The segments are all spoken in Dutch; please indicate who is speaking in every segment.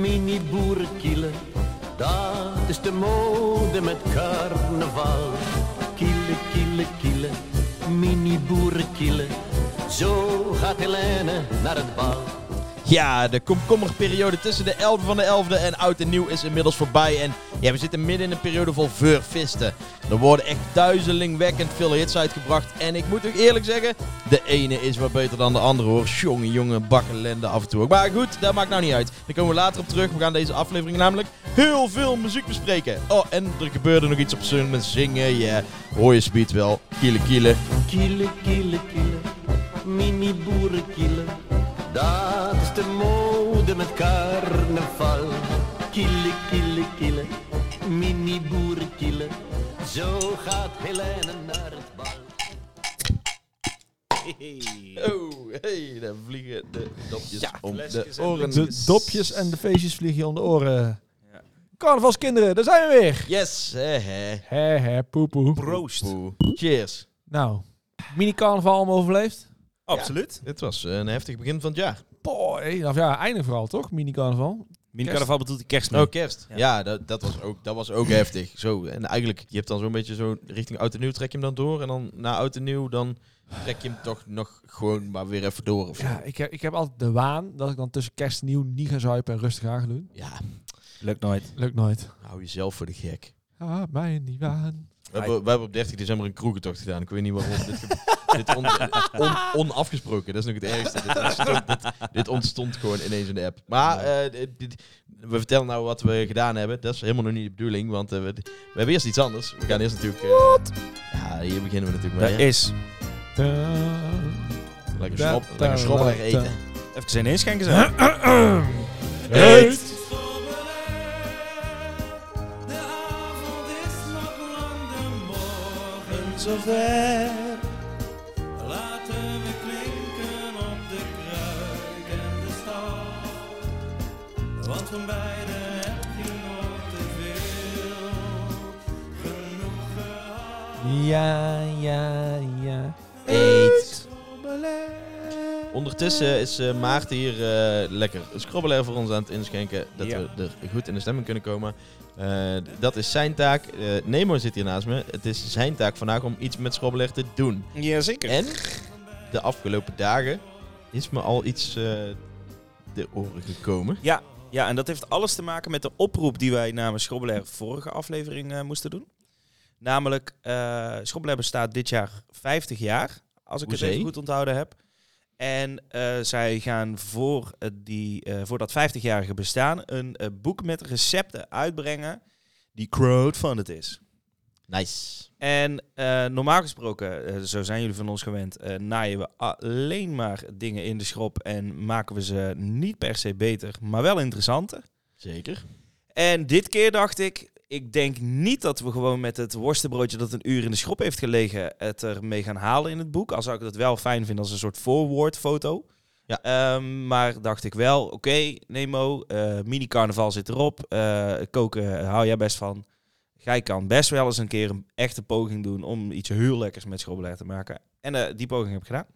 Speaker 1: mini boerenkielen. Dat is de mode met carnaval. Kielen, kielen, kielen, mini boerenkielen. Zo gaat Helene naar het bal.
Speaker 2: Ja, de komkommerige periode tussen de 11e van de 11e en oud en nieuw is inmiddels voorbij. En ja, we zitten midden in een periode vol veurvisten. Er worden echt duizelingwekkend veel hits uitgebracht. En ik moet ook eerlijk zeggen, de ene is wat beter dan de andere hoor. Jongen, jongen, bakken lende af en toe. ook. Maar goed, dat maakt nou niet uit. Daar komen we later op terug. We gaan deze aflevering namelijk heel veel muziek bespreken. Oh, en er gebeurde nog iets op z'n met zingen. Ja, hoor je speed wel. Kielen, kielen.
Speaker 1: Kielen, kielen, kielen, mini boerenkielen. Dat is de mode met carnaval. Kielen, kielen, kielen, mini boerenkielen. Zo gaat Helene naar het bal.
Speaker 2: Oh, hey, daar vliegen de dopjes om de
Speaker 3: flesjes en
Speaker 2: oren.
Speaker 4: De dopjes en de feestjes vliegen je om de oren. Carnavalskinderen, daar zijn we weer.
Speaker 2: Yes, hè, hè.
Speaker 4: Hé, hé, poepoe.
Speaker 3: Proost.
Speaker 2: Poe. Cheers.
Speaker 4: Nou, mini-carnaval allemaal overleefd?
Speaker 3: Absoluut.
Speaker 2: Het was eh, een heftig begin van het jaar.
Speaker 4: Boy, of ja, einde vooral toch, mini-carnaval?
Speaker 3: Mini-carnaval bedoelt de kerst.
Speaker 2: Oh, kerst. Ja,
Speaker 3: Ja.
Speaker 2: dat, dat, was ook, dat was ook heftig. Zo, en eigenlijk, je hebt dan zo'n beetje zo richting oud en nieuw trek je hem dan door. En dan na oud en nieuw, dan trek je hem toch nog gewoon maar weer even door. Of zo.
Speaker 4: Ja, ik heb, ik heb altijd de waan dat ik dan tussen kerst en nieuw niet ga zuipen en rustig aan ga doen.
Speaker 2: ja,
Speaker 3: Lukt nooit.
Speaker 4: Lukt nooit.
Speaker 2: hou jezelf voor de gek.
Speaker 4: Ah, mij in die waan.
Speaker 2: We hebben, we hebben op 30 december een kroegentocht gedaan. Ik weet niet waarom. dit ge- dit on- on- onafgesproken, dat is nog het ergste. Dit ontstond, dit, dit ontstond gewoon ineens in de app. Maar eh, dit- dit- we vertellen nou wat we gedaan hebben. Dat is helemaal nog niet de bedoeling, want eh, we, we hebben eerst iets anders. We gaan eerst natuurlijk... eh, ja, hier beginnen we natuurlijk
Speaker 3: Dat
Speaker 2: mee. hè.
Speaker 3: is.
Speaker 2: Lekker,
Speaker 4: dat-
Speaker 2: schrop, lekker
Speaker 4: dat-
Speaker 2: schrobbelig
Speaker 4: dat-
Speaker 2: eten.
Speaker 3: Even zijn inschenken zijn.
Speaker 4: Heet.
Speaker 5: De avond is nog lang, de morgen
Speaker 3: Zover.
Speaker 5: laten we klinken op de kruik en de stad. Want van beide heb je nog te veel genoeg gehad.
Speaker 4: Ja, ja, ja.
Speaker 2: Eet. Ondertussen is eh, Maarten hier eh, lekker een scrobbelair voor ons aan het inschenken. Dat
Speaker 3: Ja.
Speaker 2: we er goed in de stemming kunnen komen. Eh, dat is zijn taak. Eh, Nemo zit hier naast me. Het is zijn taak vandaag om iets met scrobbelair te doen.
Speaker 3: Jazeker.
Speaker 2: En de afgelopen dagen is me al iets eh, de oren gekomen.
Speaker 3: Ja, ja, en dat heeft alles te maken met de oproep die wij namens Schrobbelair vorige aflevering eh, moesten doen. Namelijk, eh Schrobbelair bestaat dit jaar 50 jaar, als ik
Speaker 2: Hoezee.
Speaker 3: het even goed onthouden heb. En eh, zij gaan voor, eh, die, eh, voor dat 50-jarige bestaan een eh, boek met recepten uitbrengen die crowdfunded is.
Speaker 2: Nice.
Speaker 3: En eh, normaal gesproken, eh, zo zijn jullie van ons gewend, eh, naaien we alleen maar dingen in de schrop en maken we ze niet per se beter, maar wel interessanter.
Speaker 2: Zeker.
Speaker 3: En dit keer dacht ik, ik denk niet dat we gewoon met het worstenbroodje dat een uur in de schop heeft gelegen het ermee gaan halen in het boek. Al zou ik dat wel fijn vinden als een soort voorwoordfoto.
Speaker 2: Ja.
Speaker 3: Ehm, maar dacht ik wel, oké, Nemo, eh, mini-carnaval zit erop. eh, koken hou jij best van. Gij kan best wel eens een keer een echte poging doen om iets heel lekkers met schoolbeleid te maken. En eh, die poging heb ik gedaan.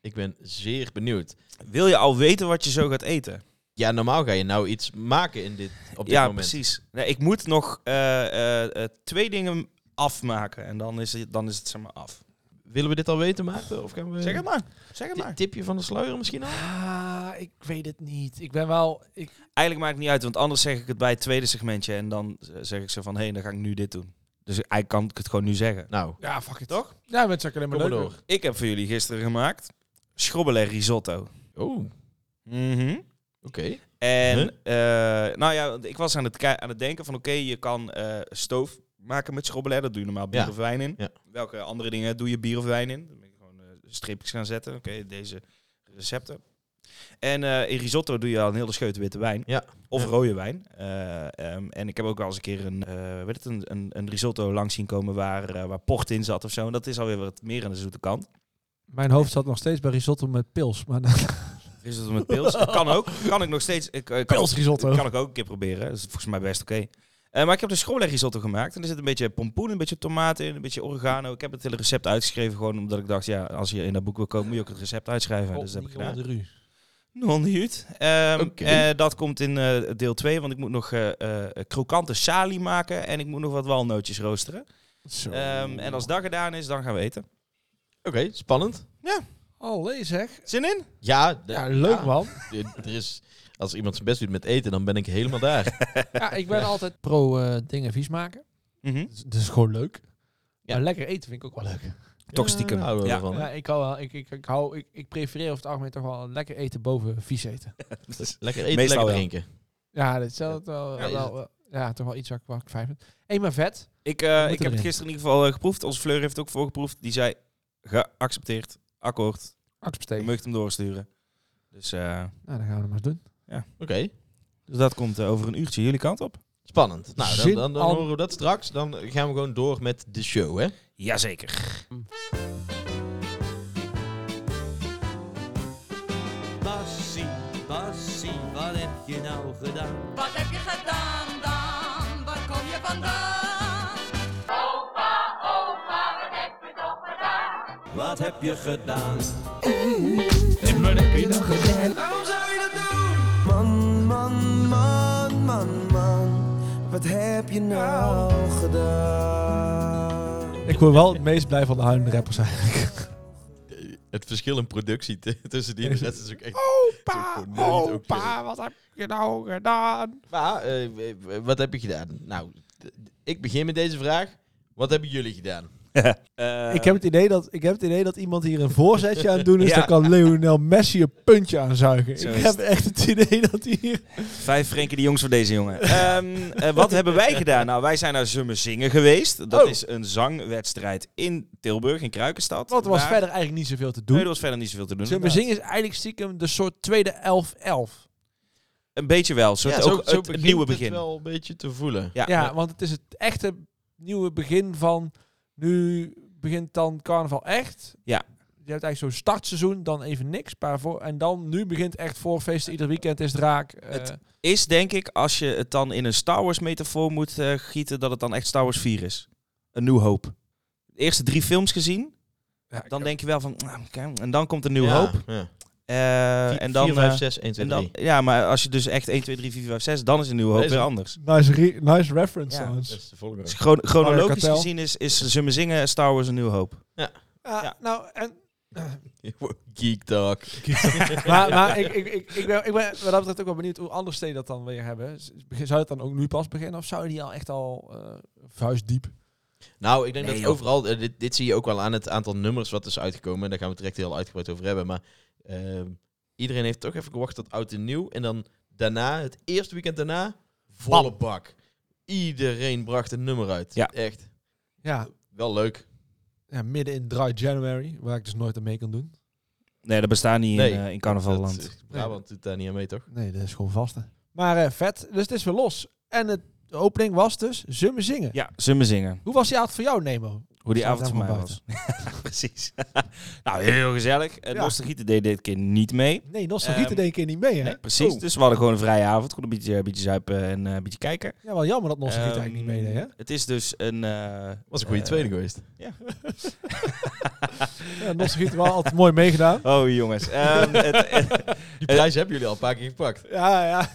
Speaker 2: Ik ben zeer benieuwd.
Speaker 3: Wil je al weten wat je zo gaat eten?
Speaker 2: Ja, normaal ga je nou iets maken in dit, op dit
Speaker 3: ja,
Speaker 2: moment.
Speaker 3: precies. Nee, ik moet nog eh, eh, eh, twee dingen afmaken en dan is het, dan is het zeg maar af.
Speaker 2: Willen we dit al weten, Maarten? Of
Speaker 4: Eh.
Speaker 2: gaan we...
Speaker 3: Zeg het maar. Zeg het
Speaker 2: Ti-
Speaker 3: maar.
Speaker 2: tipje van de sluier misschien al?
Speaker 4: Ah, ik weet het niet. Ik ben wel... Ik,
Speaker 3: Eigenlijk maakt het niet uit, want anders zeg ik het bij het tweede segmentje en dan eh, zeg ik ze van hé, dan ga ik nu dit doen. Dus eigenlijk kan ik het gewoon nu zeggen.
Speaker 2: Nou,
Speaker 4: ja, fuck it.
Speaker 3: Toch?
Speaker 4: Ja, met zakken alleen
Speaker 2: kom
Speaker 4: maar
Speaker 2: maar
Speaker 4: leuk.
Speaker 2: door.
Speaker 3: Ik heb voor jullie gisteren gemaakt schrobbeler risotto.
Speaker 2: Oh, oké.
Speaker 3: Mhm. En
Speaker 2: Huh?
Speaker 3: eh, nou ja, want ik was aan het, ki- aan het denken van oké, je kan eh, stoof maken met schrobbeler. Dat doe je normaal bier
Speaker 2: Ja.
Speaker 3: of wijn in.
Speaker 2: Ja.
Speaker 3: Welke andere dingen doe je bier of wijn in? Dan ben ik gewoon eh, streepjes gaan zetten. Oké, deze recepten. En eh, in risotto doe je al een hele scheut witte wijn.
Speaker 2: Ja.
Speaker 3: Of
Speaker 2: Ja.
Speaker 3: rode wijn. Eh, ehm, en ik heb ook wel eens een keer een, eh, weet het, een, een, een risotto langs zien komen waar, eh, waar port in zat of zo. En dat is alweer wat meer aan de zoete kant.
Speaker 4: Mijn hoofd zat nog steeds bij risotto met pils. Maar
Speaker 3: Risotto met pils. Dat kan ook. Kan ik nog steeds. Ik, eh, kan
Speaker 4: Pilsrisotto.
Speaker 3: Kan ik ook een keer proberen. Dat is volgens mij best oké. Eh, maar ik heb de schoollegrisotto gemaakt. En er zit een beetje pompoen, een beetje tomaten in, een beetje oregano. Ik heb het hele recept uitgeschreven. Gewoon omdat ik dacht, ja, als je in dat boek wil komen, moet je ook het recept uitschrijven. dus dat heb ik gedaan.
Speaker 4: Oh, de ru.
Speaker 3: Non-huut. Ehm,
Speaker 2: Oké.
Speaker 3: eh, dat komt in eh, deel 2, want ik moet nog eh, eh, krokante salie maken en ik moet nog wat walnootjes roosteren.
Speaker 4: Zo.
Speaker 3: Ehm, en als dat gedaan is, dan gaan we eten.
Speaker 2: spannend.
Speaker 4: Allee zeg.
Speaker 3: Zin in?
Speaker 2: Ja, de-
Speaker 4: Ja, leuk
Speaker 2: ja,
Speaker 4: man.
Speaker 2: d- Er is, als iemand zijn best doet met eten, dan ben ik helemaal daar.
Speaker 4: Ja, ik ben altijd pro eh, dingen vies maken.
Speaker 3: Mhm.
Speaker 4: Dus Dat is gewoon leuk.
Speaker 2: Ja.
Speaker 4: Maar lekker eten vind ik ook wel leuk.
Speaker 3: Toch stiekem.
Speaker 2: Ja, houden we
Speaker 3: Ja.
Speaker 2: ervan.
Speaker 4: Ja, ik, hou wel, ik, ik, ik, hou, ik, ik prefereer over het algemeen toch wel lekker eten boven vies eten.
Speaker 2: Lekker eten,
Speaker 3: Meestal
Speaker 2: lekker
Speaker 3: wel.
Speaker 2: drinken.
Speaker 4: Ja, dat is wel, wel,
Speaker 2: dus Ja, is
Speaker 4: wel- wel- ja, toch wel iets waar ik, waar ik fijn vind. Eén maar vet.
Speaker 3: Ik, eh,
Speaker 4: moet
Speaker 3: ik heb
Speaker 4: erin.
Speaker 3: het gisteren in ieder geval eh, geproefd. Onze Fleur heeft het ook voorgeproefd. Die zei, geaccepteerd, akkoord. Je
Speaker 4: Accepteer.
Speaker 3: mag hem doorsturen. Dus, eh,
Speaker 4: Nou, dan gaan we het maar doen.
Speaker 2: Oké,
Speaker 3: dus dat komt eh, over een uurtje jullie kant op.
Speaker 2: spannend. Nou, dan,
Speaker 4: Zin
Speaker 2: dan, dan
Speaker 4: al-
Speaker 2: horen we dat straks. Dan gaan we gewoon door met de show, hè?
Speaker 3: Jazeker.
Speaker 5: Bassie, Bassie, wat heb je nou gedaan?
Speaker 6: Wat heb je gedaan dan? Waar kom je vandaan?
Speaker 5: Wat heb je gedaan? En wat heb je dan gedaan? Waarom zou je dat doen?
Speaker 7: Man, man, man, man, man, wat heb je nou gedaan?
Speaker 4: Ik word wel het meest blij van de huilende rappers eigenlijk.
Speaker 2: Het verschil in productie t- tussen die en de rest is ook echt...
Speaker 4: Opa,
Speaker 2: Zo gewoon niet oké.
Speaker 4: opa, wat heb je nou gedaan?
Speaker 2: Maar, eh, w- wat heb je gedaan? Nou, d- ik begin met deze vraag. Wat hebben jullie gedaan?
Speaker 4: ik,
Speaker 8: Eh,
Speaker 4: heb het idee dat, ik heb het idee dat iemand hier een voorzetje aan het doen is.
Speaker 3: Eh. Ja.
Speaker 4: Dan kan Lionel Messi een puntje aanzuigen.
Speaker 3: Zo
Speaker 4: ik
Speaker 3: is
Speaker 4: heb echt het idee dat hij hier...
Speaker 3: Vijf Frenkie de Jongs voor deze jongen. Ehm, eh, wat hebben wij gedaan? Nou, wij zijn naar Zingen geweest. Dat
Speaker 2: Oh.
Speaker 3: is een zangwedstrijd in Tilburg, in Kruikenstad.
Speaker 4: Want er was
Speaker 3: Daar-
Speaker 4: verder eigenlijk niet zoveel te doen.
Speaker 3: Nee, er was verder niet zoveel te doen.
Speaker 4: Zullen we zingen is eigenlijk stiekem de soort tweede 11-11.
Speaker 3: Een beetje wel. Soort,
Speaker 2: zo,
Speaker 3: ook
Speaker 2: zo
Speaker 3: het, het
Speaker 2: begint
Speaker 3: nieuwe
Speaker 2: het
Speaker 3: begin.
Speaker 2: wel een beetje te voelen.
Speaker 3: Ja,
Speaker 4: Ja, want het is het echte nieuwe begin van nu begint dan carnaval echt.
Speaker 3: Ja.
Speaker 4: Je hebt eigenlijk zo'n startseizoen, dan even niks. Maar voor, en dan nu begint echt voorfeesten. Ieder weekend is het raak. eh,
Speaker 3: Het- Is denk ik, als je het dan in een Star Wars metafoor moet eh, gieten, dat het dan echt Star Wars 4 is. Een New Hope. De eerste drie films gezien,
Speaker 4: ja, ik-
Speaker 3: dan denk je wel van, "Ah, oké." en dan komt een New
Speaker 2: Ja,
Speaker 3: Hope.
Speaker 2: ja.
Speaker 3: Eh,
Speaker 2: Vier-
Speaker 3: en dan,
Speaker 2: vier, vijf,
Speaker 3: eh,
Speaker 2: zes, één, twee,
Speaker 3: en dan,
Speaker 2: drie.
Speaker 3: ja, maar als je dus echt 1, 2, 3, 4, 5, 6, dan is een New Hope
Speaker 2: Deze-
Speaker 3: weer anders.
Speaker 4: nice, re- nice reference
Speaker 3: Ja.
Speaker 4: trouwens.
Speaker 2: Dat is de volgende.
Speaker 3: Dus chron-
Speaker 4: Mario
Speaker 3: chronologisch
Speaker 4: Kartel.
Speaker 3: gezien is, is Zummen Zingen Star Wars een New Hope.
Speaker 4: Ah,
Speaker 3: Ja.
Speaker 4: Nou, en,
Speaker 2: Geek talk.
Speaker 4: maar maar ik, ik, ik, ik, ben, ik ben wat dat betreft ook wel benieuwd hoe andere steden dat dan weer hebben. Z- Zou het dan ook nu pas beginnen? Of zou die al echt al eh vuistdiep?
Speaker 2: Nou, ik denk
Speaker 3: Nee,
Speaker 2: dat
Speaker 3: joh.
Speaker 2: overal, eh, dit, dit zie je ook wel aan het aantal nummers wat is uitgekomen. En daar gaan we het direct heel uitgebreid over hebben. Maar ehm, iedereen heeft toch even gewacht tot oud en nieuw. En dan daarna, het eerste weekend daarna, volle bak. Iedereen bracht een nummer uit.
Speaker 3: Ja.
Speaker 2: Echt.
Speaker 4: Ja,
Speaker 2: Wel leuk.
Speaker 4: ja, midden in Dry January, waar ik dus nooit aan mee kan doen.
Speaker 3: Nee, dat bestaat niet
Speaker 2: Nee,
Speaker 3: in, eh, in
Speaker 2: Dat,
Speaker 3: carnavalland.
Speaker 2: eh, Brabant doet daar niet aan mee, toch?
Speaker 4: Nee, dat is gewoon vaste. Maar eh, vet, dus het is weer los. En het, de opening was dus Zummen Zingen.
Speaker 3: Ja, Zummen Zingen.
Speaker 4: Hoe was die avond voor jou, Nemo?
Speaker 3: Hoe die
Speaker 4: Staat
Speaker 3: avond voor
Speaker 4: daar
Speaker 3: mij
Speaker 4: nou gewoon
Speaker 3: was. Precies. nou, heel gezellig. Uh,
Speaker 4: Ja.
Speaker 3: deed dit keer niet mee.
Speaker 4: Nee, Nostalgieten
Speaker 3: Ehm,
Speaker 4: deed ik hier niet mee, hè?
Speaker 3: Nee, precies.
Speaker 4: Oh.
Speaker 3: Dus we hadden gewoon een vrije avond. Konden een beetje, een beetje zuipen en eh, een beetje kijken.
Speaker 4: Ja, wel jammer dat Nostalgieten
Speaker 3: Ehm,
Speaker 4: eigenlijk niet meedeed,
Speaker 3: Het is dus een... eh,
Speaker 2: Was een goede
Speaker 3: eh,
Speaker 2: tweede geweest.
Speaker 4: hè? Ja, Nostalgieten wel altijd mooi meegedaan.
Speaker 3: Oh, jongens. Ehm, het,
Speaker 2: Die prijs hebben jullie al een paar keer gepakt.
Speaker 4: Ja, ja.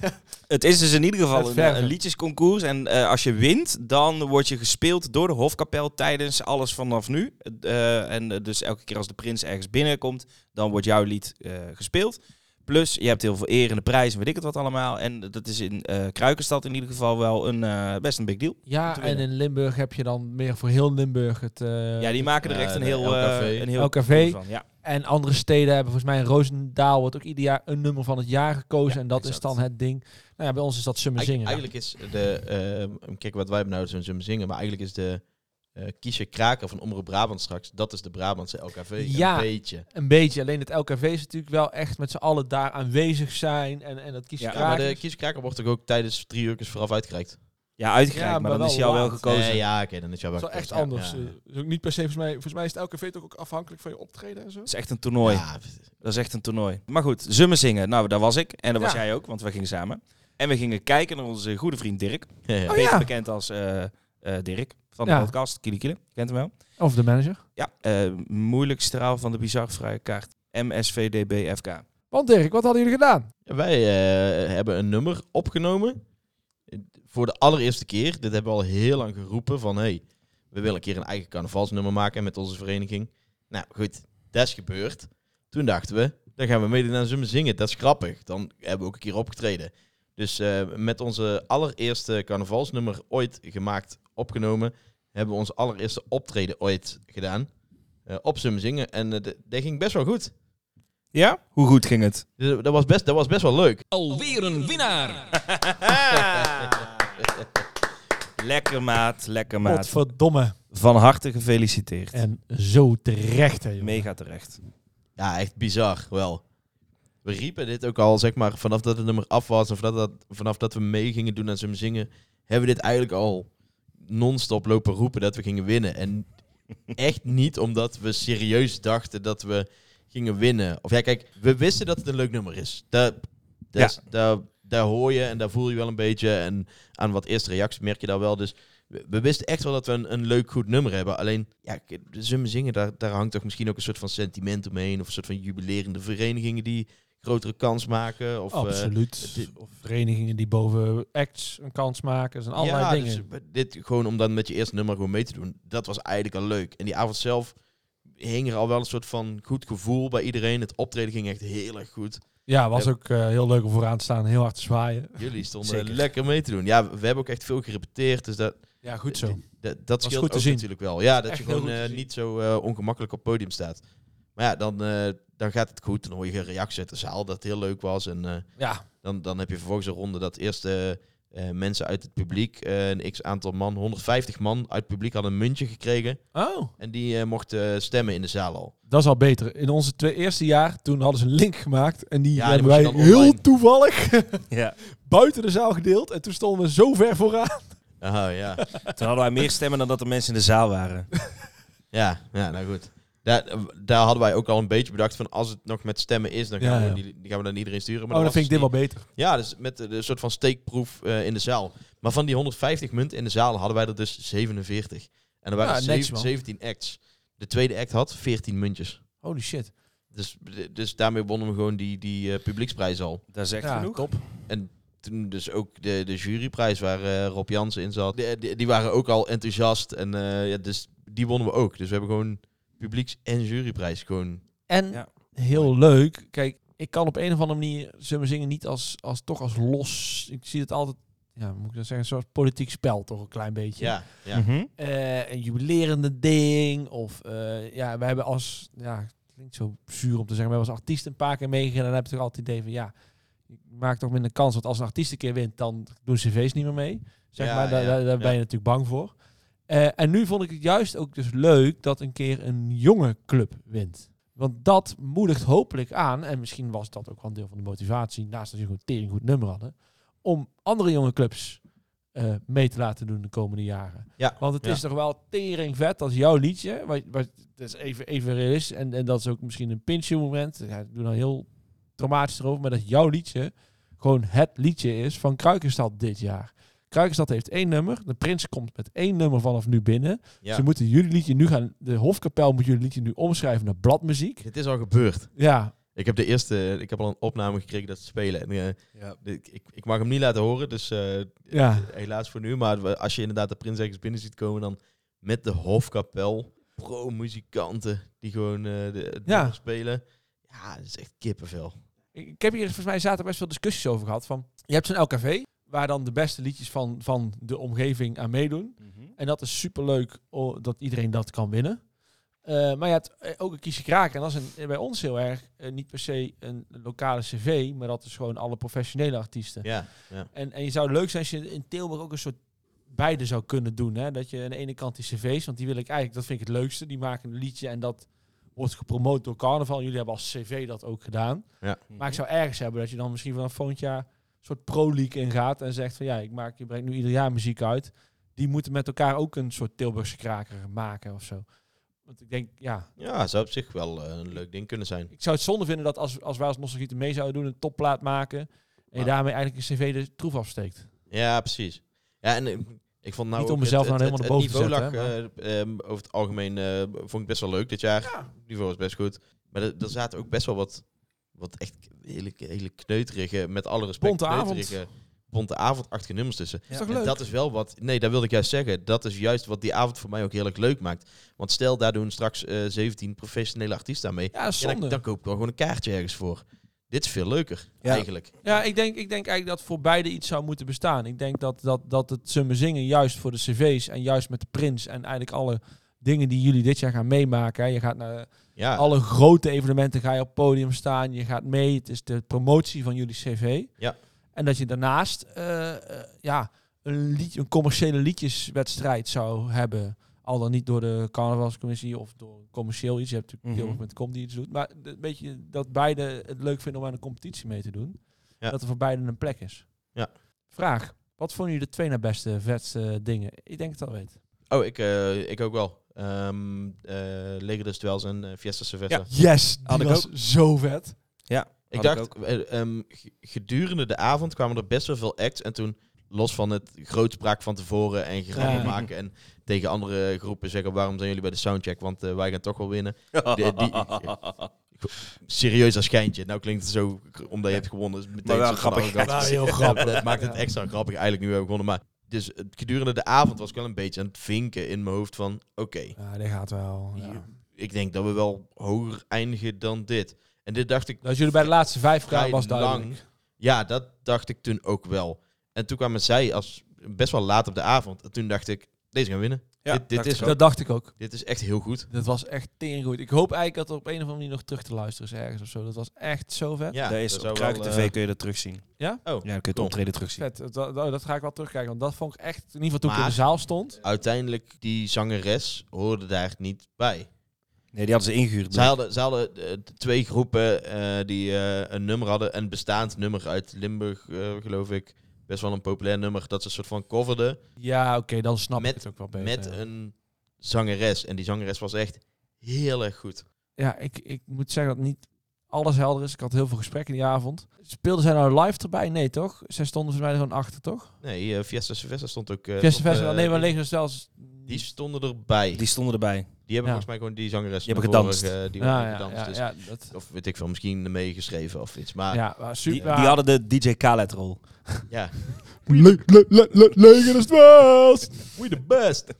Speaker 3: het is dus in ieder
Speaker 4: Het
Speaker 3: geval een,
Speaker 4: verven.
Speaker 3: een liedjesconcours. En eh, als je wint, dan word je gespeeld door de Hofkapel tijdens alles vanaf nu. Eh, en eh, dus elke keer als de prins ergens binnenkomt, dan wordt jouw lied eh, gespeeld. Plus, je hebt heel veel eer en de prijs en weet ik het wat allemaal. En dat is in eh, Kruikenstad in ieder geval wel een, eh, best een big deal.
Speaker 4: Ja,
Speaker 3: te
Speaker 4: en
Speaker 3: winnen.
Speaker 4: in Limburg heb je dan meer voor heel Limburg het... eh,
Speaker 3: Ja, die maken er echt
Speaker 2: eh,
Speaker 3: een
Speaker 2: de
Speaker 3: heel...
Speaker 2: LKV.
Speaker 3: eh, een heel
Speaker 4: LKV.
Speaker 3: concours van. Ja.
Speaker 4: En andere steden hebben volgens mij in Roosendaal wordt ook ieder jaar een nummer van het jaar gekozen.
Speaker 3: Ja,
Speaker 4: en dat is
Speaker 3: exact.
Speaker 4: dan het ding. Nou ja, bij ons is dat Summer Zingen.
Speaker 2: Eigen- Eigenlijk is de... ehm, kijk, wat wij hebben nou zo'n zo'n zingen. Maar eigenlijk is de... eh Kiesje Kraker van Omroep Brabant straks. Dat is de Brabantse LKV.
Speaker 4: Ja.
Speaker 2: Een beetje.
Speaker 4: Een beetje. Alleen het LKV is natuurlijk wel echt met z'n allen daar aanwezig zijn. En, en dat kies je
Speaker 3: Ja,
Speaker 4: ja,
Speaker 2: Ja, maar de kieskraker wordt toch ook tijdens drie uur vooraf uitgereikt?
Speaker 3: Ja, uitgereikt,
Speaker 4: Ja,
Speaker 3: maar,
Speaker 4: maar
Speaker 3: dan
Speaker 4: wel
Speaker 3: is hij al wel
Speaker 4: laat.
Speaker 3: gekozen.
Speaker 2: Nee, ja, oké, dan is jouw
Speaker 4: Dat
Speaker 2: wel
Speaker 4: is wel echt
Speaker 2: gekozen.
Speaker 4: anders.
Speaker 2: Ja,
Speaker 4: eh. is ook niet per se, volgens mij, volgens mij is het LKV toch ook afhankelijk van je optreden en zo.
Speaker 3: Dat is echt een toernooi.
Speaker 2: Ja,
Speaker 3: Dat is echt een toernooi. Maar goed, Zummen zingen. Nou, daar was ik. En daar was
Speaker 4: Ja.
Speaker 3: jij ook, want we gingen samen. En we gingen kijken naar onze goede vriend Dirk.
Speaker 2: ja, ja.
Speaker 4: Oh,
Speaker 3: Beter
Speaker 4: ja.
Speaker 3: bekend als eh, eh, Dirk van de
Speaker 4: Ja.
Speaker 3: podcast Kili Kili. Je Kent hem wel?
Speaker 4: Of de manager.
Speaker 3: Ja. eh, moeilijk straal van de bizar vrije kaart. MSVDBFK.
Speaker 4: Want Dirk, wat hadden jullie gedaan?
Speaker 2: Wij eh, hebben een nummer opgenomen. Voor de allereerste keer. Dit hebben we al heel lang geroepen van... Hey, we willen een keer een eigen carnavalsnummer maken met onze vereniging. Nou goed, dat is gebeurd. Toen dachten we, dan gaan we meedoen aan Zummen Zingen. Dat is grappig. Dan hebben we ook een keer opgetreden. Dus eh, met onze allereerste carnavalsnummer ooit gemaakt, opgenomen... hebben we ons allereerste optreden ooit gedaan. eh, op Zummen Zingen. En eh, dat- dat ging best wel goed.
Speaker 3: Ja? Hoe goed ging het?
Speaker 2: Dus dat, was best, dat was best wel leuk.
Speaker 5: Alweer een winnaar.
Speaker 3: lekker maat, lekker maat.
Speaker 4: Godverdomme.
Speaker 3: Van harte gefeliciteerd.
Speaker 4: En zo terecht, hè, jongen.
Speaker 3: Mega terecht.
Speaker 2: Ja, echt bizar wel. We riepen dit ook al, zeg maar, vanaf dat het nummer af was en vanaf dat, vanaf dat we mee gingen doen aan zijn zingen, hebben we dit eigenlijk al non-stop lopen roepen dat we gingen winnen. En echt niet omdat we serieus dachten dat we gingen winnen. Of ja, kijk, we wisten dat het een leuk nummer is. Daar, daar,
Speaker 3: Ja.
Speaker 2: is- daar, daar hoor je en daar voel je wel een beetje. En aan wat eerste reacties merk je daar wel. Dus we, we wisten echt wel dat we een, een leuk, goed nummer hebben. Alleen, ja, k- Zummen Zingen, daar, daar hangt toch misschien ook een soort van sentiment omheen. Of een soort van jubilerende verenigingen die grotere kans maken. Of, eh,
Speaker 4: Absoluut.
Speaker 2: dit-
Speaker 4: of verenigingen die boven acts een kans maken. Er zijn allerlei dingen.
Speaker 2: dus we- dit gewoon om dan met je eerste nummer gewoon mee te doen. Dat was eigenlijk al leuk. En die avond zelf hing er al wel een soort van goed gevoel bij iedereen. Het optreden ging echt heel erg goed.
Speaker 4: ja, was ook eh, heel leuk om vooraan te staan. Heel hard te zwaaien.
Speaker 2: Jullie stonden
Speaker 3: Zeker.
Speaker 2: lekker mee te doen. Ja, we hebben ook echt veel gerepeteerd. Dus dat,
Speaker 4: Ja, goed zo.
Speaker 2: dat, dat scheelt
Speaker 4: goed te
Speaker 2: ook
Speaker 4: zien.
Speaker 2: natuurlijk wel. Ja, dat
Speaker 4: echt
Speaker 2: je
Speaker 4: heel
Speaker 2: gewoon
Speaker 4: goed te
Speaker 2: eh,
Speaker 4: zien.
Speaker 2: niet zo eh, ongemakkelijk op het podium staat. Maar ja, dan, eh, dan gaat het goed. Dan hoor je reacties uit de zaal dat het heel leuk was. En eh,
Speaker 4: Ja,
Speaker 2: Dan, dan heb je vervolgens een ronde dat eerst eh, eh, mensen uit het publiek, eh, een x aantal man, 150 man uit het publiek hadden een muntje gekregen.
Speaker 4: Oh,
Speaker 2: En die eh, mochten eh, stemmen in de zaal al.
Speaker 4: dat is al beter. In onze twee eerste jaar, toen hadden ze een link gemaakt. En die
Speaker 2: Ja, die
Speaker 4: hebben
Speaker 2: moet je
Speaker 4: wij
Speaker 2: dan
Speaker 4: heel
Speaker 2: online-
Speaker 4: toevallig
Speaker 3: Ja.
Speaker 4: buiten de zaal gedeeld. En toen stonden we zo ver vooraan.
Speaker 2: Aha, ja.
Speaker 3: Toen hadden wij meer stemmen dan dat er mensen in de zaal waren.
Speaker 2: ja, ja, nou goed. Daar, daar hadden wij ook al een beetje bedacht van als het nog met stemmen is, dan
Speaker 4: Ja,
Speaker 2: gaan, we,
Speaker 4: ja.
Speaker 2: die, die gaan we dan iedereen sturen. Maar
Speaker 4: Oh, dan
Speaker 2: dat
Speaker 4: vind ik dit
Speaker 2: was
Speaker 4: wel beter.
Speaker 2: dus niet. Ja, dus met eh, een soort van steekproef eh, in de zaal. Maar van die 150 munten in de zaal hadden wij er dus 47. En er waren
Speaker 4: Ja, netjes,
Speaker 2: zeven-
Speaker 4: man.
Speaker 2: 17 acts. De tweede act had 14 muntjes.
Speaker 4: Holy shit.
Speaker 2: Dus, dus daarmee wonnen we gewoon die, die eh, publieksprijs al.
Speaker 3: Dat is echt
Speaker 4: ja,
Speaker 3: genoeg.
Speaker 4: top.
Speaker 2: En toen dus ook de, de juryprijs waar eh, Rob Jansen in zat. Die, die, die waren ook al enthousiast. En eh, ja, dus die wonnen we ook. Dus we hebben gewoon publieks- en juryprijs. Gewoon.
Speaker 4: En
Speaker 3: Ja.
Speaker 4: heel leuk. Kijk, ik kan op een of andere manier Zummen Zingen niet als, als toch als los. Ik zie het altijd, ja, moet ik dat zeggen, zoals politiek spel toch een klein beetje.
Speaker 2: Ja, ja.
Speaker 3: Mhm.
Speaker 4: Eh, een jubilerende ding. Of eh, ja, we hebben als, ja, het klinkt zo zuur om te zeggen, we hebben als artiest een paar keer meegegaan. En dan heb je toch altijd het idee van, ja, je maakt toch minder kans. Want als een artiest een keer wint, dan doen cv's niet meer mee. Zeg
Speaker 2: Ja,
Speaker 4: maar, daar,
Speaker 2: ja,
Speaker 4: daar, daar ben je
Speaker 2: ja.
Speaker 4: natuurlijk bang voor. Eh, en nu vond ik het juist ook dus leuk dat een keer een jonge club wint. Want dat moedigt hopelijk aan, en misschien was dat ook wel een deel van de motivatie, naast dat je een tering goed nummer hadden, om andere jonge clubs eh, mee te laten doen de komende jaren.
Speaker 2: Ja,
Speaker 4: Want het
Speaker 2: ja.
Speaker 4: is toch wel tering vet als jouw liedje, wat, wat, dat is even, even realistisch, en, en dat is ook misschien een pinchje moment, ja, ik doe dan heel traumatisch erover, maar dat jouw liedje gewoon het liedje is van Kruikenstad dit jaar. Kruikenstad heeft één nummer, de prins komt met één nummer vanaf nu binnen.
Speaker 2: ja.
Speaker 4: Ze moeten jullie liedje nu gaan, de Hofkapel moet jullie liedje nu omschrijven naar bladmuziek.
Speaker 2: Het is al gebeurd.
Speaker 4: Ja,
Speaker 2: Ik heb de eerste, ik heb al een opname gekregen dat ze spelen. En, eh, de- ik, ik, ik mag hem niet laten horen, dus eh,
Speaker 4: ja.
Speaker 2: helaas voor nu. Maar we- als je inderdaad de prins ergens binnen ziet komen, dan met de Hofkapel, pro-muzikanten die gewoon eh, de, het
Speaker 4: Ja.
Speaker 2: nummer spelen. Ja, dat is echt kippenvel.
Speaker 4: Ik ik heb hier volgens mij zaten best veel discussies over gehad. Van, je hebt zo'n LKV, waar dan de beste liedjes van, van de omgeving aan meedoen.
Speaker 2: Mhm.
Speaker 4: En dat is superleuk o- dat iedereen dat kan winnen. Eh, maar je hebt eh, ook een kiesje kraken. En dat is een, bij ons heel erg eh, niet per se een lokale cv, maar dat is gewoon alle professionele artiesten.
Speaker 2: Ja, ja.
Speaker 4: En, en je zou het leuk zijn als je in Tilburg ook een soort beide zou kunnen doen. Hè? Dat je aan de ene kant die cv's, want die wil ik eigenlijk, dat vind ik het leukste. Die maken een liedje en dat wordt gepromoot door carnaval. Jullie hebben als cv dat ook gedaan.
Speaker 2: Ja.
Speaker 4: Maar ik zou ergens hebben dat je dan misschien vanaf volgend jaar een soort pro-league ingaat en zegt van ja, ik maak, je brengt nu ieder jaar muziek uit. Die moeten met elkaar ook een soort Tilburgse kraker maken of zo. Want ik denk, ja,
Speaker 2: Ja, zou op zich wel eh, een leuk ding kunnen zijn.
Speaker 4: ik zou het zonde vinden dat als, als wij als Nostalgieten mee zouden doen, een topplaat maken en je
Speaker 2: Maar-
Speaker 4: daarmee eigenlijk een cv de troef afsteekt.
Speaker 2: Ja, precies. Ja, en eh, ik vond nou
Speaker 4: Niet
Speaker 2: ook
Speaker 4: om mezelf
Speaker 2: het,
Speaker 4: nou
Speaker 2: het-
Speaker 4: helemaal
Speaker 2: het
Speaker 4: naar boven te
Speaker 2: niveau lag, eh, ehm, over het algemeen eh, vond ik best wel leuk dit jaar. Het niveau was best goed. Maar er er zaten ook best wel wat Wat echt hele, hele kneuterige, met alle respect,
Speaker 4: Bonte avond.
Speaker 2: kneuterige, bonte avondachtige nummers tussen.
Speaker 4: Is toch
Speaker 2: En
Speaker 4: leuk?
Speaker 2: dat is wel wat. Nee, dat wilde ik juist zeggen. Dat is juist wat die avond voor mij ook heel erg leuk maakt. Want stel, daar doen straks eh 17 professionele artiesten aan mee.
Speaker 4: ja,
Speaker 2: Ja, dan,
Speaker 4: zonde.
Speaker 2: dan koop ik wel gewoon een kaartje ergens voor. Dit is veel leuker,
Speaker 3: Ja.
Speaker 2: eigenlijk.
Speaker 4: Ja, ik denk, ik denk eigenlijk dat voor beide iets zou moeten bestaan. Ik denk dat, dat, dat het summen zingen juist voor de cv's en juist met de prins en eigenlijk alle dingen die jullie dit jaar gaan meemaken. hè. Je gaat naar
Speaker 2: Ja,
Speaker 4: alle grote evenementen, ga je op het podium staan, je gaat mee. Het is de promotie van jullie cv.
Speaker 2: Ja.
Speaker 4: En dat je daarnaast eh, eh, ja, een, lied, een commerciële liedjeswedstrijd zou hebben. Al dan niet door de carnavalscommissie of door commercieel iets. Je hebt natuurlijk heel
Speaker 3: Mhm.
Speaker 4: erg met de com die iets doet. Maar een beetje dat beide het leuk vinden om aan een competitie mee te doen.
Speaker 2: Ja.
Speaker 4: Dat er voor beiden een plek is.
Speaker 2: Ja.
Speaker 4: Vraag. Wat vonden jullie de twee na beste, vetste dingen? Ik denk het al weet.
Speaker 2: oh, ik, eh, ik ook wel. Ehm eh Lego dus wel zijn eh, Fiesta Sylvester.
Speaker 3: Ja.
Speaker 4: Yes,
Speaker 3: Had ik was
Speaker 4: zo vet.
Speaker 2: Ik
Speaker 3: Had ik
Speaker 2: dacht,
Speaker 3: ook.
Speaker 2: eh, ehm, g- gedurende de avond kwamen er best wel veel acts. En toen, los van het grootspraak van tevoren en gerammel
Speaker 4: Ja.
Speaker 2: maken... en tegen andere groepen zeggen, waarom zijn jullie bij de soundcheck? Want eh, wij gaan toch wel winnen. Die- die- Serieus als schijntje. Nou klinkt het zo, k- omdat je hebt gewonnen. Is meteen
Speaker 3: Maar wel
Speaker 2: zo van
Speaker 3: grappig.
Speaker 2: arrogant.
Speaker 4: Maar heel
Speaker 2: Ja,
Speaker 4: grappig.
Speaker 2: dat maakt het extra grappig eigenlijk nu we hebben gewonnen. Maar dus het- gedurende de avond was ik wel een beetje aan het vinken in mijn hoofd van... Oké,
Speaker 4: Ja, die gaat wel.
Speaker 2: Hier-
Speaker 4: Ja.
Speaker 2: ik denk dat we wel hoger eindigen dan dit. En dit dacht ik
Speaker 4: Dat jullie bij de laatste vijf
Speaker 2: vrij
Speaker 4: kwamen was duidelijk.
Speaker 2: lang. Ja, dat dacht ik toen ook wel. En toen kwamen zij als best wel laat op de avond. En toen dacht ik, deze gaan winnen.
Speaker 3: Ja,
Speaker 2: dit dit
Speaker 3: dacht
Speaker 2: is,
Speaker 3: ik
Speaker 4: Dat dacht ik ook.
Speaker 2: dit is echt heel goed.
Speaker 4: Dat was echt tering goed. Ik hoop eigenlijk dat er op een of andere manier nog terug te luisteren is ergens of zo. Dat was echt zo vet.
Speaker 2: Ja,
Speaker 3: Daar is
Speaker 2: dat
Speaker 3: op
Speaker 2: zou
Speaker 3: Kruik
Speaker 2: wel,
Speaker 3: TV
Speaker 2: eh,
Speaker 3: kun je dat terugzien.
Speaker 4: Ja?
Speaker 2: Oh,
Speaker 3: ja, dan kun je het
Speaker 2: cool.
Speaker 3: optreden terugzien.
Speaker 4: Vet. Dat, dat, dat ga ik wel terugkijken. Want dat vond ik echt, in ieder geval toen ik in
Speaker 2: Maar-
Speaker 4: de zaal stond.
Speaker 2: Uiteindelijk, die zangeres hoorde daar niet bij.
Speaker 3: Nee, die hadden ze ingehuurd.
Speaker 2: Zij hadden, zij hadden eh, t- twee groepen eh, die eh, een nummer hadden. Een bestaand nummer uit Limburg, eh, geloof ik. Best wel een populair nummer dat ze een soort van coverden.
Speaker 4: Ja, oké, dan snap
Speaker 2: Met-
Speaker 4: ik het ook wel beter.
Speaker 2: met een zangeres. En die zangeres was echt heel erg goed.
Speaker 4: Ja, ik, ik moet zeggen dat niet alles helder is. Ik had heel veel gesprekken die avond. Speelden zij nou live erbij? Nee, toch? Zij stonden voor mij gewoon achter, toch?
Speaker 2: Nee, eh, Fiesta Sylvester stond ook... eh,
Speaker 4: Fiesta
Speaker 2: stond,
Speaker 4: Festival.
Speaker 2: eh,
Speaker 4: nee, maar
Speaker 2: die-
Speaker 4: Lego dus zelfs...
Speaker 2: Die stonden erbij. Die,
Speaker 3: Die stonden erbij.
Speaker 4: Ja.
Speaker 2: hebben volgens mij gewoon die zangeres.
Speaker 3: Die
Speaker 2: van
Speaker 3: hebben
Speaker 2: vorig,
Speaker 3: gedanst.
Speaker 2: eh, die
Speaker 4: ja,
Speaker 2: hebben
Speaker 4: ja,
Speaker 2: gedanst.
Speaker 4: ja,
Speaker 2: dus-
Speaker 4: ja, dat,
Speaker 2: Of weet ik veel, misschien meegeschreven of iets. Maar ja,
Speaker 4: ja, maar
Speaker 3: Die,
Speaker 4: super.
Speaker 3: die hadden de DJ Khaled rol.
Speaker 4: Legen is best.
Speaker 2: we the best!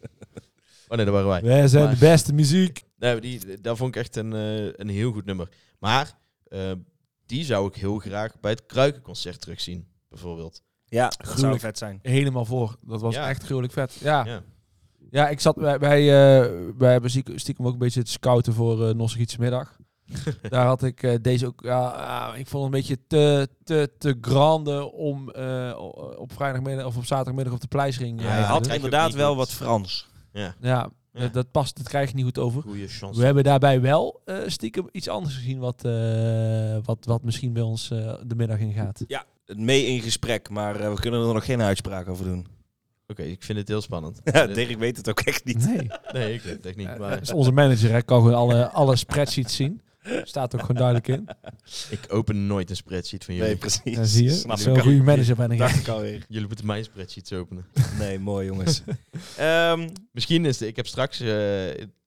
Speaker 2: oh nee, dat waren wij.
Speaker 4: Wij zijn de beste muziek.
Speaker 2: Nee, die, dat vond ik echt een, eh, een heel goed nummer. Maar eh, die zou ik heel graag bij het Kruikenconcert terugzien, bijvoorbeeld.
Speaker 3: Ja, dat zou
Speaker 4: Gruwelijk.
Speaker 3: vet zijn.
Speaker 4: Helemaal voor. Dat was
Speaker 2: Ja.
Speaker 4: echt gruwelijk vet. Ja, ja.
Speaker 2: Ja.
Speaker 4: ik zat bij, bij, eh wij hebben stiekem- stiekem ook een beetje het scouten voor eh Nossegrietse Middag. Daar had ik eh, deze ook. Ja, ah, ik vond het een beetje te, te, te grande om eh, o- op vrijdagmiddag of op zaterdagmiddag op de pleisring.
Speaker 2: Ja,
Speaker 4: eh,
Speaker 2: hij
Speaker 4: te
Speaker 3: Hij had
Speaker 4: doen.
Speaker 2: krijg je ook
Speaker 3: inderdaad
Speaker 2: niet
Speaker 3: wel
Speaker 2: goed.
Speaker 3: wat Frans.
Speaker 4: ja,
Speaker 2: Ja.
Speaker 4: Dat, dat past. Dat krijg je niet goed over.
Speaker 2: Goeie chance.
Speaker 4: We hebben daarbij wel eh, stiekem iets anders gezien wat, eh, wat, wat misschien bij ons eh, de middag in gaat.
Speaker 3: Mee in gesprek, maar eh, we kunnen er nog geen uitspraak over doen.
Speaker 2: Oké, ik vind het heel spannend.
Speaker 3: Ja, Dirk weet het ook echt niet.
Speaker 4: Nee.
Speaker 2: Nee, ik weet het echt niet.
Speaker 4: Dat Eh, is
Speaker 2: Maar
Speaker 4: onze manager, hè. Kan gewoon alle, alle spreadsheets zien. Staat ook gewoon duidelijk in.
Speaker 2: ik open nooit een spreadsheet van jullie.
Speaker 3: Nee, precies.
Speaker 4: Dan zie je.
Speaker 3: Snap
Speaker 4: Zo'n
Speaker 3: ik al.
Speaker 4: goede manager ben ik.
Speaker 3: Dacht ik alweer.
Speaker 2: Jullie moeten mijn spreadsheets openen.
Speaker 3: Nee, mooi jongens. Ehm,
Speaker 2: Misschien is de, ik heb straks eh,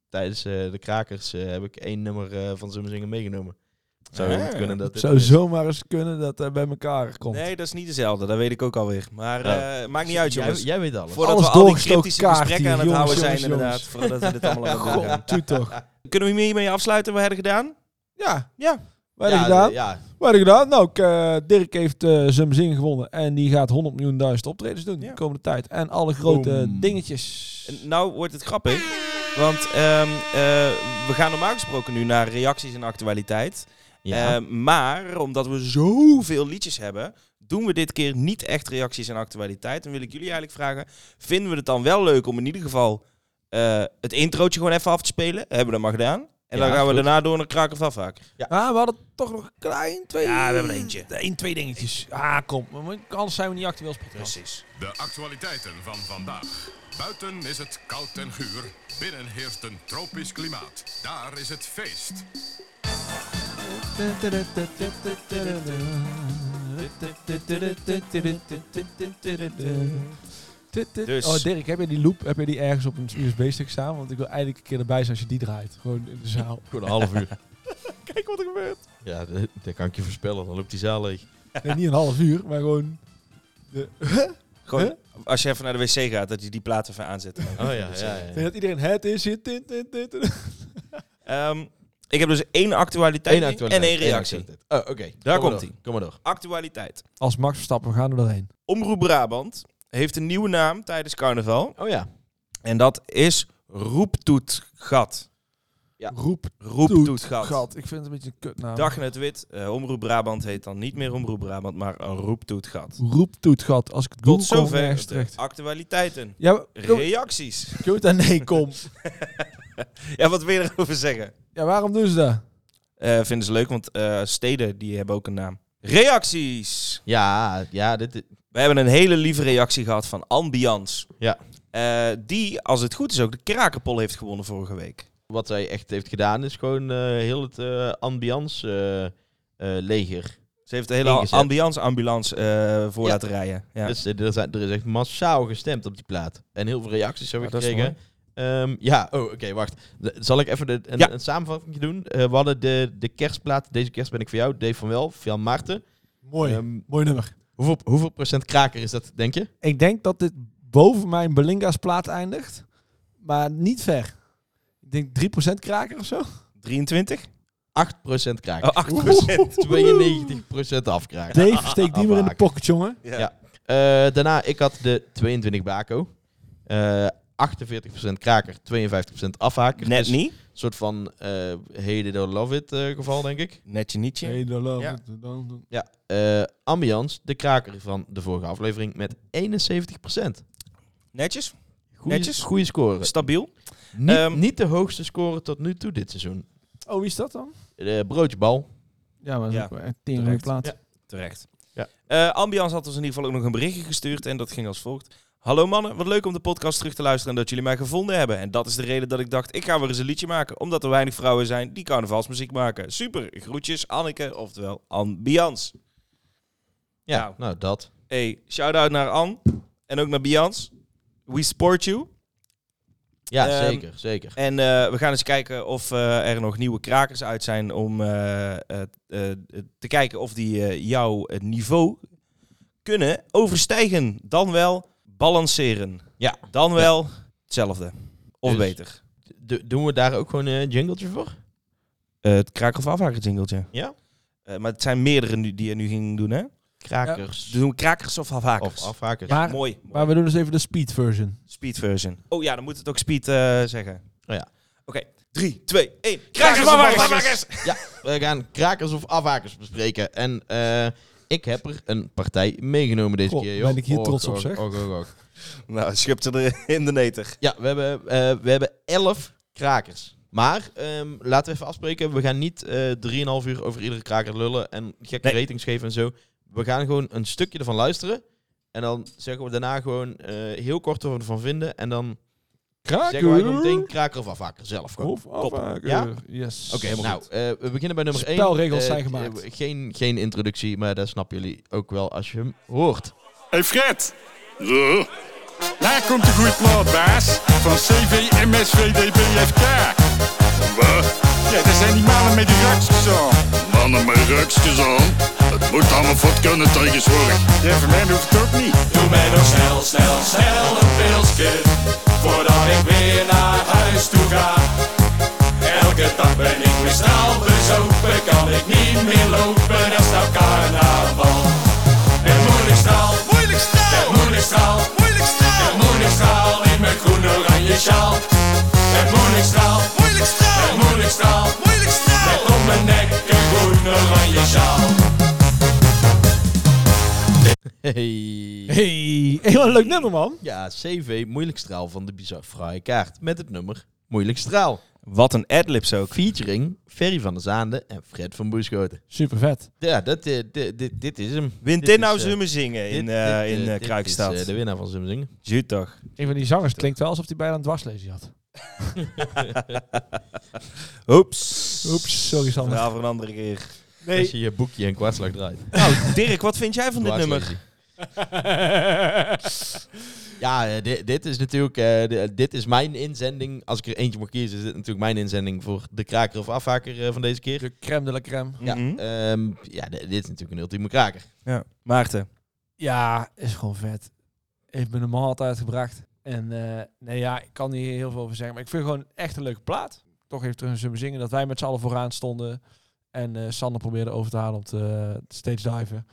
Speaker 2: tijdens eh, de Krakers eh, heb ik één nummer eh, van Zoom Zingen meegenomen. Zou heel
Speaker 3: Ah.
Speaker 2: goed kunnen dat
Speaker 4: Het
Speaker 2: dit
Speaker 4: zou
Speaker 2: is.
Speaker 4: zomaar eens kunnen dat hij bij elkaar komt.
Speaker 3: nee, dat is niet dezelfde. Dat weet ik ook alweer. Maar
Speaker 2: Ja.
Speaker 3: eh, maakt niet uit
Speaker 2: Oh. Jij,
Speaker 3: jongens.
Speaker 2: jij weet alles.
Speaker 3: Voordat
Speaker 4: Alles
Speaker 3: we al die
Speaker 4: doorgestoken
Speaker 3: cryptische
Speaker 4: kaart
Speaker 3: gesprekken
Speaker 4: hier,
Speaker 3: aan het
Speaker 4: jongens,
Speaker 3: houden zijn
Speaker 4: jongens,
Speaker 3: inderdaad. Voordat we dit allemaal aan elkaar gaan.
Speaker 4: God, doe toch.
Speaker 3: Kunnen we hiermee afsluiten? We hebben gedaan.
Speaker 4: Ja.
Speaker 3: Ja.
Speaker 4: Wat heb
Speaker 2: ja,
Speaker 4: je gedaan?
Speaker 2: de- ja,
Speaker 4: Wat heb je gedaan? Nou, ik, eh, Dirk heeft eh zijn zin gewonnen. En die gaat 100 miljoen duizend optredens doen
Speaker 3: Ja.
Speaker 4: de komende tijd. En alle grote
Speaker 2: Boom.
Speaker 4: dingetjes.
Speaker 3: En Nou wordt het grappig. Want ehm, eh, we gaan normaal gesproken nu naar reacties en actualiteit.
Speaker 2: ja.
Speaker 3: Eh, maar omdat we zoveel liedjes hebben, doen we dit keer niet echt reacties en actualiteit. En wil ik jullie eigenlijk vragen: vinden we het dan wel leuk om in ieder geval eh, het introotje gewoon even af te spelen? Hebben we dat maar gedaan. En dan
Speaker 2: Ja,
Speaker 3: gaan we
Speaker 2: goed.
Speaker 3: daarna door naar Kraken van Vaak.
Speaker 4: Ah, we hadden toch nog een klein twee...
Speaker 3: Ja, we hebben er eentje.
Speaker 4: Eén, twee dingetjes. Ah, kom. We moeten- Anders zijn we niet actueel als podcast.
Speaker 3: Precies.
Speaker 9: De actualiteiten van vandaag. Buiten is het koud en guur. Binnen heerst een tropisch klimaat. Daar is het feest.
Speaker 3: Dus.
Speaker 4: Eh, Oh Dirk, heb je die loop, heb je die ergens op een USB-stick staan? Want ik wil eigenlijk een keer erbij zijn als je die draait. Gewoon in de zaal.
Speaker 2: Goed, een half uur.
Speaker 4: Kijk wat er gebeurt.
Speaker 2: Ja, dat, dat kan ik je voorspellen. Dan loopt die zaal leeg.
Speaker 4: Nee, niet een half uur, maar gewoon... De,
Speaker 2: Eh.
Speaker 3: Gewoon, als je even naar de wc gaat, dat je die plaat even aanzet.
Speaker 2: Oh ja, ja, ja.
Speaker 4: En dat iedereen het is hier. Dit, dit, dit, dit.
Speaker 3: Ehm, ik heb dus één actualiteit,
Speaker 2: Eén actualiteit,
Speaker 3: en één
Speaker 2: één
Speaker 3: reactie.
Speaker 2: actualiteit. Oh, oké.
Speaker 3: Daar
Speaker 2: Kom maar
Speaker 3: komt-ie.
Speaker 2: door, Kom maar door.
Speaker 3: Actualiteit.
Speaker 4: Als Max Verstappen, we gaan er doorheen.
Speaker 3: Omroep Brabant heeft een nieuwe naam tijdens carnaval.
Speaker 2: Oh ja.
Speaker 3: En dat is Roeptoetgat.
Speaker 4: Roep
Speaker 3: Roeptoetgat.
Speaker 4: gat. Ik vind het een beetje een kutnaam.
Speaker 3: Dag in het wit. Eh, Omroep Brabant heet dan niet meer Omroep Brabant, maar Roeptoetgat.
Speaker 4: Roep doet gat. Als ik het
Speaker 3: Tot
Speaker 4: doe, kom ik
Speaker 3: zover
Speaker 4: ergens
Speaker 3: de
Speaker 4: terecht.
Speaker 3: actualiteiten.
Speaker 4: Ja, maar-
Speaker 3: Reacties.
Speaker 4: Kyoto, nee, kom.
Speaker 3: Ja, wat wil je erover zeggen?
Speaker 4: Ja, waarom doen ze dat?
Speaker 3: Eh, vinden ze leuk, want eh, steden die hebben ook een naam. Reacties.
Speaker 2: Ja, ja, dit...
Speaker 3: We hebben een hele lieve reactie gehad van Ambiance.
Speaker 2: Ja.
Speaker 3: Eh, die, als het goed is, ook de Krakenpol heeft gewonnen vorige week.
Speaker 2: Wat zij echt heeft gedaan is gewoon eh, heel het eh, ambiance eh, eh, leger.
Speaker 3: Ze heeft de hele
Speaker 2: Ingezet.
Speaker 3: Ambiance ambulance eh, voor
Speaker 2: Ja.
Speaker 3: laten rijden. Ja.
Speaker 2: Dus eh, er, zijn, er is echt massaal gestemd op die plaat. En heel veel reacties hebben
Speaker 3: Ah,
Speaker 2: we
Speaker 3: dat is
Speaker 2: gekregen. Ehm, ja, oh, oké, wacht. De- Zal ik even de, een,
Speaker 3: Ja.
Speaker 2: een samenvatting doen? Eh, we hadden de, de kerstplaat, deze kerst ben ik voor jou, Dave van Wel, Jan Maarten.
Speaker 4: Mooi.
Speaker 2: Ehm,
Speaker 4: Mooi nummer.
Speaker 2: hoeveel, hoeveel procent kraker is dat, denk je?
Speaker 4: Ik denk dat dit boven mijn Belinga's plaat eindigt. Maar niet ver. Ik denk 3% kraker of zo.
Speaker 3: 23?
Speaker 2: 8 procent kraker.
Speaker 3: Oh, 8 procent.
Speaker 2: 92 procent afkraker.
Speaker 4: Dave steekt niet meer in de
Speaker 2: Afhaken.
Speaker 4: pocket, jongen.
Speaker 2: Ja. Eh, daarna, ik had de 22 bako. Eh 48% kraker, 52% afhaker.
Speaker 3: Net
Speaker 2: Dus
Speaker 3: niet.
Speaker 2: Een soort van eh Hate it or love it eh, geval, denk ik.
Speaker 3: Netje nietje.
Speaker 4: Hey, dan loopt
Speaker 3: Ja.
Speaker 4: het. Dan- dan-
Speaker 2: Ja. Eh, ambiance, de kraker van de vorige aflevering, met 71%.
Speaker 3: Netjes.
Speaker 2: Goeie,
Speaker 3: Netjes.
Speaker 2: goede score.
Speaker 3: Stabiel.
Speaker 2: Niet,
Speaker 3: Ehm,
Speaker 2: niet de hoogste score tot nu toe dit seizoen.
Speaker 4: Oh, wie is dat dan?
Speaker 2: Eh broodjebal.
Speaker 4: Ja, maar dat is
Speaker 3: Ja,
Speaker 4: ook een tering
Speaker 3: terecht.
Speaker 4: plaat.
Speaker 2: Ja.
Speaker 3: Terecht.
Speaker 2: Ja.
Speaker 3: Eh, Ambiance had ons in ieder geval ook nog een berichtje gestuurd en dat ging als volgt. Hallo mannen, wat leuk om de podcast terug te luisteren en dat jullie mij gevonden hebben. En dat is de reden dat ik dacht, ik ga weer eens een liedje maken. Omdat er weinig vrouwen zijn die carnavalsmuziek maken. Super, groetjes Anneke, oftewel Ambiance.
Speaker 2: Ja,
Speaker 3: Nou.
Speaker 2: nou, dat.
Speaker 3: Hey, shout-out naar An en ook naar Bians. We support you.
Speaker 2: Ja,
Speaker 3: Ehm,
Speaker 2: zeker, zeker.
Speaker 3: En eh, we gaan eens kijken of eh, er nog nieuwe krakers uit zijn om eh, eh, eh, te kijken of die eh, jouw eh, niveau kunnen overstijgen. Dan wel balanceren.
Speaker 2: Ja.
Speaker 3: Dan wel hetzelfde. Of
Speaker 2: Dus-
Speaker 3: beter.
Speaker 2: Do- doen we daar ook gewoon een jingletje voor?
Speaker 3: Eh, het kraker of afhaken jingletje.
Speaker 2: Ja.
Speaker 3: Eh, maar het zijn meerdere nu, die je nu ging doen, hè?
Speaker 2: Krakers.
Speaker 3: Dus doen we krakers of afhakers.
Speaker 2: Of afhakers.
Speaker 4: Maar,
Speaker 3: Mooi.
Speaker 4: maar we doen dus even de speed version.
Speaker 3: Speed version. Oh ja, dan moet het ook speed eh, zeggen.
Speaker 2: Oh ja.
Speaker 3: Oké. 3, 2, 1. Krakers of afhakers!
Speaker 2: We gaan krakers of afhakers bespreken. En eh, ik heb er een partij meegenomen deze
Speaker 4: Goh,
Speaker 2: keer.
Speaker 4: ben
Speaker 2: joh.
Speaker 4: ik hier trots op,
Speaker 2: och,
Speaker 4: zeg.
Speaker 2: och, och, och.
Speaker 3: Nou, schip ze er in de neter.
Speaker 2: Ja, we hebben, eh, we hebben elf krakers. Maar ehm, laten we even afspreken. We gaan niet eh 3,5 uur over iedere kraker lullen en gekke
Speaker 3: Nee.
Speaker 2: ratings geven en zo. We gaan gewoon een stukje ervan luisteren. En dan zeggen we daarna gewoon eh, heel kort wat we ervan vinden. En dan zeggen wij gewoon meteen kraker of afhaker zelf. Gewoon.
Speaker 4: Of afhaken.
Speaker 2: Ja?
Speaker 4: Yes.
Speaker 2: Oké, nou, eh, we beginnen bij nummer Eh, 1.
Speaker 4: Spelregels zijn gemaakt.
Speaker 2: geen, geen introductie, maar dat snappen jullie ook wel als je hem hoort.
Speaker 10: Hey Fred. Ja. Daar komt de goede plaat, baas. Van CVMSVDBFK. Wat? Ja, daar zijn die mannen met die rukjes aan. Mannen met rukjes aan? Het moet allemaal fort kunnen tegenwoordig. Ja, voor mij hoeft het ook niet.
Speaker 11: Doe mij nog snel, snel, snel een pilsje Voordat ik weer naar huis toe ga Elke dag ben ik weer snel bezopen Kan ik niet meer lopen, er staat carnaval Het moeilijk straal, moeilijk straal Het moeilijk straal, moeilijk straal Het moeilijk straal in mijn groen-oranje sjaal Het moeilijk straal, moeilijk straal Het moeilijk straal, moeilijk straal Met om mijn nek een groen-oranje sjaal
Speaker 2: Hey.
Speaker 4: Hey, hey, wat een leuk nummer, man.
Speaker 2: Ja, CV Moeilijk Straal van de Bizar Fraaie Kaart. Met het nummer Moeilijk Straal.
Speaker 3: Wat een adlibs ook.
Speaker 2: Featuring Ferry van der Zaande en Fred van Boeschoten.
Speaker 4: Super vet.
Speaker 2: Ja, dat, eh, dit, dit, dit is hem.
Speaker 3: Wint
Speaker 2: Dit
Speaker 3: in nou
Speaker 2: is, eh,
Speaker 3: zummen zingen in,
Speaker 2: dit-
Speaker 3: eh,
Speaker 2: dit,
Speaker 3: in
Speaker 2: eh,
Speaker 3: eh,
Speaker 2: dit is,
Speaker 3: Kruikstad.
Speaker 2: eh, de winnaar van Zumzingen.
Speaker 3: Juut toch.
Speaker 4: Een van die zangers klinkt wel alsof hij bijna een dwarslesie had.
Speaker 3: Oeps.
Speaker 4: Oeps, sorry, Sander.
Speaker 3: Verhaal voor een andere keer.
Speaker 2: Als je je boekje en kwartslag draait.
Speaker 3: Nou, Dirk, wat vind jij van dit nummer?
Speaker 2: Ja, eh, di- dit is natuurlijk eh, di- dit is mijn inzending. Als ik er eentje mag kiezen, is dit natuurlijk mijn inzending voor de kraker of afhaker eh, van deze keer.
Speaker 4: De crème de la crème.
Speaker 2: Ja,
Speaker 3: Mhm.
Speaker 2: ehm, ja di- dit is natuurlijk een ultieme kraker.
Speaker 3: Ja. Maarten.
Speaker 4: Ja, is gewoon vet. Heeft me normaal altijd uitgebracht. En eh, nee, ja, ik kan hier heel veel over zeggen. Maar ik vind het gewoon echt een leuke plaat. Toch heeft er een zin zingen dat wij met z'n allen vooraan stonden. En eh Sander probeerde over te halen om te eh, stage diven.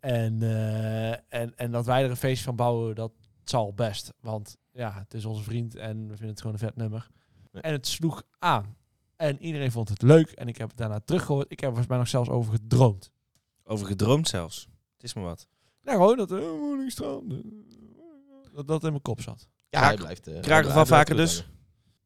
Speaker 4: En, eh, en, en dat wij er een feestje van bouwen, dat zal best. Want ja, het is onze vriend en we vinden het gewoon een vet nummer.
Speaker 2: Ja.
Speaker 4: En het sloeg aan. En iedereen vond het leuk. En ik heb het daarna teruggehoord. Ik heb er volgens mij nog zelfs over gedroomd.
Speaker 3: Over gedroomd zelfs. Het is maar wat.
Speaker 4: Nou, gewoon dat eh, Woningstroom, eh, Dat dat in mijn kop zat.
Speaker 2: Ja,
Speaker 3: Kraker-
Speaker 2: hij blijft... eh, hij
Speaker 3: kraker
Speaker 2: blijft-
Speaker 3: van
Speaker 2: hij blijft
Speaker 3: vaker dus?
Speaker 2: goed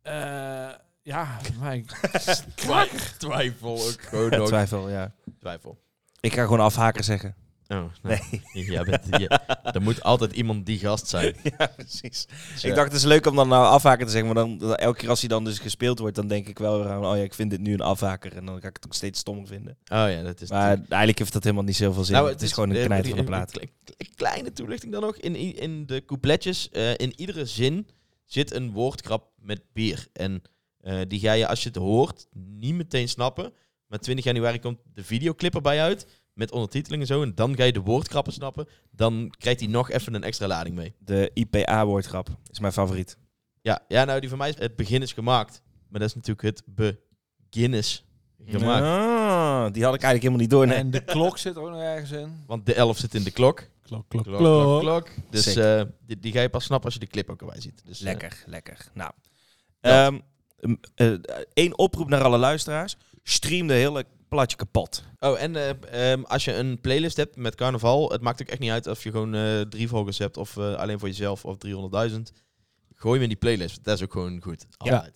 Speaker 4: Eh, ja, mijn
Speaker 2: hangen. Twijfel ook. Gewoon
Speaker 3: Ja,
Speaker 2: nog
Speaker 3: twijfel, ja.
Speaker 2: twijfel.
Speaker 3: Ik ga gewoon afhaker zeggen.
Speaker 2: Oh, nee. Jij bent, je- er moet altijd iemand die gast zijn.
Speaker 3: ja, precies.
Speaker 2: Dus,
Speaker 3: Ik
Speaker 2: eh,
Speaker 3: dacht, het is leuk om dan nou afhaker te zeggen, maar dan, dan elke keer als hij dan dus gespeeld wordt, dan denk ik wel, eraan, oh ja, ik vind dit nu een afhaker en dan ga ik het ook steeds stom vinden.
Speaker 2: Oh ja, dat is... Nou,
Speaker 3: Maar eigenlijk heeft dat helemaal niet zoveel zin. het, is, gewoon
Speaker 2: eh,
Speaker 3: een knijt van de plaat.
Speaker 2: Een kleine toelichting dan nog. In, i- in de coupletjes, eh, in iedere zin zit een woordkrap met bier. En eh, die ga je, als je het hoort, niet meteen snappen. Maar 20 januari komt de videoclip erbij uit. Met ondertiteling en zo. En dan ga je de woordkrappen snappen. Dan krijgt hij nog even een extra lading mee.
Speaker 3: De IPA-woordgrap is mijn favoriet.
Speaker 2: Ja, ja nou, die van mij is het begin is gemaakt. Maar dat is natuurlijk het begin is gemaakt.
Speaker 3: Ah, die had ik eigenlijk helemaal niet door. Nee.
Speaker 4: En de klok zit er ook nog ergens in.
Speaker 2: Want de 11 zit in de klok.
Speaker 4: Klok, klok, klok.
Speaker 2: Dus
Speaker 3: Sick.
Speaker 2: eh, die, die ga je pas snappen als je de clip ook erbij ziet. Dus, eh,
Speaker 3: Lekker, lekker. Nou,
Speaker 2: Dat.
Speaker 3: ehm, m- eh, één oproep naar alle luisteraars. Stream de hele platje kapot.
Speaker 2: Oh, en eh, ehm, als je een playlist hebt met carnaval, het maakt ook echt niet uit of je gewoon eh, drie volgers hebt of eh, alleen voor jezelf of 300.000. Gooi me in die playlist, dat is ook gewoon goed. Altijd.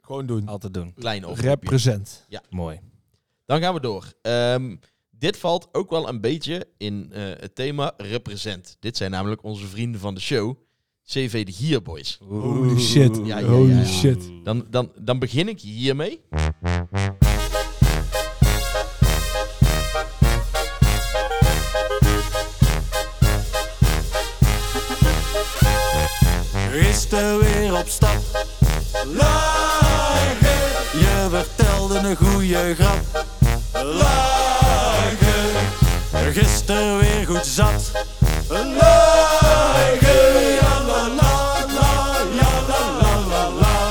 Speaker 4: Gewoon doen.
Speaker 3: Altijd doen.
Speaker 2: Klein oproepje.
Speaker 4: Represent.
Speaker 3: Mooi.
Speaker 2: Dan gaan we door. Ehm, dit valt ook wel een beetje in eh, het thema represent. Dit zijn namelijk onze vrienden van de show, CV de Gierboys.
Speaker 4: Holy shit.
Speaker 2: Ja, ja, ja,
Speaker 4: Holy
Speaker 2: ja.
Speaker 4: shit.
Speaker 2: Dan, dan, dan begin ik hiermee.
Speaker 10: Is de weer op stap? Lager. Je vertelde een goede grap. Lager. Gisteren weer goed zat. Lager. Ja, la, la, la, ja, la, la, la, la.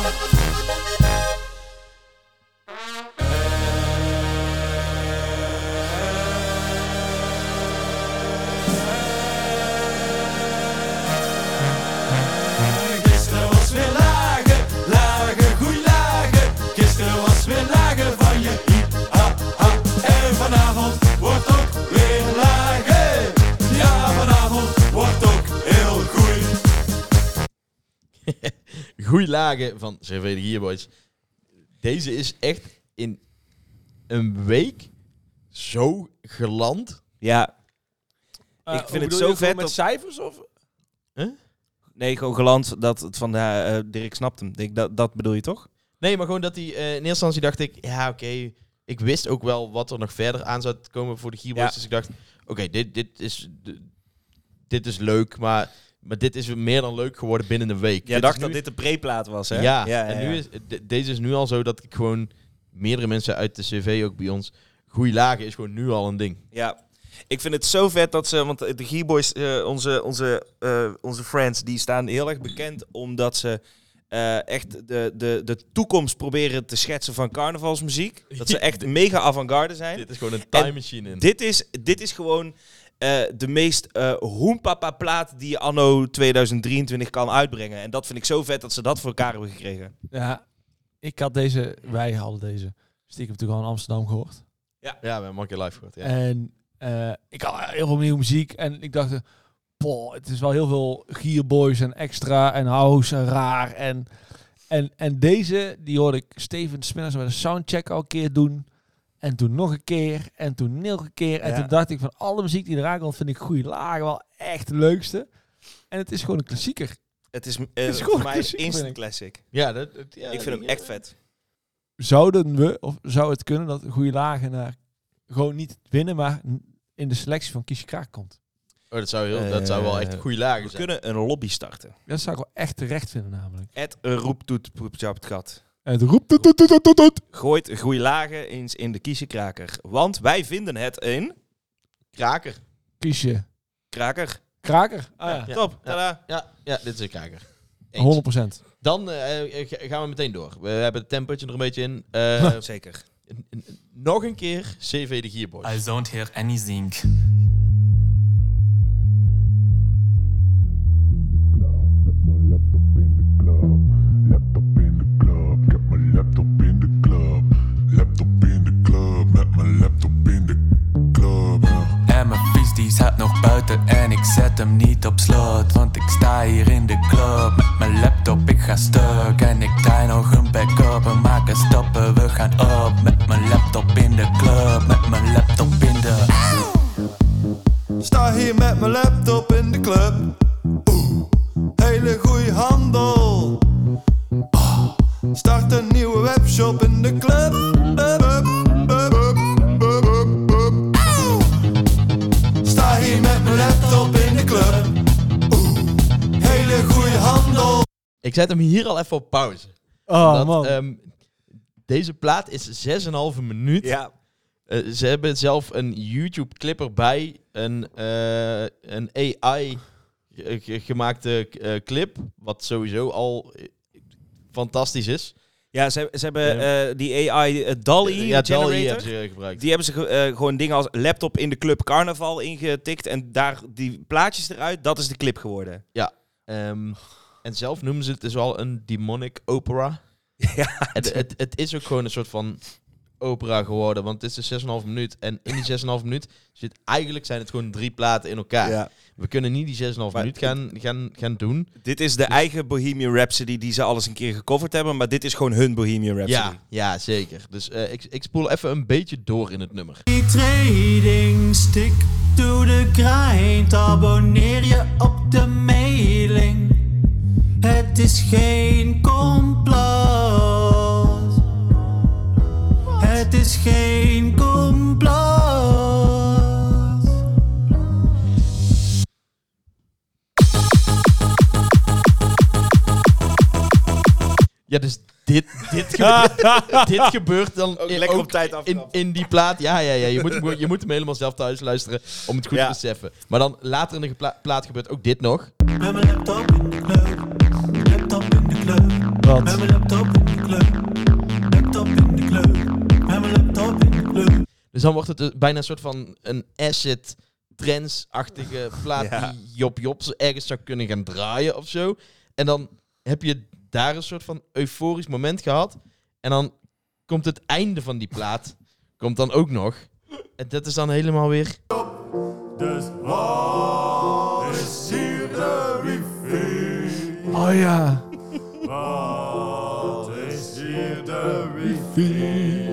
Speaker 10: Gisteren was weer lager, lager, goeie lager. Gisteren was weer lager van je hiep, ha, ha. En vanavond wordt ook weer lager. Ja, vanavond wordt ook heel goed.
Speaker 2: Goeie lagen van CV de Gierboys. Deze is echt in een week zo geland.
Speaker 3: Ja,
Speaker 4: Eh,
Speaker 3: Ik vind
Speaker 4: hoe
Speaker 3: het
Speaker 4: bedoel
Speaker 3: zo
Speaker 4: je, gewoon
Speaker 3: vet
Speaker 4: Met
Speaker 3: dat-
Speaker 4: cijfers of?
Speaker 3: nee, gewoon geland dat het van de, eh, Dirk snapt hem. Ik- Dat, dat bedoel je toch?
Speaker 2: Nee, maar gewoon dat hij... eh, in eerste instantie dacht ik, ja oké, ik wist ook wel wat er nog verder aan zou komen voor de Gierboys.
Speaker 3: Ja.
Speaker 2: Dus ik dacht, oké, dit, dit, is, d- dit is leuk, maar, maar dit is meer dan leuk geworden binnen een week.
Speaker 3: Jij
Speaker 2: Dit
Speaker 3: dacht
Speaker 2: is
Speaker 3: dat
Speaker 2: nu-
Speaker 3: dit de preplaat was, hè?
Speaker 2: Ja, en nu is, de- deze is nu al zo dat ik gewoon... Meerdere mensen uit de CV, ook bij ons... Goeie lagen is gewoon nu al een ding.
Speaker 3: Ja. Ik vind het zo vet dat ze, want de Gearboys, eh onze, onze, eh, onze friends, die staan heel erg bekend omdat ze eh, echt de, de, de toekomst proberen te schetsen van carnavalsmuziek. Dat ze echt mega avant-garde zijn.
Speaker 2: Dit is gewoon een
Speaker 3: En
Speaker 2: time machine in.
Speaker 3: Dit is, dit is gewoon eh, de meest eh hoempapa plaat die je anno 2023 kan uitbrengen. En dat vind ik zo vet dat ze dat voor elkaar hebben gekregen.
Speaker 4: Ja, ik had deze, wij hadden deze stiekem natuurlijk al in Amsterdam gehoord.
Speaker 2: Ja, we hebben Monkey Live gehoord. Ja.
Speaker 4: En eh, ik had heel veel nieuwe muziek. En ik dacht, eh, boh, het is wel heel veel gierboys en extra en house en raar. En, en, en deze, die hoorde ik Steven Spinners met een soundcheck al een keer doen. En toen nog een keer. En toen nog een keer. En
Speaker 3: Ja.
Speaker 4: toen dacht ik van alle muziek die eraan komt, vind ik goede lagen wel echt de leukste. En het is gewoon een klassieker.
Speaker 3: Het is, eh,
Speaker 4: is gewoon
Speaker 3: voor mij een
Speaker 4: klassiek, vind
Speaker 3: instant
Speaker 4: ik.
Speaker 3: classic.
Speaker 2: Ja, dat, dat- ja,
Speaker 3: ik vind hem
Speaker 2: die-
Speaker 3: echt vet.
Speaker 4: Zouden we, of zou het kunnen dat goede lagen naar gewoon niet winnen, maar in de selectie van Kiesje Kraak komt?
Speaker 2: Oh, dat zou, heel, dat zou wel echt een goede lagen
Speaker 3: We
Speaker 2: zijn.
Speaker 3: kunnen een lobby starten.
Speaker 4: Dat zou ik wel echt terecht vinden namelijk.
Speaker 3: Het roept toet, poep, tjap, het gat.
Speaker 4: Het roept toet, toet, toet, toet, toet.
Speaker 3: Gooit goede lagen eens in de kiezenkraker. Want wij vinden het in...
Speaker 2: Kraker.
Speaker 4: Kies je.
Speaker 3: Kraker.
Speaker 4: Kraker. Ah ja.
Speaker 2: Ja.
Speaker 3: Top.
Speaker 2: Ja,
Speaker 3: Tada.
Speaker 2: ja, ja, dit is een kraker. Eens.
Speaker 4: 100%.
Speaker 2: Dan eh, eh, ga- gaan we meteen door. We hebben het tempertje er een beetje in. Eh,
Speaker 3: Zeker.
Speaker 2: n- n- nog een keer CV de Gierboy.
Speaker 5: I don't hear anything. En mijn fiets die zat nog buiten en ik zet hem niet op slot Want ik sta hier in de club met mijn laptop, ik ga stuk En ik draai nog een backup, we maken stappen, we gaan op Met mijn laptop in de club, met mijn laptop in de...
Speaker 7: Sta hier met mijn laptop in de club. Oeh, hele goeie handel. Ah, Start een nieuwe webshop in de club. Up, up, up, up, up, up, up. Sta hier met mijn laptop in de club. Oeh, hele goeie handel.
Speaker 2: Ik zet hem hier al even op pauze.
Speaker 4: Oh
Speaker 2: Dat,
Speaker 4: man.
Speaker 2: ehm, deze plaat is 6,5 minuut.
Speaker 3: Ja.
Speaker 2: Eh, ze hebben zelf een YouTube-clip erbij. Een, eh, een AI-gemaakte eh, clip. Wat sowieso al eh, fantastisch is.
Speaker 3: Ja, ze, ze hebben eh, die AI eh, DALL-E
Speaker 2: ja,
Speaker 3: generator.
Speaker 2: DALL-E hebben ze gebruikt.
Speaker 3: Die hebben ze ge- eh, gewoon dingen als laptop in de club carnaval ingetikt. En daar die plaatjes eruit, dat is de clip geworden.
Speaker 2: Ehm, en zelf noemen ze het dus al een demonic opera.
Speaker 3: Ja,
Speaker 2: het, het, het is ook gewoon een soort van opera geworden, want het is dus 6,5 minuut. En in die 6,5 minuut zit eigenlijk zijn het gewoon drie platen in elkaar. We kunnen niet die 6,5
Speaker 3: Maar
Speaker 2: minuut gaan, gaan, gaan doen.
Speaker 3: Dit is de eigen Bohemian Rhapsody die ze alles een keer gecoverd hebben. Maar dit is gewoon hun Bohemian
Speaker 2: Ja,
Speaker 3: Rhapsody.
Speaker 2: ja, zeker. Dus eh, ik, ik spoel even een beetje door in het nummer.
Speaker 7: Die trading stick to the grind. Abonneer je op de mailing. Het is geen complot. Het is geen complot.
Speaker 2: Ja, dus dit, dit, gebeurt, dit gebeurt dan ook,
Speaker 3: lekker op tijd
Speaker 2: in,
Speaker 3: afknappen.
Speaker 2: in die plaat. Ja, ja, ja. Je moet, hem, gewoon- je moet hem helemaal zelf thuis luisteren om het goed
Speaker 3: Ja.
Speaker 2: te beseffen. Maar dan later in de gepla- plaat gebeurt ook dit nog.
Speaker 7: Met mijn laptop in de club. Laptop in de club.
Speaker 4: Wat?
Speaker 7: Met mijn laptop in de club. Laptop in de club. Met mijn laptop in de club.
Speaker 2: Dus dan wordt het dus bijna een soort van een asset trends-achtige plaat
Speaker 3: Ja.
Speaker 2: die Job Jobs ergens zou kunnen gaan draaien of zo. En dan heb je daar een soort van euforisch moment gehad. En dan komt het einde van die plaat, komt dan ook nog. En dat is dan helemaal weer...
Speaker 10: Dus wat is hier de wifi?
Speaker 4: Oh ja.
Speaker 10: Wat is hier de wifi?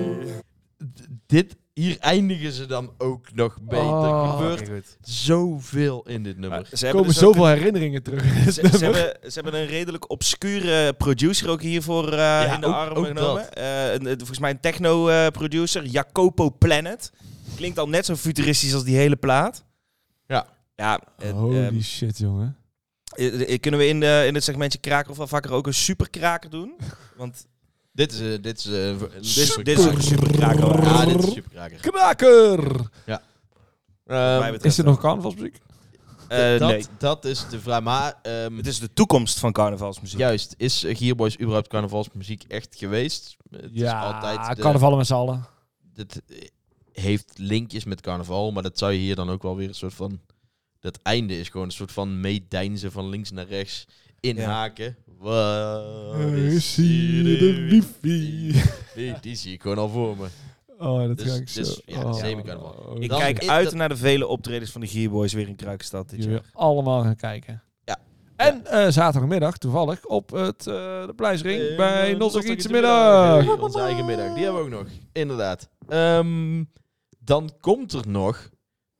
Speaker 2: D- Dit, hier eindigen ze dan ook nog beter.
Speaker 4: Oh.
Speaker 2: Er gebeurt zoveel in dit nummer.
Speaker 3: Maar ze
Speaker 4: Er
Speaker 3: hebben
Speaker 4: komen
Speaker 3: dus ook
Speaker 4: zoveel herinneringen terug.
Speaker 3: een- ze, ze hebben, ze hebben een redelijk obscure producer ook hiervoor eh, in de
Speaker 2: ook-
Speaker 3: armen
Speaker 2: ook
Speaker 3: genomen. Eh, een- een- volgens mij een techno-producer, Jacopo Planet. Klinkt al net zo futuristisch als die hele plaat.
Speaker 2: Ja.
Speaker 3: Ja, eh,
Speaker 4: Holy
Speaker 3: ehm,
Speaker 4: shit, jongen.
Speaker 3: eh, eh, kunnen we in, de, in het segmentje kraker of wel vaker ook een superkraker doen? Want
Speaker 2: Dit is... eh, dit is, eh, v- dit is
Speaker 3: dit, dit is ook een superkraker. hoor.
Speaker 2: Ja, dit is superkraker.
Speaker 4: Knaker!
Speaker 3: Wat
Speaker 2: Ehm,
Speaker 3: mij
Speaker 4: Is
Speaker 3: betreft
Speaker 4: er
Speaker 3: wel.
Speaker 4: nog carnavalsmuziek?
Speaker 3: Eh,
Speaker 2: dat,
Speaker 3: nee.
Speaker 2: dat is de vraag. Maar ehm,
Speaker 3: Het is de toekomst van carnavalsmuziek.
Speaker 2: juist, is eh, Gearboys überhaupt carnavalsmuziek echt geweest? Het is altijd de-
Speaker 4: carnavallen met z'n allen.
Speaker 2: dit eh, heeft linkjes met carnaval, maar dat zou je hier dan ook wel weer een soort van... Dat einde is gewoon een soort van meedijnzen van links naar rechts. Inhaken. Wat
Speaker 4: Eh,
Speaker 2: is hier de wifi? Die, die zie ik gewoon al voor me.
Speaker 4: Oh, dat
Speaker 2: Dus-
Speaker 4: ga ik zo.
Speaker 2: dus, ja,
Speaker 4: oh,
Speaker 2: semi-carnaval.
Speaker 4: oh,
Speaker 3: Ik
Speaker 2: Dan
Speaker 3: kijk
Speaker 2: is
Speaker 3: uit
Speaker 2: dat-
Speaker 3: naar de vele optredens van de Gearboys weer in Kruikenstad dit
Speaker 4: Jullie
Speaker 3: jaar.
Speaker 4: allemaal gaan kijken.
Speaker 2: Ja.
Speaker 4: En eh, zaterdagmiddag toevallig op het, eh, de Pleisring
Speaker 2: Eh,
Speaker 4: bij
Speaker 2: eh,
Speaker 4: Nostalgie
Speaker 2: Nostalgie
Speaker 4: Ietsje
Speaker 2: te
Speaker 4: Middag.
Speaker 2: middag. Eh, Onze eigen middag, die hebben we ook nog. Inderdaad. Ehm, dan komt er nog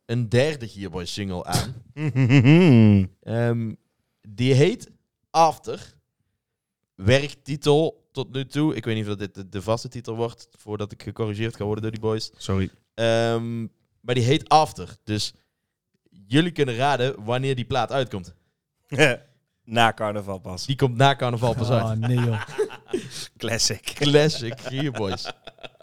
Speaker 2: een derde Gearboy single aan. Ehm, die heet After. Werktitel tot nu toe. Ik weet niet of dat dit de, de vaste titel wordt voordat ik gecorrigeerd ga worden door die boys.
Speaker 3: Sorry.
Speaker 2: Ehm, maar die heet After. Dus Jullie kunnen raden wanneer die plaat uitkomt.
Speaker 3: Na carnaval pas.
Speaker 2: Die komt na carnaval pas uit.
Speaker 4: Ah, nee joh.
Speaker 3: Classic.
Speaker 2: Classic Gear Boys.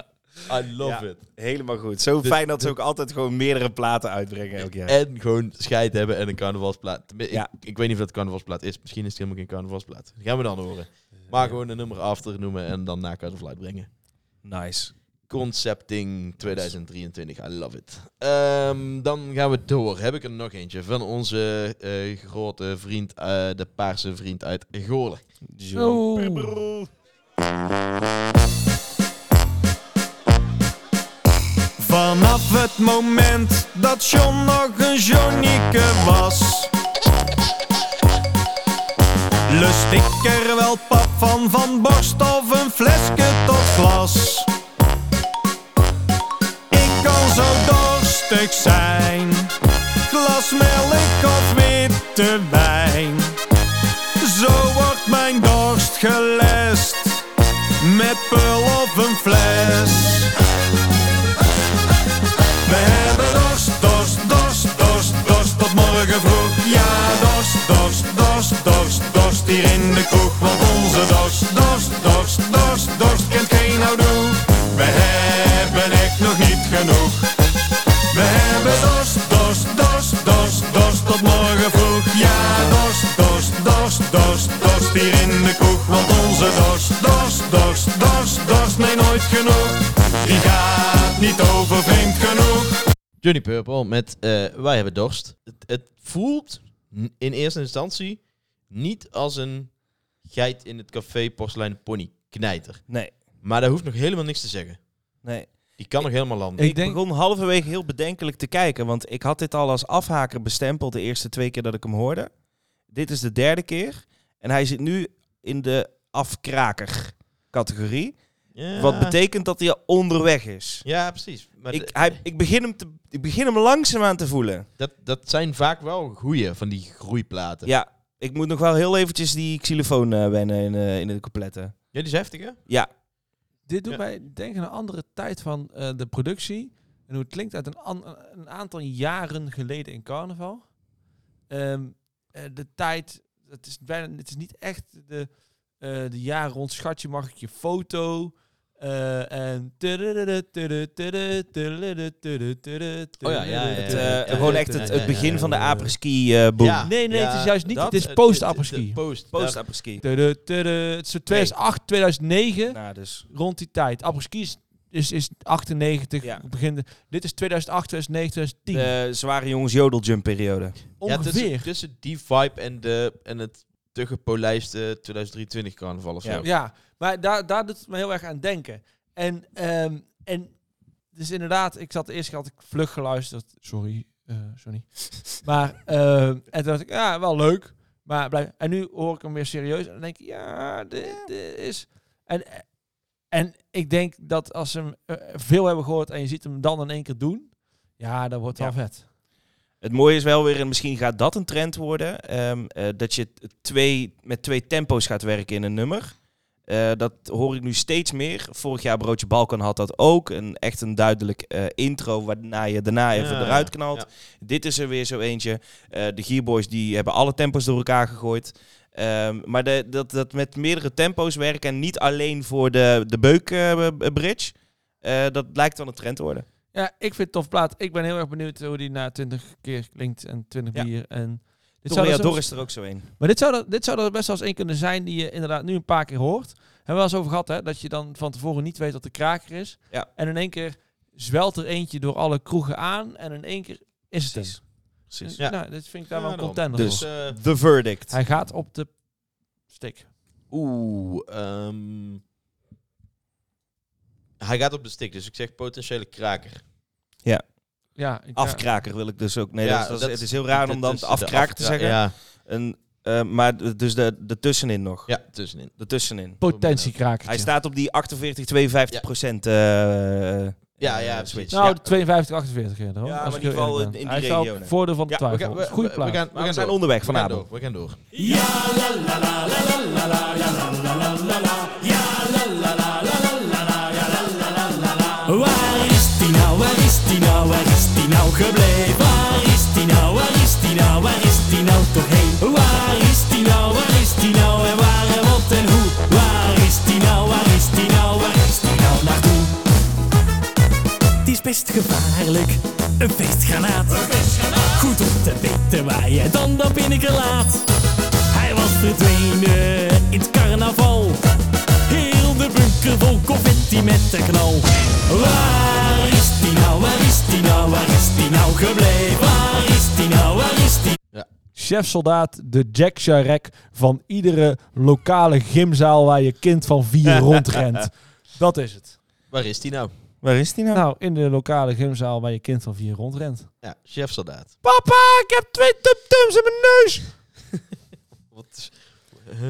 Speaker 2: I love
Speaker 3: Ja,
Speaker 2: it.
Speaker 3: Helemaal goed. Zo
Speaker 2: De-
Speaker 3: fijn dat ze ook altijd gewoon meerdere platen uitbrengen elk jaar.
Speaker 2: En gewoon scheid hebben en een carnavalsplaat. Tenmin-
Speaker 3: Ja.
Speaker 2: Ik, ik weet niet of dat carnavalsplaat is. Misschien is het helemaal geen carnavalsplaat. Dat gaan we dan horen. Maar gewoon een nummer after noemen en dan na carnaval uitbrengen.
Speaker 3: Nice.
Speaker 2: Concepting 2023. I love it. Ehm, dan gaan we door. Heb ik er nog eentje van onze eh, grote vriend, eh, de paarse vriend uit Goorlen.
Speaker 10: Oh.
Speaker 11: Vanaf het moment dat John nog een Johnieke was Lust ik er wel pap van, van borst of een flesje tot glas Ik kan zo dorstig zijn Glas melk of witte wijn Zo wordt mijn dorst gelest Met peul of een fles we hebben dorst, dorst, dorst, dorst, dorst tot morgen vroeg. Ja, dorst, dorst, dorst, dorst, dorst hier in de kroeg. Want onze dorst, dorst, dorst, dorst, dorst kent geen houdoe. We hebben echt nog niet genoeg. We hebben dorst, dorst, dorst, dorst, dorst tot morgen vroeg. Ja, dorst, dorst, dorst, dorst, dorst hier in de kroeg. Want onze dorst, dorst, dorst, dorst, dorst, nee nooit genoeg. Die gaat niet over vreemd genoeg.
Speaker 2: Johnny Purple met eh, Wij hebben dorst. Het, het voelt n- in eerste instantie niet als een geit in het café porseleinen pony knijter.
Speaker 3: Nee,
Speaker 2: Maar daar hoeft nog helemaal niks te zeggen.
Speaker 3: nee.
Speaker 2: Die kan nog helemaal landen.
Speaker 3: Ik,
Speaker 4: Ik denk-
Speaker 3: begon halverwege heel bedenkelijk te kijken, want ik had dit al als afhaker bestempeld de eerste twee keer dat ik hem hoorde. Dit is de derde keer en hij zit nu in de afkraker categorie.
Speaker 2: Ja.
Speaker 3: Wat betekent dat hij al onderweg is.
Speaker 2: Ja, precies. Maar
Speaker 3: Ik,
Speaker 2: de-
Speaker 3: hij, ik, begin hem te, ik begin hem langzaamaan te voelen.
Speaker 2: dat, dat zijn vaak wel goeie van die groeiplaten.
Speaker 3: Ja, ik moet nog wel heel eventjes die xylofoon eh, wennen in, eh, in de complette.
Speaker 2: Ja, die is heftig, hè?
Speaker 3: Ja,
Speaker 4: Dit doet
Speaker 2: Ja.
Speaker 4: mij denken aan een andere tijd van eh, de productie. En hoe het klinkt uit een, an- een aantal jaren geleden in carnaval. Ehm, eh, de tijd, het is, bijna, het is niet echt de, eh de jaren rond schatje, mag ik je foto. eh, en...
Speaker 2: Oh ja, ja, ja, ja.
Speaker 3: het,
Speaker 2: Eh,
Speaker 3: eh, gewoon echt het, het begin van de apres-ski eh boom.
Speaker 2: Ja.
Speaker 4: Nee, nee, het is juist niet.
Speaker 2: dat-
Speaker 4: Het is
Speaker 2: het- het-
Speaker 4: post-apres-ski.
Speaker 2: het Post.
Speaker 3: Post
Speaker 2: Ja.
Speaker 3: apres-ski.
Speaker 4: Het is zo 2008, 2009
Speaker 3: Nou, dus.
Speaker 4: rond die tijd. Apres-ski is, is, is 98,
Speaker 3: Ja. Eh,
Speaker 4: begin, dit is 2008, 2009, 2010.
Speaker 3: De zware jongens jodeljump periode.
Speaker 2: Ja,
Speaker 4: Ongeveer.
Speaker 2: tussen, tussen die vibe en, de, en het te gepolijste 2023 carnaval of zo.
Speaker 3: Ja.
Speaker 4: Ja, maar daar, daar doet het me heel erg aan denken. En, ehm, en dus inderdaad, ik zat de eerste keer had ik vlug geluisterd. Sorry, eh Johnny. maar ehm, en toen dacht ik, ja, wel leuk. Maar blijf, en nu hoor ik hem weer serieus. En dan denk ik, ja, dit, dit is... En, en ik denk dat als ze hem eh, veel hebben gehoord en je ziet hem dan in één keer doen... Ja, dat wordt wel
Speaker 3: Ja.
Speaker 4: vet.
Speaker 3: Het mooie is wel weer, en misschien gaat dat een trend worden, ehm, eh, dat je t- twee, met twee tempo's gaat werken in een nummer. Eh, dat hoor ik nu steeds meer. Vorig jaar Broodje Balkan had dat ook. Een, echt een duidelijk eh, intro waarna je daarna even
Speaker 2: Ja,
Speaker 3: eruit knalt.
Speaker 2: ja.
Speaker 3: Dit is er weer zo eentje. Eh, de Gearboys die hebben alle tempo's door elkaar gegooid. Ehm, maar de, dat, dat met meerdere tempo's werken en niet alleen voor de, de beukbridge. eh, dat lijkt wel een trend te worden.
Speaker 4: Ja, ik vind het tof plaat. Ik ben heel erg benieuwd hoe die na 20 keer klinkt en 20
Speaker 3: Ja.
Speaker 4: bier. En dit
Speaker 3: Toreador
Speaker 4: zelfs-
Speaker 3: is er ook zo een.
Speaker 4: Maar dit zou, er, dit zou er best wel eens één kunnen zijn die je inderdaad nu een paar keer hoort. Hebben we wel eens over gehad, hè? Dat je dan van tevoren niet weet dat de kraker is.
Speaker 3: Ja.
Speaker 4: En in één keer zwelt er eentje door alle kroegen aan. En in één keer is het
Speaker 3: Precies.
Speaker 4: Precies.
Speaker 3: Precies.
Speaker 2: Ja.
Speaker 4: Nou, dit vind ik daar wel
Speaker 2: Ja,
Speaker 4: een
Speaker 2: daarom.
Speaker 4: contender
Speaker 2: Dus,
Speaker 4: voor.
Speaker 2: eh,
Speaker 3: The Verdict.
Speaker 4: Hij gaat op de stick.
Speaker 2: Oeh, ehm, hij gaat op de stick, dus ik zeg potentiële kraker.
Speaker 4: Ja, ik,
Speaker 3: Afkraker wil ik dus ook. Nee,
Speaker 2: Ja,
Speaker 3: dat, is- dat, is-
Speaker 2: dat-
Speaker 3: het is heel raar om
Speaker 2: Dit
Speaker 3: dan
Speaker 2: is de
Speaker 3: afkraker te
Speaker 2: afkra-
Speaker 3: zeggen.
Speaker 2: Ja,
Speaker 3: Een, eh, maar d- dus de, de tussenin nog.
Speaker 2: ja tussenin.
Speaker 3: De tussenin.
Speaker 4: potentiekraker.
Speaker 3: Hij staat op die 48, 52
Speaker 2: Ja.
Speaker 3: procent. eh, eh,
Speaker 2: Ja, ja,
Speaker 3: switch.
Speaker 4: Nou,
Speaker 2: Ja.
Speaker 4: de 52, 48 eerder. hoor,
Speaker 3: Ja,
Speaker 4: als
Speaker 3: maar
Speaker 4: ik heel
Speaker 3: in ieder geval
Speaker 4: eerlijk ben.
Speaker 3: in- in
Speaker 4: Hij
Speaker 3: die
Speaker 4: staat op
Speaker 3: regio, hè?
Speaker 4: voordeel van de
Speaker 2: Ja, we,
Speaker 4: twijfel.
Speaker 2: gaan,
Speaker 4: Dat is
Speaker 2: we,
Speaker 4: een Goede
Speaker 2: we- we
Speaker 4: plaat.
Speaker 2: gaan, we
Speaker 3: Maar we
Speaker 2: gaan
Speaker 3: zijn
Speaker 2: door.
Speaker 3: onderweg
Speaker 2: Ah, We gaan
Speaker 3: vanavond.
Speaker 2: door. We gaan door.
Speaker 12: Waar is die nou, waar is die nou, waar is die nou gebleven? Waar is die nou, waar is
Speaker 13: nou nou? best gevaarlijk. Een feestgranaat. Goed om te weten waar je dan dan binnen laat. Hij was verdwenen in het carnaval. Heel de bunker vol confetti met de knal. Waar is die nou, waar is die nou, waar is die nou gebleven? Waar is die nou, waar is die
Speaker 4: Chef-soldaat, de Jack Charek van iedere lokale gymzaal waar je kind van vier rondrent. Dat is het.
Speaker 2: Waar is die nou?
Speaker 3: Waar is die nou?
Speaker 4: Nou, in de lokale gymzaal waar je kind van vier rondrent.
Speaker 2: Ja, chefsoldaat.
Speaker 4: Papa, ik heb twee tumtums in mijn neus!
Speaker 2: Wat?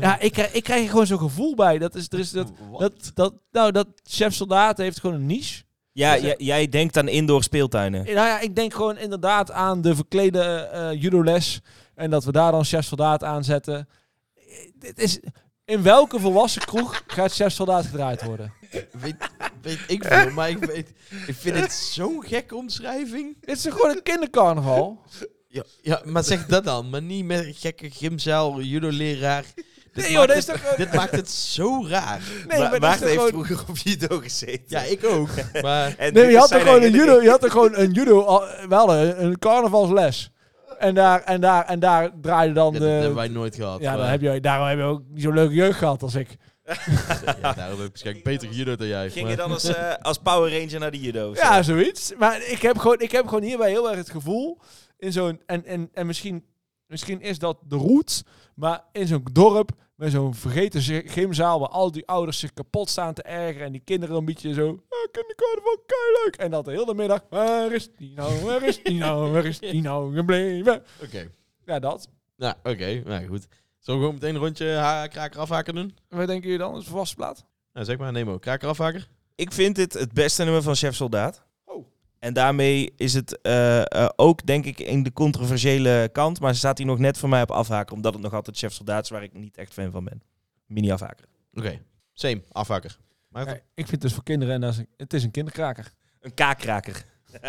Speaker 4: Ja, ik krijg, ik krijg er gewoon zo'n gevoel bij. Dat is, er is dat, dat, dat, nou, dat chef-soldaat heeft gewoon een niche.
Speaker 3: Ja, j- jij denkt aan indoor speeltuinen.
Speaker 4: Eh, Nou ja, ik denk gewoon inderdaad aan de verklede eh, eh, judoles. En dat we daar dan Chef Soldaat aan zetten. Eh, Dit is, in welke volwassen kroeg gaat Chef Soldaat gedraaid worden?
Speaker 2: Weet, weet ik
Speaker 4: Eh?
Speaker 2: veel, maar ik, weet, ik vind het zo'n gekke omschrijving.
Speaker 4: Dit is toch gewoon een kindercarnaval?
Speaker 2: Ja, ja, maar zeg dat dan. Maar niet met een gekke gymzaal, judo-leraar. Dit
Speaker 4: Nee, joh,
Speaker 2: maakt
Speaker 4: dat is
Speaker 2: het-
Speaker 4: toch, eh,
Speaker 2: Dit maakt het zo raar.
Speaker 4: Nee, maar dat is
Speaker 3: Maarten
Speaker 4: toch
Speaker 3: heeft
Speaker 4: gewoon-
Speaker 3: vroeger op judo gezeten.
Speaker 2: Ja, ik ook. Maar
Speaker 3: En
Speaker 4: Nee,
Speaker 3: dit
Speaker 4: je had
Speaker 3: zijn
Speaker 4: toch gewoon een
Speaker 3: herinneringen.
Speaker 4: judo, je had toch gewoon een judo, al- wel een, een carnavalsles. En daar, en daar, en daar draaide dan
Speaker 2: Ja, dat
Speaker 4: de...
Speaker 2: hebben wij nooit gehad.
Speaker 4: ja, dan
Speaker 2: maar-
Speaker 4: heb je, daarom heb je ook niet zo'n leuke jeugd gehad als ik.
Speaker 2: ja, daarom heb ik waarschijnlijk beter judo dan jij.
Speaker 3: Ging
Speaker 2: maar-
Speaker 3: je dan als, eh, als Power Ranger naar de judo? of zo?
Speaker 4: Ja, zoiets. Maar ik heb gewoon, ik heb gewoon hierbij heel erg het gevoel. In zo'n, en en, en misschien, misschien is dat de route. Maar in zo'n dorp. Met zo'n vergeten gy- gymzaal. Waar al die ouders zich kapot staan te ergeren. En die kinderen een beetje zo. Ah, kindercarnaval, leuk En dat de hele middag. Waar is die nou? Waar is die nou? Waar is die nou gebleven?
Speaker 2: Oké.
Speaker 4: Ja, dat.
Speaker 2: Nou, oké. Nou, goed. Zullen we gewoon meteen een rondje ha- kraker afhaken doen?
Speaker 4: Wat denken jullie dan? Is vast plaat?
Speaker 2: Nou, zeg maar, Nemo. Kraker afhaker?
Speaker 3: Ik vind dit het beste nummer van Chef Soldaat.
Speaker 4: Oh.
Speaker 3: En daarmee is het eh, eh, ook, denk ik, in de controversiële kant. Maar ze staat hier nog net voor mij op afhaken. Omdat het nog altijd Chef Soldaat is waar ik niet echt fan van ben. Mini afhaker.
Speaker 2: Oké. Same. Afhaker. Maar
Speaker 4: ik vind het dus voor kinderen. En dat is een- het is een kinderkraker.
Speaker 3: Een kaakkraker.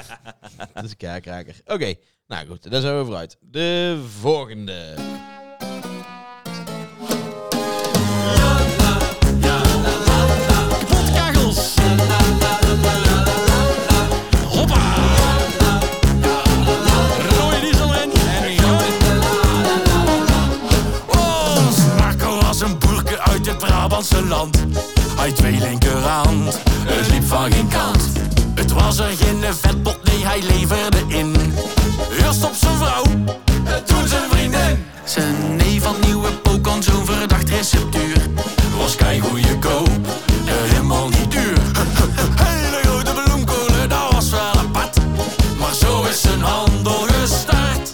Speaker 2: dat is een kraker. Oké. Nou goed, daar zijn we vooruit. De volgende.
Speaker 13: Potkagels. Hoppa. Roy diesel en
Speaker 11: Ons Oh, Marco was een boerke uit het Brabantse land. Hij twee linkerhand, het liep van geen kant. Het was er geen vetpot, nee, hij leverde in. Eerst op zijn vrouw, en toen zijn vriendin. Zijn neef had nieuwe pook aan zo'n verdacht receptuur. Was kei goede koop, en helemaal niet duur. Hele grote bloemkolen, dat was wel apart. Maar zo is zijn handel gestart.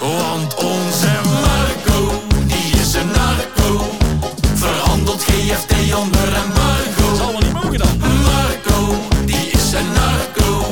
Speaker 11: Want onze Marco, die is een narco. Verhandelt GFT onder embargo. Dat is allemaal niet mogen dan. Marco, die is een narco.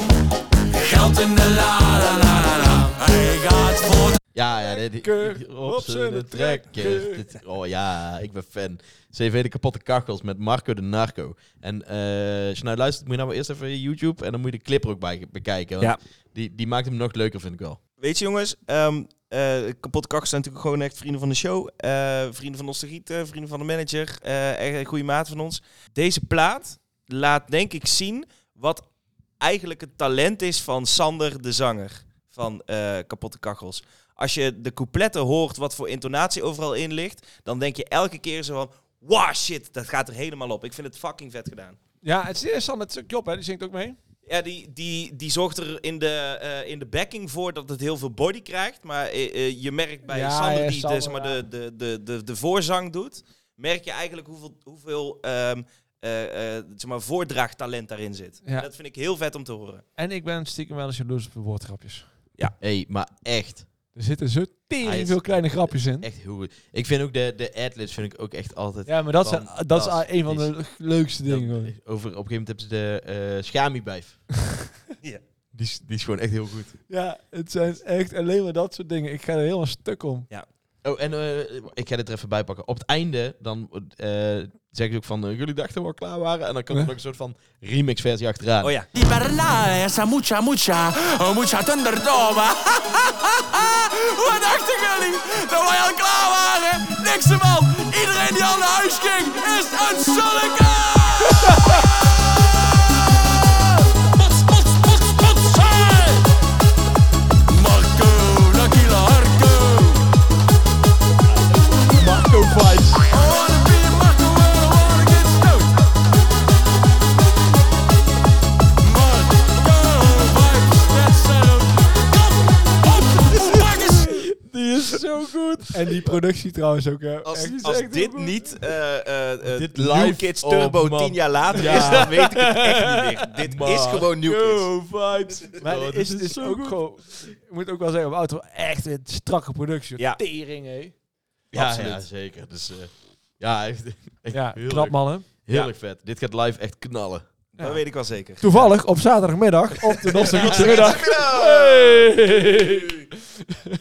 Speaker 11: Geld in de la la la la la. Hij gaat voor
Speaker 2: Ja, ja. Dit, op zijn trekker. Dit- Oh ja, ik ben fan. CV De Kapotte Kachels met Marco de Narco. En eh, als je nou luistert, moet je nou maar eerst even YouTube. En dan moet je de clip er ook bij bekijken. want
Speaker 3: Ja.
Speaker 2: die, die maakt hem nog leuker, vind ik wel.
Speaker 3: Weet je jongens, ehm eh, Kapot Kakkers zijn natuurlijk gewoon echt vrienden van de show. eh, vrienden van Nostalgieten, vrienden van de manager. eh, echt een goede maat van ons. Deze plaat laat denk ik zien wat eigenlijk het talent is van Sander de zanger van eh Kapotte Kakkels. Als je de coupletten hoort wat voor intonatie overal in ligt, dan denk je elke keer zo van... Wow, shit, dat gaat er helemaal op. Ik vind het fucking vet gedaan.
Speaker 4: Ja, het is interessant. Het is Job, hè? Die zingt ook mee.
Speaker 3: Ja, die, die, die zorgt er in de, eh, in de backing voor dat het heel veel body krijgt. Maar eh, eh, je merkt bij
Speaker 4: Ja,
Speaker 3: Sander,
Speaker 4: ja,
Speaker 3: die
Speaker 4: Sander,
Speaker 3: de, zeg maar,
Speaker 4: ja.
Speaker 3: de, de, de, de, de voorzang doet, merk je eigenlijk hoeveel, hoeveel ehm, eh, eh, zeg maar, voordraagtalent daarin zit.
Speaker 4: Ja.
Speaker 3: Dat vind ik heel vet om te horen.
Speaker 4: En ik ben stiekem wel eens jaloers op de woordgrapjes.
Speaker 2: Hé, hey, maar echt.
Speaker 4: Er zitten zo
Speaker 2: Hij
Speaker 4: tering
Speaker 2: is-
Speaker 4: veel kleine grapjes in.
Speaker 2: Echt heel goed. Ik vind ook de, de ad-libs vind ik ook echt altijd...
Speaker 4: Ja, maar dat, zijn, dat is
Speaker 2: Fantastisch.
Speaker 4: een van de leukste dingen.
Speaker 2: Over, op
Speaker 4: hoor.
Speaker 2: een gegeven moment hebben ze de eh Schamibijf.
Speaker 3: Ja.
Speaker 2: Die, is- die is gewoon echt heel goed.
Speaker 4: Ja, het zijn echt alleen maar dat soort dingen. Ik ga er helemaal stuk om.
Speaker 2: Oh, en eh, ik ga dit er even bij pakken. Op het einde dan eh, zeggen ze ook van... eh, jullie dachten we al klaar waren. En dan komt er nog een soort van remix versie achteraan.
Speaker 3: Oh ja,
Speaker 11: die Berla, esa mucha mucha, oh mucha thunderdome. Wat dachten jullie? Dat wij al klaar waren? Niks ervan. Iedereen die al naar huis ging, is een sulleke.
Speaker 4: En die productie trouwens ook. hè.
Speaker 8: Als,
Speaker 4: Echt, is
Speaker 8: als
Speaker 4: echt
Speaker 8: dit
Speaker 4: heel goed.
Speaker 8: niet eh, eh, eh,
Speaker 4: Dit
Speaker 8: New
Speaker 4: live-
Speaker 8: Kids
Speaker 4: oh,
Speaker 8: Turbo
Speaker 4: man.
Speaker 8: 10 jaar later
Speaker 4: Ja.
Speaker 8: is, dan weet ik het echt niet meer. Dit
Speaker 4: Man.
Speaker 8: is gewoon New
Speaker 4: Yo,
Speaker 8: Kids.
Speaker 4: vibes. Maar
Speaker 8: Oh, dit
Speaker 4: is,
Speaker 8: is
Speaker 4: het is
Speaker 8: zo
Speaker 4: ook
Speaker 8: goed.
Speaker 4: gewoon... Ik moet ook wel zeggen, Wouter, wel echt een strakke productie.
Speaker 8: Ja.
Speaker 4: Tering, hé.
Speaker 2: Ja,
Speaker 8: Absoluut.
Speaker 2: ja, zeker. Dus, eh, ja, echt, echt
Speaker 4: Ja,
Speaker 2: heerlijk.
Speaker 4: knap, man, hè?
Speaker 2: Heerlijk vet. Dit gaat live echt knallen.
Speaker 3: Dat weet ik wel zeker.
Speaker 4: Toevallig op zaterdagmiddag op de Nostalgische Middag.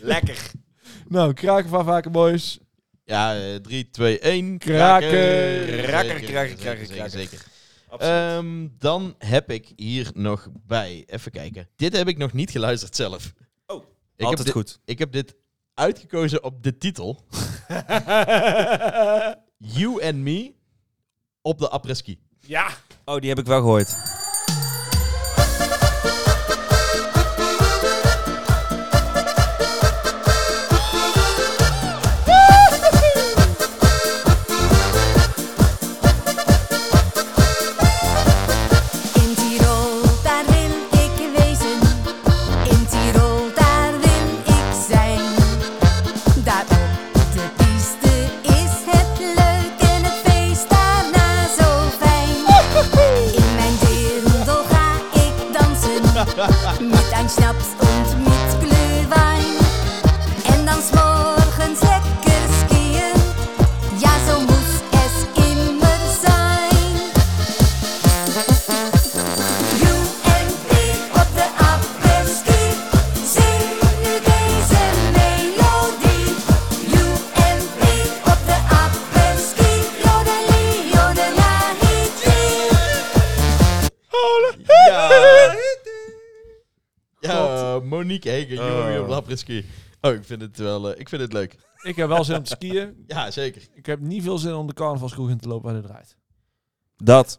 Speaker 8: Lekker.
Speaker 4: Nou, kraken van Vaker Boys.
Speaker 2: Ja, eh, 3, 2, 1.
Speaker 4: Kraken.
Speaker 8: Kraken,
Speaker 2: Zeker,
Speaker 8: kraken,
Speaker 2: zeker,
Speaker 8: kraken,
Speaker 2: zeker,
Speaker 8: kraken.
Speaker 2: zeker.
Speaker 8: Absoluut.
Speaker 2: Ehm, dan heb ik hier nog bij. Even kijken. Dit heb ik nog niet geluisterd zelf.
Speaker 8: Oh,
Speaker 2: ik
Speaker 8: altijd
Speaker 2: heb dit-
Speaker 8: goed.
Speaker 2: Ik heb dit uitgekozen op de titel. you and me op de apres-ski.
Speaker 4: Ja.
Speaker 3: Oh, die heb ik wel gehoord.
Speaker 11: In Tirol, daar wil ik wezen. In Tirol, daar wil ik zijn. Daar op de piste is het leuk en het feest daarna zo fijn. In mijn dirndl ga ik dansen. Met een schnaps en met glühwein. En dan 's morgens lekker skiën. Ja, zo moet es immer zijn. You en ik op de apres-ski zing nu deze melodie. You en ik op de apres-ski jodeli, jodelahi.
Speaker 2: Ja. Ja, Monique Hegen, you
Speaker 4: Oh.
Speaker 2: and me op de apres-ski. Oh, ik vind het wel. eh, ik vind het leuk.
Speaker 4: Ik heb wel zin om te skiën.
Speaker 2: Ja, zeker.
Speaker 4: Ik heb niet veel zin om de carnavalskroeg in te lopen waar het draait.
Speaker 3: Dat.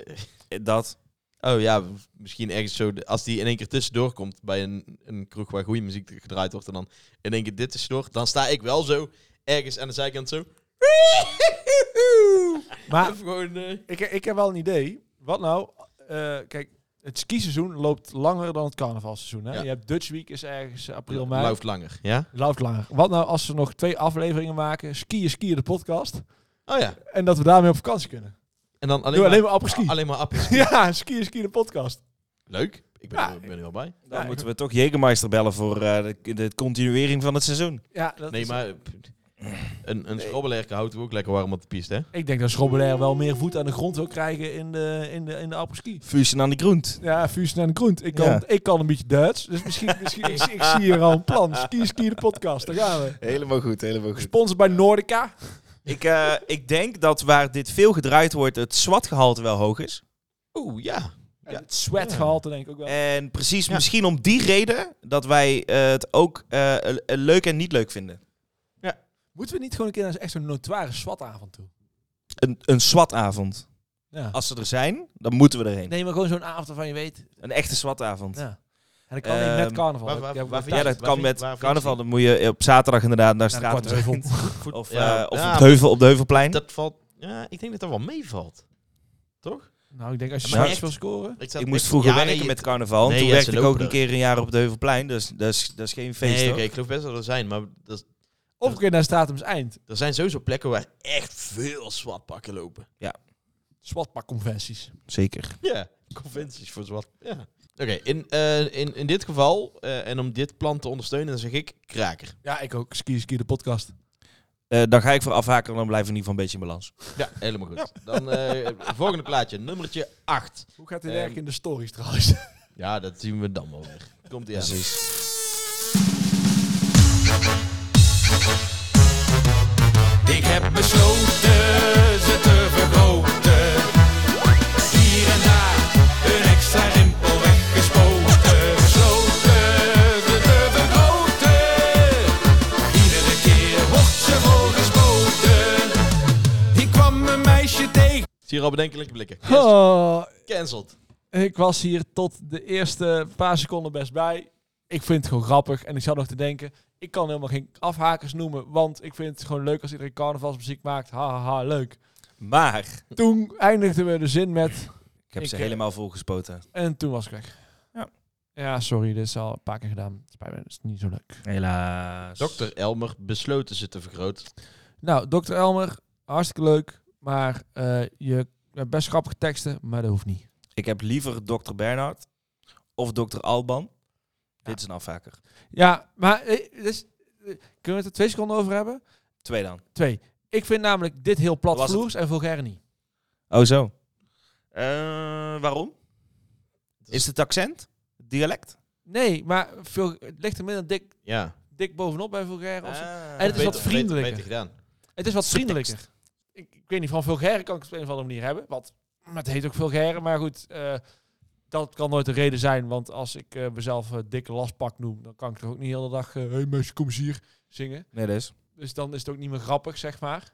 Speaker 3: Dat.
Speaker 2: Eh, Oh ja, misschien ergens zo. de- Als die in één keer tussendoor komt bij een, een kroeg waar goede muziek gedraaid wordt. En dan in één keer dit tussendoor. Dan sta ik wel zo ergens aan de zijkant zo.
Speaker 4: Maar
Speaker 2: Even gewoon, eh,
Speaker 4: ik, ik heb wel een idee. Wat nou? eh, kijk, het skiseizoen loopt langer dan het carnavalseizoen. Hè?
Speaker 2: Ja.
Speaker 4: Nou, Je hebt Dutch Week is ergens eh, april, mei.
Speaker 2: Lauft langer, ja?
Speaker 4: Loopt langer. Wat nou als we nog twee afleveringen maken? Skiën, skiën de podcast.
Speaker 2: Oh ja.
Speaker 4: En dat we daarmee op vakantie kunnen.
Speaker 2: En dan alleen
Speaker 4: Doe
Speaker 2: maar,
Speaker 4: alleen maar apres-ski.
Speaker 2: Alleen maar apres-ski.
Speaker 4: Ja, skiën, skiën de podcast.
Speaker 2: Leuk. Ik ben, er, ben er wel bij.
Speaker 3: Dan moeten we toch Jägermeister bellen voor eh, de, de continuering van het seizoen.
Speaker 4: Ja, dat
Speaker 2: nee,
Speaker 4: is-
Speaker 2: maar eh, een, een schrobbelerke houdt ook lekker warm op de piste, hè?
Speaker 4: Ik denk dat Schrobbelair wel meer voet aan de grond wil krijgen in de, in de, in de apres-ski.
Speaker 3: Fusen aan de groent.
Speaker 4: Ja, vuursten en de groent. Ik kan,
Speaker 3: Ja.
Speaker 4: ik kan een beetje Duits. Dus misschien, misschien ik, zie- ik zie hier al een plan. Ski, ski de podcast. Daar gaan we.
Speaker 8: Helemaal goed, helemaal goed.
Speaker 4: Sponsor bij Nordica.
Speaker 3: Ik, eh, ik denk dat waar dit veel gedraaid wordt, het swatgehalte wel hoog is.
Speaker 2: Oeh, ja.
Speaker 4: Ja. Het sweatgehalte denk ik ook wel.
Speaker 3: En precies, misschien om die reden dat wij eh, het ook eh, eh, leuk en niet leuk vinden.
Speaker 4: Moeten we niet gewoon een keer naar echt zo'n notoire swatavond toe?
Speaker 3: Een, een SWAT-avond.
Speaker 4: Ja.
Speaker 3: Als ze er zijn, dan moeten we erheen.
Speaker 4: Nee, maar gewoon zo'n avond waarvan je weet.
Speaker 3: Een echte SWAT-avond.
Speaker 4: Ja. En dat kan niet met
Speaker 3: Ehm,
Speaker 4: carnaval.
Speaker 2: waar-
Speaker 4: Ik
Speaker 2: waar-
Speaker 4: heb-
Speaker 2: waar
Speaker 4: ik
Speaker 2: vind
Speaker 4: heb-
Speaker 2: Waar
Speaker 3: Ja, dat
Speaker 2: vind
Speaker 3: kan
Speaker 2: je-
Speaker 3: met
Speaker 2: waar vind je
Speaker 3: carnaval.
Speaker 2: ze?
Speaker 3: Dan moet je op zaterdag inderdaad naar
Speaker 4: de
Speaker 3: straat.
Speaker 4: Kortheuvel.
Speaker 3: Of,
Speaker 2: Ja,
Speaker 3: eh, of
Speaker 2: ja,
Speaker 3: op het heuvel, op de Heuvelplein.
Speaker 2: Dat valt... Ja, ik denk dat dat wel meevalt. Toch?
Speaker 4: Nou, ik denk als je
Speaker 2: Maar
Speaker 4: zoiets
Speaker 2: echt-
Speaker 4: wil scoren.
Speaker 2: zat-
Speaker 3: ik moest vroeger
Speaker 2: ja, nee,
Speaker 3: werken
Speaker 2: je-
Speaker 3: met carnaval.
Speaker 2: Nee,
Speaker 3: toen
Speaker 2: ja, het
Speaker 3: werkte
Speaker 2: zijn
Speaker 3: ik ook een
Speaker 2: openers.
Speaker 3: keer een jaar op het Heuvelplein. Dus dat is, dat is geen feest.
Speaker 2: Nee,
Speaker 3: hoor.
Speaker 2: oké, ik geloof best dat er zijn, maar dat,
Speaker 4: Of een keer naar Statums Eind.
Speaker 2: er zijn sowieso plekken waar echt veel zwartpakken lopen.
Speaker 4: Swatpakconventies.
Speaker 3: Zeker.
Speaker 2: Ja, conventies voor zwart. Ja. Oké, in, eh, in, in dit geval, eh, en om dit plan te ondersteunen, dan zeg ik kraker.
Speaker 4: Ja, ik ook. Ski, ski de podcast.
Speaker 3: Eh, dan ga ik voor afhaken en dan blijven we in ieder geval een beetje in balans.
Speaker 2: Ja, helemaal goed. Dan eh, volgende plaatje, nummertje 8.
Speaker 4: Hoe gaat dit
Speaker 2: Ehm,
Speaker 4: werken in de stories trouwens?
Speaker 2: Ja, dat zien we dan wel weer. Komt ie aan.
Speaker 14: Ik heb besloten ze te vergroten. Hier en daar een extra rimpel weggespoten. Besloten ze te vergroten. Iedere keer wordt ze volgespoten. Hier kwam een meisje tegen.
Speaker 2: Zie je al bedenkelijke blikken.
Speaker 4: Oh,
Speaker 2: Cancelled.
Speaker 4: ik was hier tot de eerste paar seconden best bij. Ik vind het gewoon grappig. En ik zat nog te denken, ik kan helemaal geen afhakers noemen. Want ik vind het gewoon leuk als iedereen carnavalsmuziek maakt. Ha, ha, ha, leuk.
Speaker 3: Maar,
Speaker 4: Toen eindigden we de zin met...
Speaker 3: ik heb
Speaker 4: Ik,
Speaker 3: ze
Speaker 4: eh,
Speaker 3: helemaal volgespoten.
Speaker 4: En toen was ik weg.
Speaker 3: Ja.
Speaker 4: Ja, sorry, dit is al een paar keer gedaan. Spijt me, dat is dus niet zo leuk.
Speaker 3: Helaas.
Speaker 2: Dr. Elmer besloten ze te vergroten.
Speaker 4: Nou, Dr. Elmer, hartstikke leuk. Maar eh, je hebt best grappige teksten, maar dat hoeft niet.
Speaker 3: Ik heb liever Dr. Bernhard of Dr. Alban. Dit is een afvaker.
Speaker 4: Ja, maar eh, dit is- eh, kunnen we het er twee seconden over hebben?
Speaker 3: Twee dan.
Speaker 4: Twee. Ik vind namelijk dit heel
Speaker 3: Was het-
Speaker 4: platvloers en vulgair niet.
Speaker 3: Oh, zo. waarom? Is het accent? Dialect?
Speaker 4: Nee, maar veel, het ligt er minder dik,
Speaker 2: Ja.
Speaker 4: dik bovenop bij vulgair. of zo.
Speaker 3: Ah,
Speaker 4: en het is
Speaker 2: beter-
Speaker 4: wat
Speaker 2: beter-
Speaker 4: vriendelijker.
Speaker 2: beter gedaan.
Speaker 4: Het is wat vriendelijker. Ik, ik weet niet, van vulgair kan ik het op een of andere manier hebben. Wat, maar het heet ook vulgair. Maar goed, eh, dat kan nooit de reden zijn. Want als ik eh, mezelf eh, dikke lastpak noem, dan kan ik er ook niet de hele dag... Hé hey meisje, kom eens hier zingen.
Speaker 3: Nee, dat is.
Speaker 4: Dus dan is het ook niet meer grappig, zeg maar.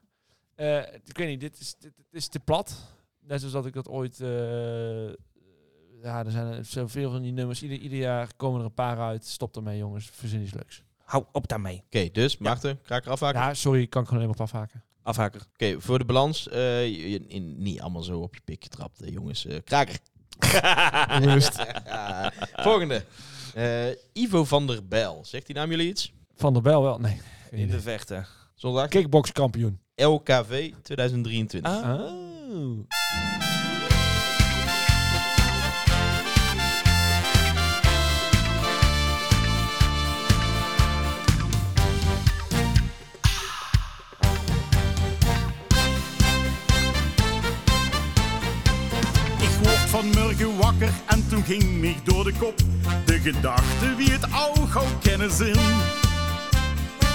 Speaker 4: Eh, ik weet niet, dit is, dit, dit is te plat. Net zoals dat ik dat ooit... eh, ja, er zijn er zoveel van die nummers. Ieder, ieder jaar komen er een paar uit. Stop ermee, jongens. Verzin iets leuks.
Speaker 3: Hou op daarmee.
Speaker 2: Oké, dus Maarten, kraker afhaken.
Speaker 4: Ja, sorry, ik kan ik gewoon alleen maar op afhaken.
Speaker 3: Afhaker. Oké,
Speaker 2: voor de balans. eh, je- je- in- niet allemaal zo op je pik getrapt, hè, jongens. Eh, kraker.
Speaker 4: Juist.
Speaker 2: Volgende. Eh, Ivo van der Bijl. Zegt die naam jullie iets?
Speaker 4: Van der Bijl wel, nee.
Speaker 3: In de vechten.
Speaker 2: Zondag
Speaker 4: Kickbokskampioen.
Speaker 2: LKV 2023.
Speaker 10: Ik word vanmorgen wakker en toen ging mij door de kop de gedachte wie het al gauw kennen zin.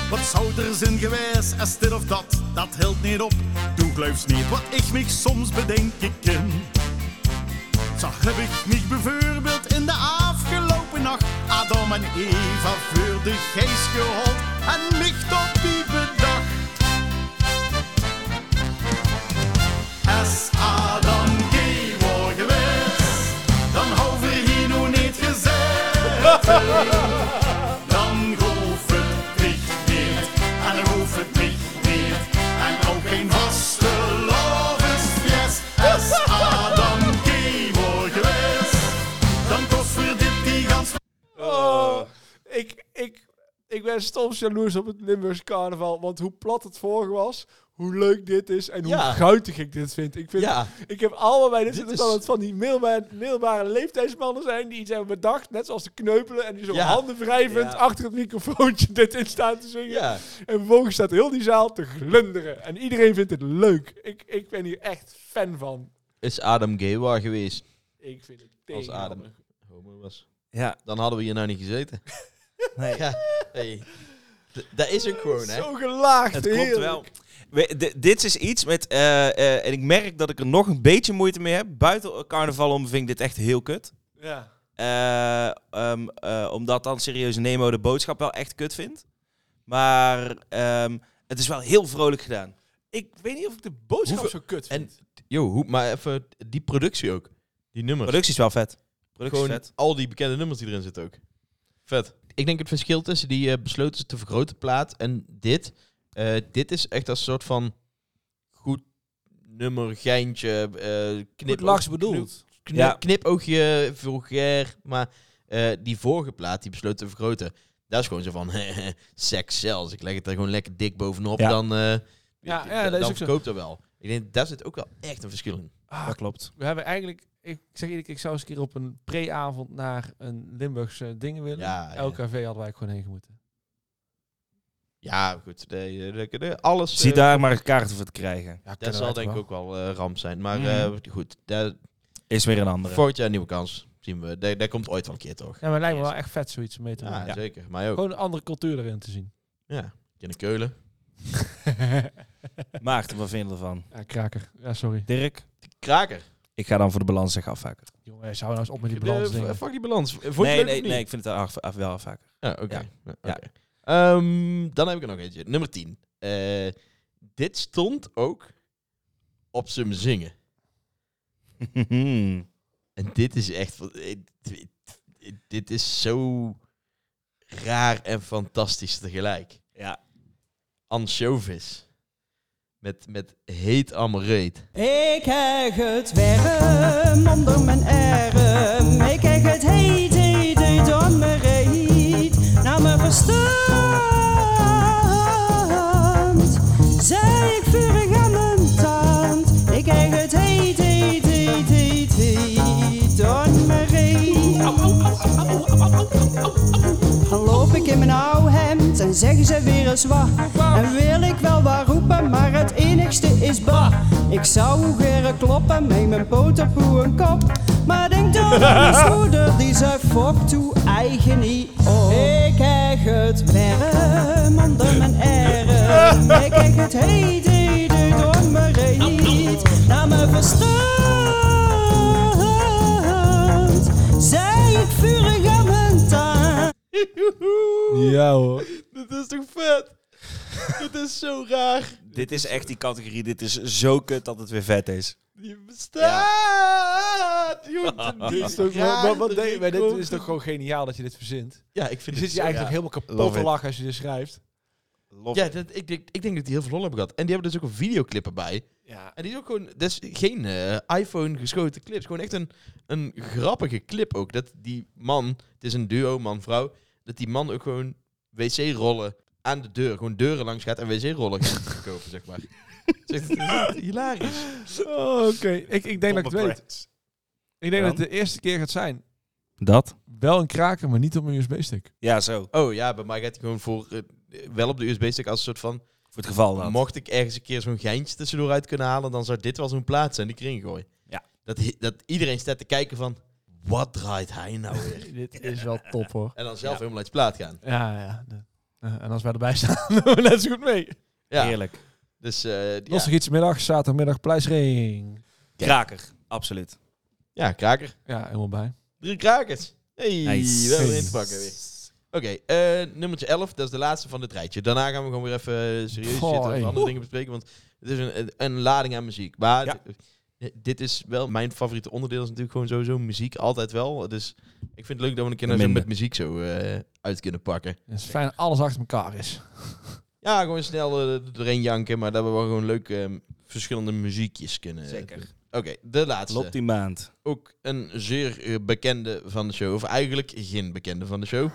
Speaker 10: Wat zou er zijn geweest, is dit of dat, dat hield niet op. Toen geloofs niet wat ik mij soms bedenk ik ken. Zo heb ik mij bijvoorbeeld in de afgelopen nacht Adam en Eva voor de geest gehold en mich tot die bedacht. Als Adam gay was geweest, dan hadden we hier nog niet gezeten. Dan hoeft het niet meer, en dan hoeft het niet meer. En ook geen vaste lovers, Als Adam gay was geweest, dan kost voor dit die gans...
Speaker 4: Oh, ik, ik, ik ben soms jaloers op het Limburgs carnaval. Want hoe plat het vorige was, hoe leuk dit is en hoe
Speaker 2: Ja.
Speaker 4: guitig ik dit vind. Ik, vind,
Speaker 2: Ja.
Speaker 4: ik heb allemaal bij dit,
Speaker 2: Dit
Speaker 4: dit
Speaker 2: is-
Speaker 4: het van die middelbare, middelbare leeftijdsmannen zijn die iets hebben bedacht. Net zoals de kneupelen en die zo
Speaker 2: Ja.
Speaker 4: handen wrijvend
Speaker 2: Ja.
Speaker 4: achter het microfoontje dit in staan te zingen.
Speaker 2: Ja.
Speaker 4: En vervolgens staat heel die zaal te glunderen. En iedereen vindt het leuk. Ik, ik ben hier echt fan van.
Speaker 2: Is Adam Gewa geweest
Speaker 4: Ik vind het
Speaker 2: als
Speaker 4: tegen.
Speaker 2: Adam homo was?
Speaker 3: Ja.
Speaker 2: Dan hadden we hier nou niet gezeten.
Speaker 3: Nee.
Speaker 2: Ja, hey. D- Dat is ook gewoon, hè?
Speaker 4: Zo gelaagd,
Speaker 3: Het klopt
Speaker 4: heerlijk.
Speaker 3: wel. We- di- dit is iets met... eh, eh, en ik merk dat ik er nog een beetje moeite mee heb. Buiten carnaval om vind ik dit echt heel kut.
Speaker 4: Ja.
Speaker 3: Eh, ehm, eh, omdat dan serieuze Nemo de boodschap wel echt kut vindt. Maar ehm, het is wel heel vrolijk gedaan.
Speaker 4: Ik weet niet of ik de boodschap
Speaker 2: Hoeveel-
Speaker 4: zo kut vind.
Speaker 2: En, yo, hoe- maar even die productie ook. Die nummers.
Speaker 3: Productie is wel vet. Productie is
Speaker 2: Gewoon
Speaker 3: vet.
Speaker 2: al die bekende nummers die erin zitten ook. Vet. Ik denk het verschil tussen die eh, besloten te vergroten plaat en dit. eh, dit is echt als soort van goed nummer, geintje, eh knip,
Speaker 4: Goed lachs bedoeld.
Speaker 2: knip,
Speaker 3: Ja.
Speaker 2: knipoogje, vulgair. Maar eh, die vorige plaat, die besloten te vergroten, dat is gewoon zo van seks zelfs. Ik leg het er gewoon lekker dik bovenop,
Speaker 3: Ja.
Speaker 2: dan, eh
Speaker 4: Ja,
Speaker 2: ja,
Speaker 4: ja, dat is
Speaker 2: dan
Speaker 4: ook zo.
Speaker 2: verkoopt dat wel. Ik denk, daar zit ook wel echt een verschil in.
Speaker 4: Ah,
Speaker 3: Dat klopt.
Speaker 4: We hebben eigenlijk, ik zeg eerlijk, ik zou eens een keer op een pre-avond naar een Limburgse dingen willen.
Speaker 2: Ja, ja.
Speaker 4: LKV hadden wij eigenlijk gewoon heen moeten.
Speaker 2: Ja, goed. De, de, de- alles...
Speaker 3: Zie
Speaker 2: eh,
Speaker 3: daar maar een kaart voor te krijgen.
Speaker 2: Dat zal denk ik ook wel eh, ramp zijn. Maar eh, goed, daar
Speaker 3: Is weer een andere.
Speaker 2: volgend jaar een nieuwe kans. Zien we. Daar, daar komt ooit wel een keer
Speaker 4: Ja,
Speaker 2: toch?
Speaker 4: maar het lijkt me wel echt vet zoiets om mee te
Speaker 2: Ja,
Speaker 4: maken.
Speaker 2: zeker. Mij ook.
Speaker 4: Gewoon een andere cultuur erin te zien.
Speaker 2: Ja. In de Keulen.
Speaker 3: Maarten, wat vinden we ervan?
Speaker 4: Ja, kraker. Ja, sorry.
Speaker 3: Dirk?
Speaker 2: Kraker.
Speaker 3: Ik ga dan voor de balans zeggen afvaker.
Speaker 4: Jongen, zou nou eens op met die balans
Speaker 2: Eh,
Speaker 4: dingen.
Speaker 2: fuck die balans. Vond je het
Speaker 3: Nee,
Speaker 2: leuk
Speaker 3: nee,
Speaker 2: of niet?
Speaker 3: nee, ik vind het af, af- wel afvaker.
Speaker 2: Ah, oké.
Speaker 3: Ja.
Speaker 2: Ja,
Speaker 3: Ja.
Speaker 2: oké. Ehm, dan heb ik er nog eentje. Nummer 10. Eh, dit stond ook op zijn zingen. En dit is echt... van- eh, dit- Dit is zo raar en fantastisch tegelijk.
Speaker 3: Ja.
Speaker 2: Anchovis. Met, met heet amareet.
Speaker 15: Ik heg het werm onder mijn arm. Ik heg het heet, heet, heet, stand. Zei ik vurig aan mijn tand. Ik krijg het heet, heet, heet, heet, heet. Don Marie. Dan loop ik in mijn oude hemd en zeggen ze weer eens wat. En wil ik wel wat roepen, maar het enigste is bah. Ik zou geren kloppen met mijn poot op hoe een kop. Maar denk dan aan mijn moeder, die zei fok toe eigen niet op. Ik krijg het merm onder mijn erm. Ik krijg het heet, heet, heet door mijn reet. Naar mijn verstand. Zij ik vurig aan mijn taart.
Speaker 4: Ja hoor.
Speaker 2: Dit is toch vet? Dit is zo raar.
Speaker 3: Dit is echt die categorie. Dit is zo kut dat het weer vet is.
Speaker 2: Je bestaat!
Speaker 4: Dit
Speaker 10: Dus-
Speaker 4: is toch wel- maar wat denk- maar dit is toch gewoon geniaal dat je dit verzint?
Speaker 2: Ja, ik vind
Speaker 4: je
Speaker 2: het
Speaker 4: zit je
Speaker 2: zo-
Speaker 4: eigenlijk
Speaker 2: ja.
Speaker 4: helemaal kapot
Speaker 2: Love
Speaker 4: te
Speaker 2: it.
Speaker 4: lachen als je dit schrijft.
Speaker 2: Ja, dat, ik, denk, ik denk dat die heel veel lol hebben gehad. En die hebben dus ook een videoclip erbij.
Speaker 4: Ja.
Speaker 2: En die is ook gewoon... Dat is geen eh, iPhone geschoten clips. Gewoon echt een, een grappige clip ook. Dat die man... Het is een duo, man-vrouw. Dat die man ook gewoon wc-rollen aan de deur. Gewoon deuren langs gaat en wc-rollen gaat verkopen, zeg maar. Zeg, dat is echt hilarisch.
Speaker 4: Oh, Oké, ik, ik denk dat ik het
Speaker 2: Bomber
Speaker 4: weet. Ik denk
Speaker 2: Dan?
Speaker 4: dat het de eerste keer gaat zijn.
Speaker 3: Dat?
Speaker 4: Wel een kraker, maar niet op een USB-stick.
Speaker 3: Ja, zo.
Speaker 2: Oh ja, bij mij gaat hij gewoon voor... eh, wel op de USB-stick als een soort van...
Speaker 3: Voor het geval dat.
Speaker 2: Mocht ik ergens een keer zo'n geintje tussendoor uit kunnen halen, dan zou dit wel zo'n plaats zijn die ik erin gooi.
Speaker 3: Ja.
Speaker 2: Dat, hi- dat iedereen staat te kijken van... Wat draait hij nou weer?
Speaker 4: Dit is wel top hoor.
Speaker 2: en dan zelf helemaal uit de plaat gaan.
Speaker 4: Ja, ja. de- eh, en als wij erbij staan, doen we net zo goed mee.
Speaker 2: Ja.
Speaker 3: Heerlijk.
Speaker 2: Dus eh ja.
Speaker 4: Lastig iets middag, zaterdagmiddag, pleisring.
Speaker 3: Kraker, absoluut.
Speaker 2: ja, kraker.
Speaker 4: Ja, helemaal bij.
Speaker 2: Drie krakers. Hey,
Speaker 3: Nice.
Speaker 2: we hebben erin te pakken weer. Oké, eh nummertje 11, dat is de laatste van dit rijtje. Daarna gaan we gewoon weer even eh, serieus
Speaker 4: Goh,
Speaker 2: zitten en
Speaker 4: hey.
Speaker 2: andere dingen bespreken, want het is een, een, een lading aan muziek. Maar
Speaker 3: Ja.
Speaker 2: d- dit is wel mijn favoriete onderdeel, is natuurlijk gewoon sowieso muziek, altijd wel. Dus ik vind het leuk dat we een keer nou zo
Speaker 4: Minder.
Speaker 2: met muziek zo eh, uit kunnen pakken.
Speaker 4: Het is fijn dat alles achter elkaar is.
Speaker 2: Ja, gewoon snel eh, er doorheen janken, maar dat we wel gewoon leuk eh, verschillende muziekjes kunnen.
Speaker 3: Zeker.
Speaker 2: doen. Oké, de laatste.
Speaker 3: Loopt die maand.
Speaker 2: Ook een zeer eh, bekende van de show, of eigenlijk geen bekende van de show.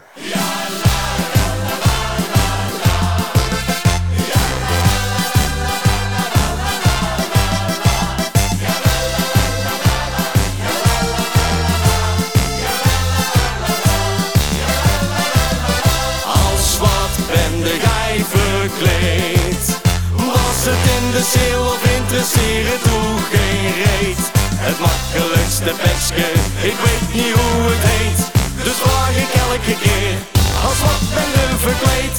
Speaker 11: Als wat ben jij verkleed. Was het in de ziel of interesseren toe geen reet. Het makkelijkste pestje, ik weet niet hoe het heet. Dus vraag ik elke keer, als wat ben je verkleed?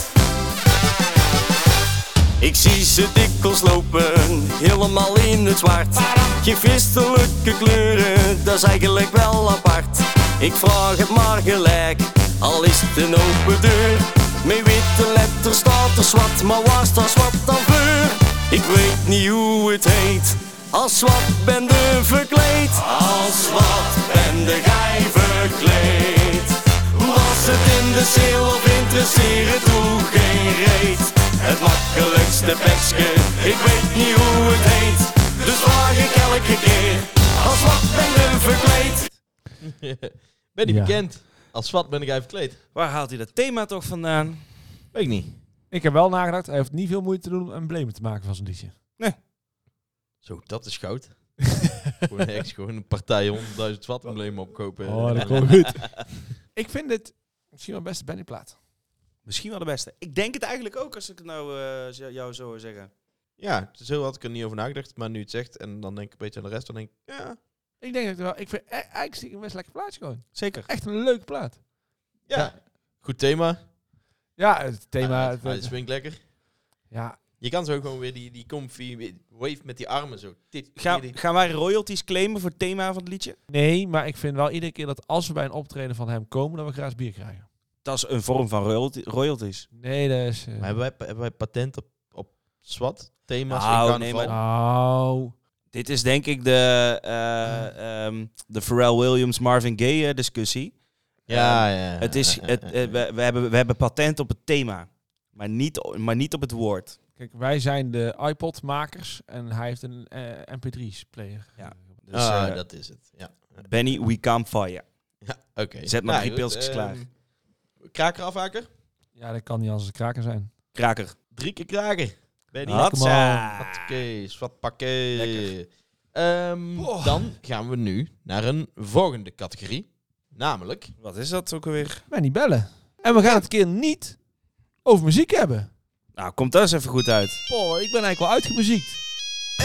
Speaker 11: Ik zie ze dikwijls lopen, helemaal in het zwart. Je christelijke kleuren, dat is eigenlijk wel apart. Ik vraag het maar gelijk, al is het een open deur. Met witte letters staat er zwart, maar waar staat zwart dan voor? Ik weet niet hoe het heet, als zwart ben de verkleed. Als zwart ben de gij verkleed. Hoe was het in de ziel of interesseren toe geen reet? Het makkelijkste pestje, ik weet niet hoe het heet. Dus vraag ik elke keer, als wat ben je verkleed?
Speaker 2: ben je
Speaker 4: Ja.
Speaker 2: bekend? Als wat ben ik even verkleed.
Speaker 3: Waar haalt hij dat thema toch vandaan?
Speaker 2: Weet ik niet.
Speaker 4: Ik heb wel nagedacht, hij heeft niet veel moeite te doen om emblemen te maken van zijn liedje.
Speaker 2: Zo, dat is goud. gewoon echt gewoon een partij 100.000 watt embleem opkopen.
Speaker 4: Oh, dat komt goed. ik vind dit misschien wel best Benny plaat.
Speaker 3: Misschien wel de beste. Ik denk het eigenlijk ook als ik het nou eh, z- jou zo hoor zeggen.
Speaker 2: ja, zo had ik er niet over nagedacht, maar nu het zegt en dan denk ik een beetje aan de rest, dan denk ik, ja,
Speaker 4: Ik denk dat ik er wel. Ik vind e- eigenlijk stiekem best een lekker plaatje gewoon.
Speaker 3: Zeker.
Speaker 4: Echt een leuke plaat.
Speaker 2: ja, goed thema.
Speaker 4: Ja, het thema.
Speaker 2: Ah, het
Speaker 4: het-
Speaker 2: swingt lekker.
Speaker 4: ja,
Speaker 2: Je kan zo ook gewoon weer die, die comfy wave met die armen zo. Dit,
Speaker 3: Ga-
Speaker 2: dit-
Speaker 3: gaan wij royalties claimen voor het thema van het liedje?
Speaker 4: nee, maar ik vind wel iedere keer dat als we bij een optreden van hem komen, dat we graag bier krijgen.
Speaker 3: Dat is een vorm van royalty- royalties.
Speaker 4: Nee, dat is. eh,
Speaker 2: Maar hebben wij, hebben wij patent op, op zwart thema's in
Speaker 3: Nou,
Speaker 2: carnaval?
Speaker 3: nee,
Speaker 4: Nou,
Speaker 3: Dit is denk ik de, eh, ehm, de Pharrell Williams Marvin Gaye eh, discussie.
Speaker 2: Ja,
Speaker 3: Ehm,
Speaker 2: ja.
Speaker 3: Het is, het, eh, we, we hebben, we hebben patent op het thema, maar niet, o- maar niet op het woord.
Speaker 4: kijk, wij zijn de iPod-makers en hij heeft een eh, MP3-player.
Speaker 3: Ja. Dus,
Speaker 2: ah,
Speaker 3: eh,
Speaker 2: dat is het. Ja,
Speaker 3: Benny, we come fire.
Speaker 2: ja oké.
Speaker 3: Zet maar
Speaker 2: Nou,
Speaker 3: drie
Speaker 2: goed,
Speaker 3: pilsjes klaar.
Speaker 2: ehm, Kraker afhaker?
Speaker 4: Ja, dat kan niet als een kraker zijn.
Speaker 3: Kraker.
Speaker 2: Drie keer kraken. Ben je
Speaker 4: Lekker,
Speaker 2: niet?
Speaker 4: man.
Speaker 2: Hatkees, wat pakkees. Ehm, dan gaan we nu naar een volgende categorie. Namelijk...
Speaker 3: Wat is dat ook alweer?
Speaker 4: Maar niet bellen. En we gaan het keer niet over muziek hebben.
Speaker 3: Nou, komt dat eens even goed uit.
Speaker 4: Oh, ik ben eigenlijk wel uitgemuziekt.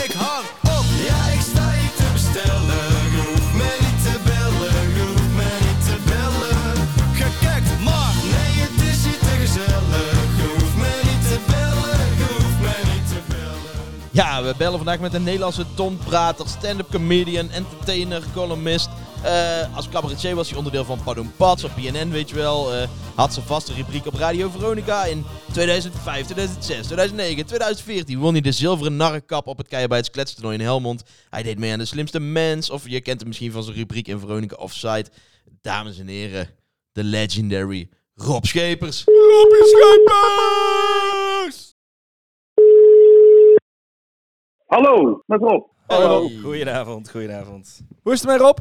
Speaker 11: Ik hang op, ja, ik sta hier te bestellen. Je hoeft me niet te bellen, je hoeft me niet te bellen. Gekekt, maar nee, het is hier te gezellig. Je hoeft me niet te bellen, je hoeft me niet te bellen.
Speaker 2: Ja, we bellen vandaag met een Nederlandse tonprater, stand-up comedian, entertainer, columnist. Eh, als cabaretier was hij onderdeel van Pardon Pats op BNN, weet je wel. Eh, had zijn vaste rubriek op Radio Veronica in 2005, 2006, 2009, 2014. Won hij de zilveren narrenkap op het Keienbijts kletstoernooi in Helmond. Hij deed mee aan de slimste mens. Of je kent hem misschien van zijn rubriek in Veronica Offside. Dames en heren, de legendary Rob Schepers. Rob Schepers!
Speaker 16: Hallo, met Rob.
Speaker 3: Hallo. Goedenavond, goedenavond.
Speaker 4: Hoe is het met Rob?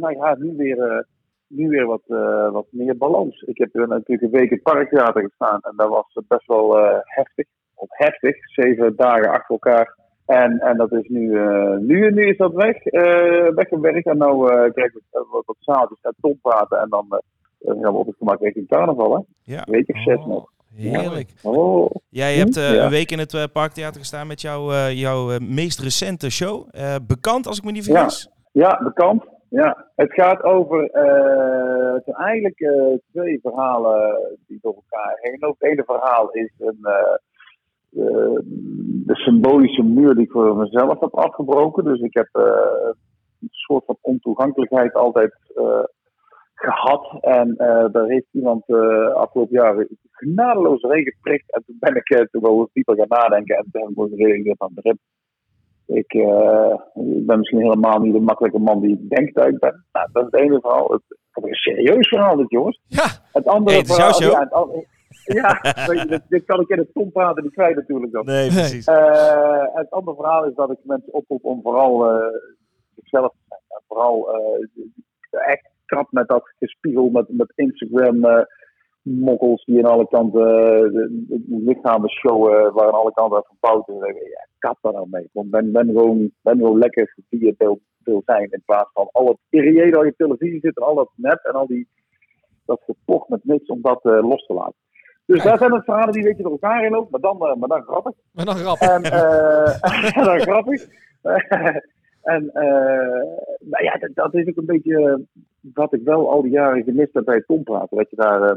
Speaker 16: nou ja, nu weer, eh, nu weer wat, eh, wat meer balans. Ik heb eh, natuurlijk een week in het parktheater gestaan en dat was eh, best wel eh, heftig. Of heftig, zeven dagen achter elkaar. En, en dat is nu, eh, nu, nu is dat weg, eh weggewerkt. En nu krijg ik eh, wat, wat zaaltjes en top praten en dan eh, dan gaan we op het gemak richting carnaval. Hè?
Speaker 3: Ja.
Speaker 16: Een week of zes
Speaker 4: Oh,
Speaker 16: nog.
Speaker 3: heerlijk.
Speaker 16: Ja. Oh.
Speaker 3: Jij hebt eh,
Speaker 16: Ja.
Speaker 3: een week in het eh, Parktheater gestaan met jouw, eh, jouw eh, meest recente show. Eh, bekend, als ik me niet
Speaker 16: Ja,
Speaker 3: vergis.
Speaker 16: ja bekend. Ja. Het gaat over eh, het zijn eigenlijk eh, twee verhalen die door elkaar heen. lopen. Het ene verhaal is een, eh, eh, de symbolische muur die ik voor mezelf heb afgebroken. Dus ik heb eh, een soort van ontoegankelijkheid altijd eh, gehad. En eh, daar heeft iemand eh afgelopen jaar genadeloos heen geprikt. En toen ben ik eh, toen wel eens dieper gaan nadenken. En toen heb ik me gerealiseerd van, "Rip, ik, eh, ik ben misschien helemaal niet de makkelijke man die ik denk dat ik ben. Nou, dat is het ene verhaal. Het, het is een serieus verhaal, dit jongens.
Speaker 4: Ja.
Speaker 16: Het andere
Speaker 3: Hey, het is jouw
Speaker 16: verhaal.
Speaker 3: show.
Speaker 16: Ja, het andere- ja, weet je, dit, dit kan ik in het tompraten niet kwijt natuurlijk dan.
Speaker 3: Nee, precies.
Speaker 16: Eh, het andere verhaal is dat ik mensen oproep om vooral eh, zichzelf te zijn. En vooral eh, echt krap met dat gespiegel, met, met Instagram. eh, mokkels die aan alle kanten eh, de- de- de lichamen showen, eh, waar aan alle kanten van fouten. En dan denk ik, Ja, kap daar nou mee. Want ben, ben, gewoon, ben gewoon lekker wie je wil, wil zijn. In plaats van al het irreële dat je op televisie zit en al dat nep en al die, dat gepocht met niks om dat eh, los te laten. Dus daar zijn het verhalen die een beetje door elkaar in lopen, maar dan, eh, maar dan grappig.
Speaker 4: Maar dan grappig.
Speaker 16: En, eh, dat is grappig. en eh, nou ja, dat, dat is ook een beetje eh, wat ik wel al die jaren gemist heb bij het tompraten. Dat je daar, eh,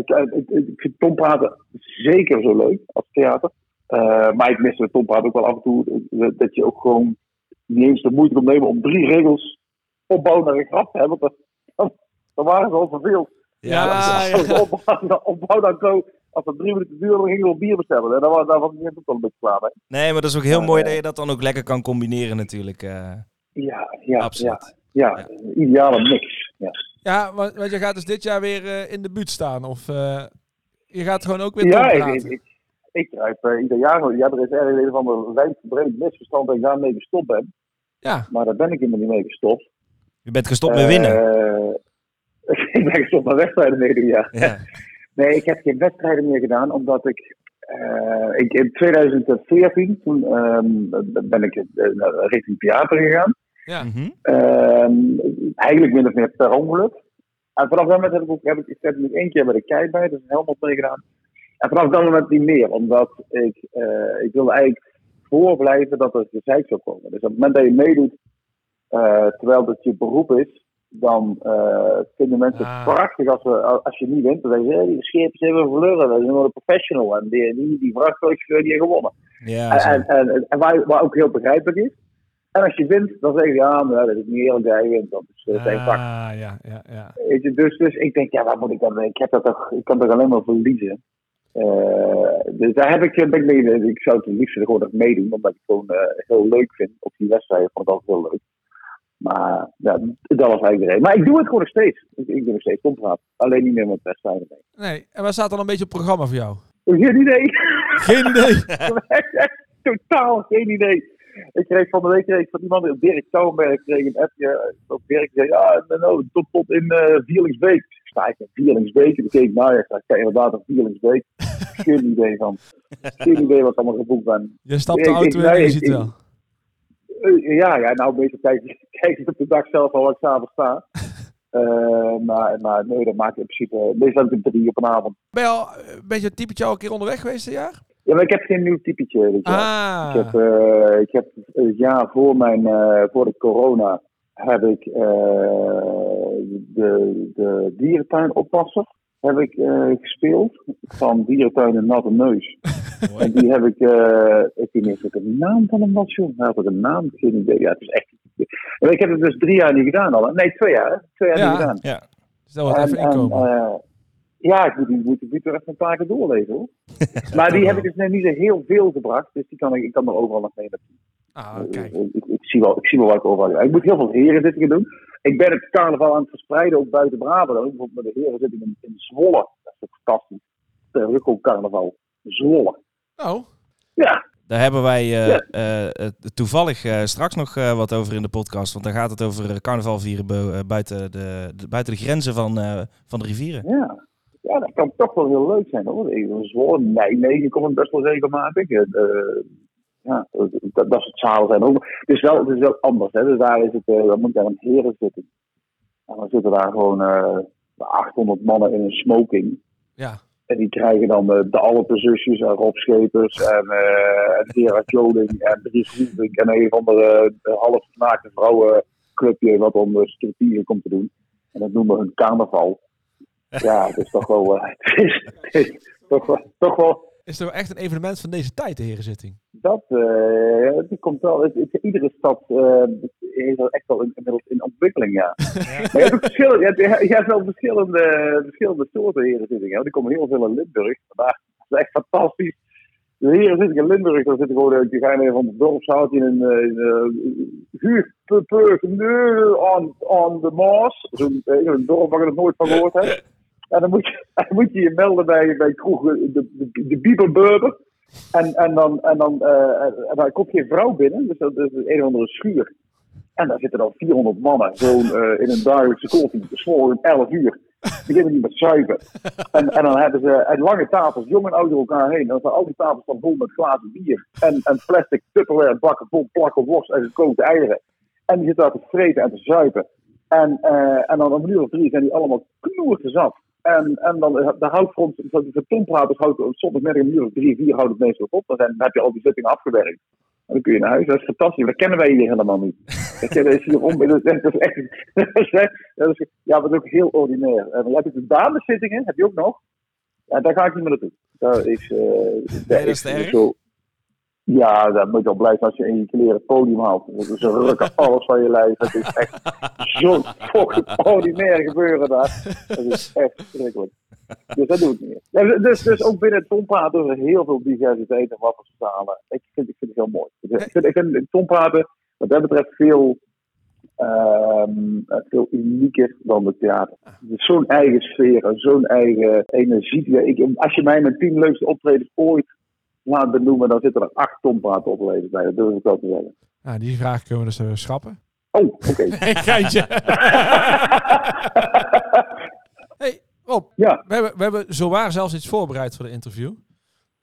Speaker 16: ik, ik, ik- ik vind tompraten zeker zo leuk als theater. Eh, maar ik mis bij tompraten ook wel af en toe eh, dat je ook gewoon niet eens de moeite kon nemen om drie regels opbouw naar een grap te hebben. Want dat, dat waren ze al verveeld.
Speaker 4: Ja, ja.
Speaker 16: Als we Opbouw, opbouw dan zo. Als dat drie minuten duurde, dan gingen we nog bier bestellen. En daar was, daar was ik net ook wel een beetje klaar mee.
Speaker 3: Nee, maar dat is ook heel
Speaker 16: Eh,
Speaker 3: mooi dat je dat dan ook lekker kan combineren natuurlijk. eh.
Speaker 16: Ja, ja,
Speaker 3: Absoluut.
Speaker 16: ja, ja, ideale mix. Ja,
Speaker 4: Ja, want, want je gaat dus dit jaar weer eh, in de buurt staan. Of eh, je gaat gewoon ook weer
Speaker 16: ja ik,
Speaker 4: doorpraten.
Speaker 16: ik, ik, ik kruip eh, ieder jaar. nog- Ja, er is ergens een van de wijdverbreid misverstand dat ik daarmee gestopt ben.
Speaker 4: Ja.
Speaker 16: Maar daar ben ik helemaal niet mee gestopt.
Speaker 3: Je bent gestopt met winnen.
Speaker 16: Eh, ik ben gestopt met wedstrijden meedoen, ja.
Speaker 3: Ja.
Speaker 16: Nee, ik heb geen wedstrijden meer gedaan, omdat ik... eh, ik in 2014, toen ehm, ben ik eh, richting theater gegaan.
Speaker 4: Ja.
Speaker 3: Mhm.
Speaker 16: Ehm, eigenlijk min of meer per ongeluk. En vanaf dat moment heb ik ook heb ik, ik heb nu één keer bij de kei bij, dus helemaal meegedaan. En vanaf dat moment niet meer, omdat ik, eh, ik wilde eigenlijk voorblijven dat er gezeik zou komen. Dus op het moment dat je meedoet, eh, terwijl dat je beroep is, dan eh, vinden mensen het prachtig als, we, als je niet wint. Dan zeggen ze, "Hey, die schepen zijn weer verloren, dat is gewoon een professional. En die, die, die vrachtcoach, die heeft gewonnen.
Speaker 3: Ja, zo.
Speaker 16: En, en, en, en waar, waar ook heel begrijpelijk is. En als je wint, dan zeg je, ja, maar dat is niet eerlijk dat je wint. Dat is eh, zijn vak.
Speaker 4: Ah, ja, ja, ja.
Speaker 16: Weet je, Dus, dus ik denk, ja, wat moet ik dan? Ik, heb dat toch, ik kan toch alleen maar verliezen. Eh, dus daar heb ik, eh, ben ik, mee, ik zou het liefst gewoon nog meedoen, omdat ik het gewoon eh, heel leuk vind. Op die wedstrijden vond ik dat heel leuk. Maar ja, dat was eigenlijk de reden. Maar ik doe het gewoon nog steeds. Ik, ik doe nog steeds ompraat. Alleen niet meer met wedstrijden mee.
Speaker 4: Nee, en wat staat dan een beetje op programma voor jou?
Speaker 16: Geen idee.
Speaker 4: Geen idee.
Speaker 16: Totaal geen idee. Ik kreeg van de week kreeg ik van iemand, Dirk Toonberg, kreeg een appje. Ook Dirk zei, ja, nou, nou, tot, tot in eh Vierlingsbeek. Ik sta ik in Vierlingsbeek? En ik keek, nou ja, ik sta ik sta inderdaad in Vierlingsbeek. Geen idee van. Geen idee wat ik allemaal geboekt ben.
Speaker 4: Je stapt
Speaker 16: Ik-
Speaker 4: de
Speaker 16: ik-
Speaker 4: auto in
Speaker 16: nee,
Speaker 4: en je
Speaker 16: ik-
Speaker 4: ziet
Speaker 16: ik-
Speaker 4: wel.
Speaker 16: eh, Ja, ja, nou meestal kijk, ik- kijk ik op de dag zelf al waar ik s'avonds sta. Eh, maar, maar nee, dat maakt in principe... Meestal heb ik drie op een avond.
Speaker 4: Ben je al eh, een beetje het typetje al een keer onderweg geweest dit jaar?
Speaker 16: Ja, maar ik heb geen nieuw typetje. Weet je. wel.
Speaker 4: Ah.
Speaker 16: Ik heb, eh, ik heb het jaar voor, mijn, eh, voor de corona heb ik eh, de, de dierentuinoppasser heb ik, eh, gespeeld. Van Dierentuin en Natte Neus. en die heb ik, eh ik weet niet of ik een naam van hem was, joh. Hij had ook een naam, geen idee. Ja, het is echt... En ik heb het dus drie jaar niet gedaan al. hè. Nee, twee jaar. hè. Twee jaar
Speaker 4: Ja.
Speaker 16: niet gedaan.
Speaker 3: Ja.
Speaker 4: Dus dat wordt even inkomen.
Speaker 16: eh, ja, ik moet, ik moet, ik moet er even een paar keer doorlezen hoor. maar die heb ik dus net niet zo heel veel gebracht, dus die kan ik, ik kan er overal nog mee naartoe.
Speaker 4: Ah, kijk.
Speaker 16: Ik, ik, ik zie wel, ik zie wel wat ik overal Ik moet heel veel herenzittingen doen. Ik ben het carnaval aan het verspreiden, ook buiten Brabant. Ook bijvoorbeeld met de herenzitting in, in Zwolle. Dat is ook fantastisch. De Rukkel carnaval. Zwolle.
Speaker 4: Nou.
Speaker 16: Ja,
Speaker 3: Daar hebben wij eh, eh, eh, toevallig eh, straks nog eh, wat over in de podcast. Want dan gaat het over eh, carnaval vieren bu- eh, buiten, de, de- buiten de grenzen van, eh, van de rivieren.
Speaker 16: ja. Ja, dat kan toch wel heel leuk zijn hoor. Even Zwolle, Nijmegen komt het best wel regelmatig. Eh, eh, ja, dat, dat soort zalen zijn ook. Het is wel, het is wel anders. Hè. Dus daar is het, eh, dan moet je aan een heren zitten. En dan zitten daar gewoon eh 800 mannen in een smoking.
Speaker 4: Ja.
Speaker 16: En die krijgen dan eh, de Alpenzusjes en Rob Schepers en eh en Vera Joling en Dries Roesink en een van de half naakte vrouwenclubje wat om uh, structuren komt te doen. En dat noemen we hun carnaval. Ja, het is toch wel... eh, het is, het is toch, wel- toch wel
Speaker 4: Is er wel echt een evenement van deze tijd, de herenzitting?
Speaker 16: dat, eh, dat komt wel. Het- het- iedere stad eh, is er echt wel in, inmiddels in ontwikkeling, ja. Maar je hebt, ook verschillende, je hebt, je hebt wel verschillende, verschillende soorten herenzittingen. hè. Er komen heel veel in Limburg. Vandaag is echt fantastisch. Dus De herenzitting in Limburg, daar zitten gewoon, eh, die gaan even van het dorp, houdt in een eh, huur, pu- pu- nu aan aan de Maas. Zo'n eh, een dorp waar je nog nooit van gehoord hebt. En dan moet je dan moet je, je melden bij, bij kroeg, eh, de, de, de Bieberburger. En, en, dan, en, dan, eh, en dan komt geen vrouw binnen, dus dat is een of andere schuur. En daar zitten dan 400 mannen, gewoon eh, in een dagelijkse koffie, dus voor 11 uur. Beginnen niet met zuipen. En, en dan hebben ze en lange tafels, jong en oud door elkaar heen. En dan zijn al die tafels dan vol met glazen bier en, en plastic tupperware bakken vol plakken worst en gekookte eieren. En die zitten daar te vreten en te zuipen. En, eh, en dan om een uur of drie zijn die allemaal knoerten zat. En, en dan eh, de houtfront, de, de tonpraters houdt op zondagmiddag om een uur of drie, vier houdt het meestal op. Dan, zijn, dan heb je al die zittingen afgewerkt. En dan kun je naar huis. Dat is fantastisch. Dat kennen wij hier helemaal niet. Dat je- dat is hier om, dat is, dat is echt... dat is- dat is- ja, maar dat is ook heel ordinair. En dan heb je de dameszittingen, heb je ook nog. Ja, daar ga ik niet meer naartoe. Daar is, eh daar
Speaker 3: dat is te erg.
Speaker 16: zo- ja, dan moet je al blij zijn als je in je kleren het podium haalt. Want Ze rukken alles van je lijf. Het is echt zo'n fucking ordinair gebeuren daar. Dat is echt verschrikkelijk. Dus dat doe ik niet meer. Ja, dus, dus ook binnen het Tompraat is er heel veel diversiteit en wat voor zalen. Ik vind, ik vind het heel mooi. Ik vind, ik vind Tompraten wat dat betreft veel, ehm, veel unieker dan het theater. Het is zo'n eigen sfeer, en zo'n eigen energie. Ja, ik, als je mij mijn tien leukste optredens ooit laat benoemen, Nou, dan zitten er acht Tompraten optredens bij. Dat durf ik wel te zeggen.
Speaker 4: Nou, die vraag kunnen we dus eh, schrappen.
Speaker 16: Oh, oké.
Speaker 4: Een geintje. hey, Rob.
Speaker 16: Ja.
Speaker 4: We hebben, we hebben zowaar zelfs iets voorbereid voor de interview.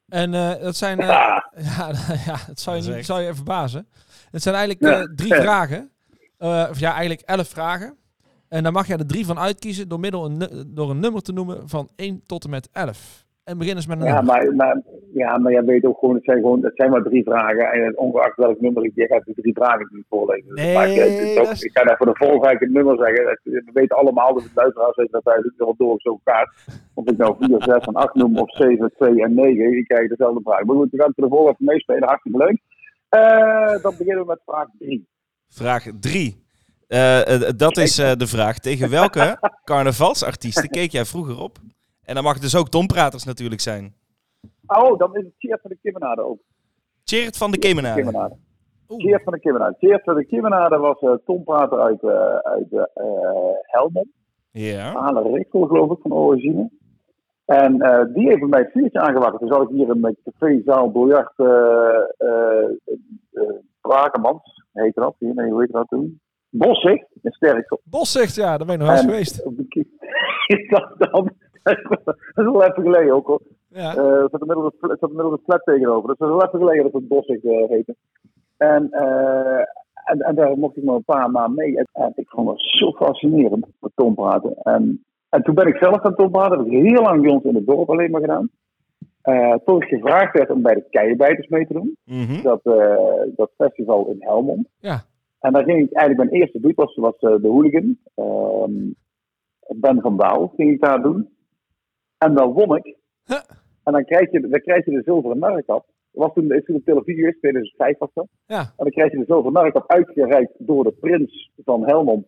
Speaker 4: En eh, dat zijn... eh,
Speaker 16: Ah.
Speaker 4: ja, nou, ja, het zou je, niet, zou je verbazen. Het zijn eigenlijk
Speaker 17: Ja.
Speaker 4: eh, drie
Speaker 17: Ja.
Speaker 4: vragen. Eh, of ja, eigenlijk elf vragen. En daar mag je er drie van uitkiezen door middel een, nu- door een nummer te noemen van 1 tot en met 11. En begin eens met een
Speaker 16: Ja,
Speaker 4: nummer.
Speaker 16: maar, maar, ja, maar jij weet ook gewoon, het zijn, gewoon, het zijn maar drie vragen. En ongeacht welk nummer ik je gaat de drie vragen niet voorlezen. Dus
Speaker 4: Nee,
Speaker 16: het maakt, eh, het is ook-
Speaker 4: dat is-
Speaker 16: Ik ga even de volgende nummer zeggen. Dat- We weten allemaal, dat de luisteraars weten dat wij wel door zo gaat. Of ik nou 4, 6 en 8 noem, of 7, 2 en 9, die krijgen dezelfde vraag. Maar goed, we gaan het ervoor even meespelen, hartstikke leuk. Eh, dan beginnen we met vraag 3.
Speaker 3: Vraag 3. dat is eh, de vraag. Tegen welke carnavalsartiesten keek jij vroeger op? En dan mag dus ook Tompraters natuurlijk zijn.
Speaker 16: Oh, dan is het Cheert van de Kimmenade ook.
Speaker 3: Cheert van de Kemenade.
Speaker 16: Kimmenade. Cheert van de Kimmenade. Cheert van de Kimmenade was eh Tom Prater uit, eh, uit eh, eh, Helmond.
Speaker 3: Ja.
Speaker 16: Aalen Rikkel, geloof ik, van origine. En eh, die heeft bij mij het vuurtje aangewakkerd. Dus had ik hier in mijn cafézaal biljart eh, eh, eh, eh, Sprakemans heette dat hier, nee, hoe heette dat toen? Bossicht, een sterk.
Speaker 4: Boszicht, ja, daar ben ik nog eens
Speaker 16: En-
Speaker 4: geweest.
Speaker 16: dat, dan, dat is wel even geleden ook hoor.
Speaker 4: Ja.
Speaker 16: Eh, Er zat inmiddels een fl- er zat inmiddels een flat tegenover. Dat is wel even geleden dat het Bossicht eh heette. En, eh, en, en daar mocht ik maar een paar maanden mee. En, en ik vond het zo fascinerend, met Tom praten. En, en toen ben ik zelf gaan Tom praten. Dat heb ik heel lang bij ons in het dorp alleen maar gedaan. Eh, tot ik gevraagd werd om bij de Keienbijters mee te doen.
Speaker 11: Mhm.
Speaker 3: Mhm.
Speaker 16: dat, eh, dat festival in Helmond.
Speaker 4: Ja.
Speaker 16: En daar ging ik eigenlijk mijn eerste doet was, was eh, de hooligan. Ehm, ben van Daal ging ik daar doen. En dan won ik. En dan krijg, je, dan krijg je de zilveren merkkap. Dat was toen, is toen op televisie geweest, 2005 was dat.
Speaker 4: Ja.
Speaker 16: En dan krijg je de zilveren merkkap uitgereikt door de prins van Helmond.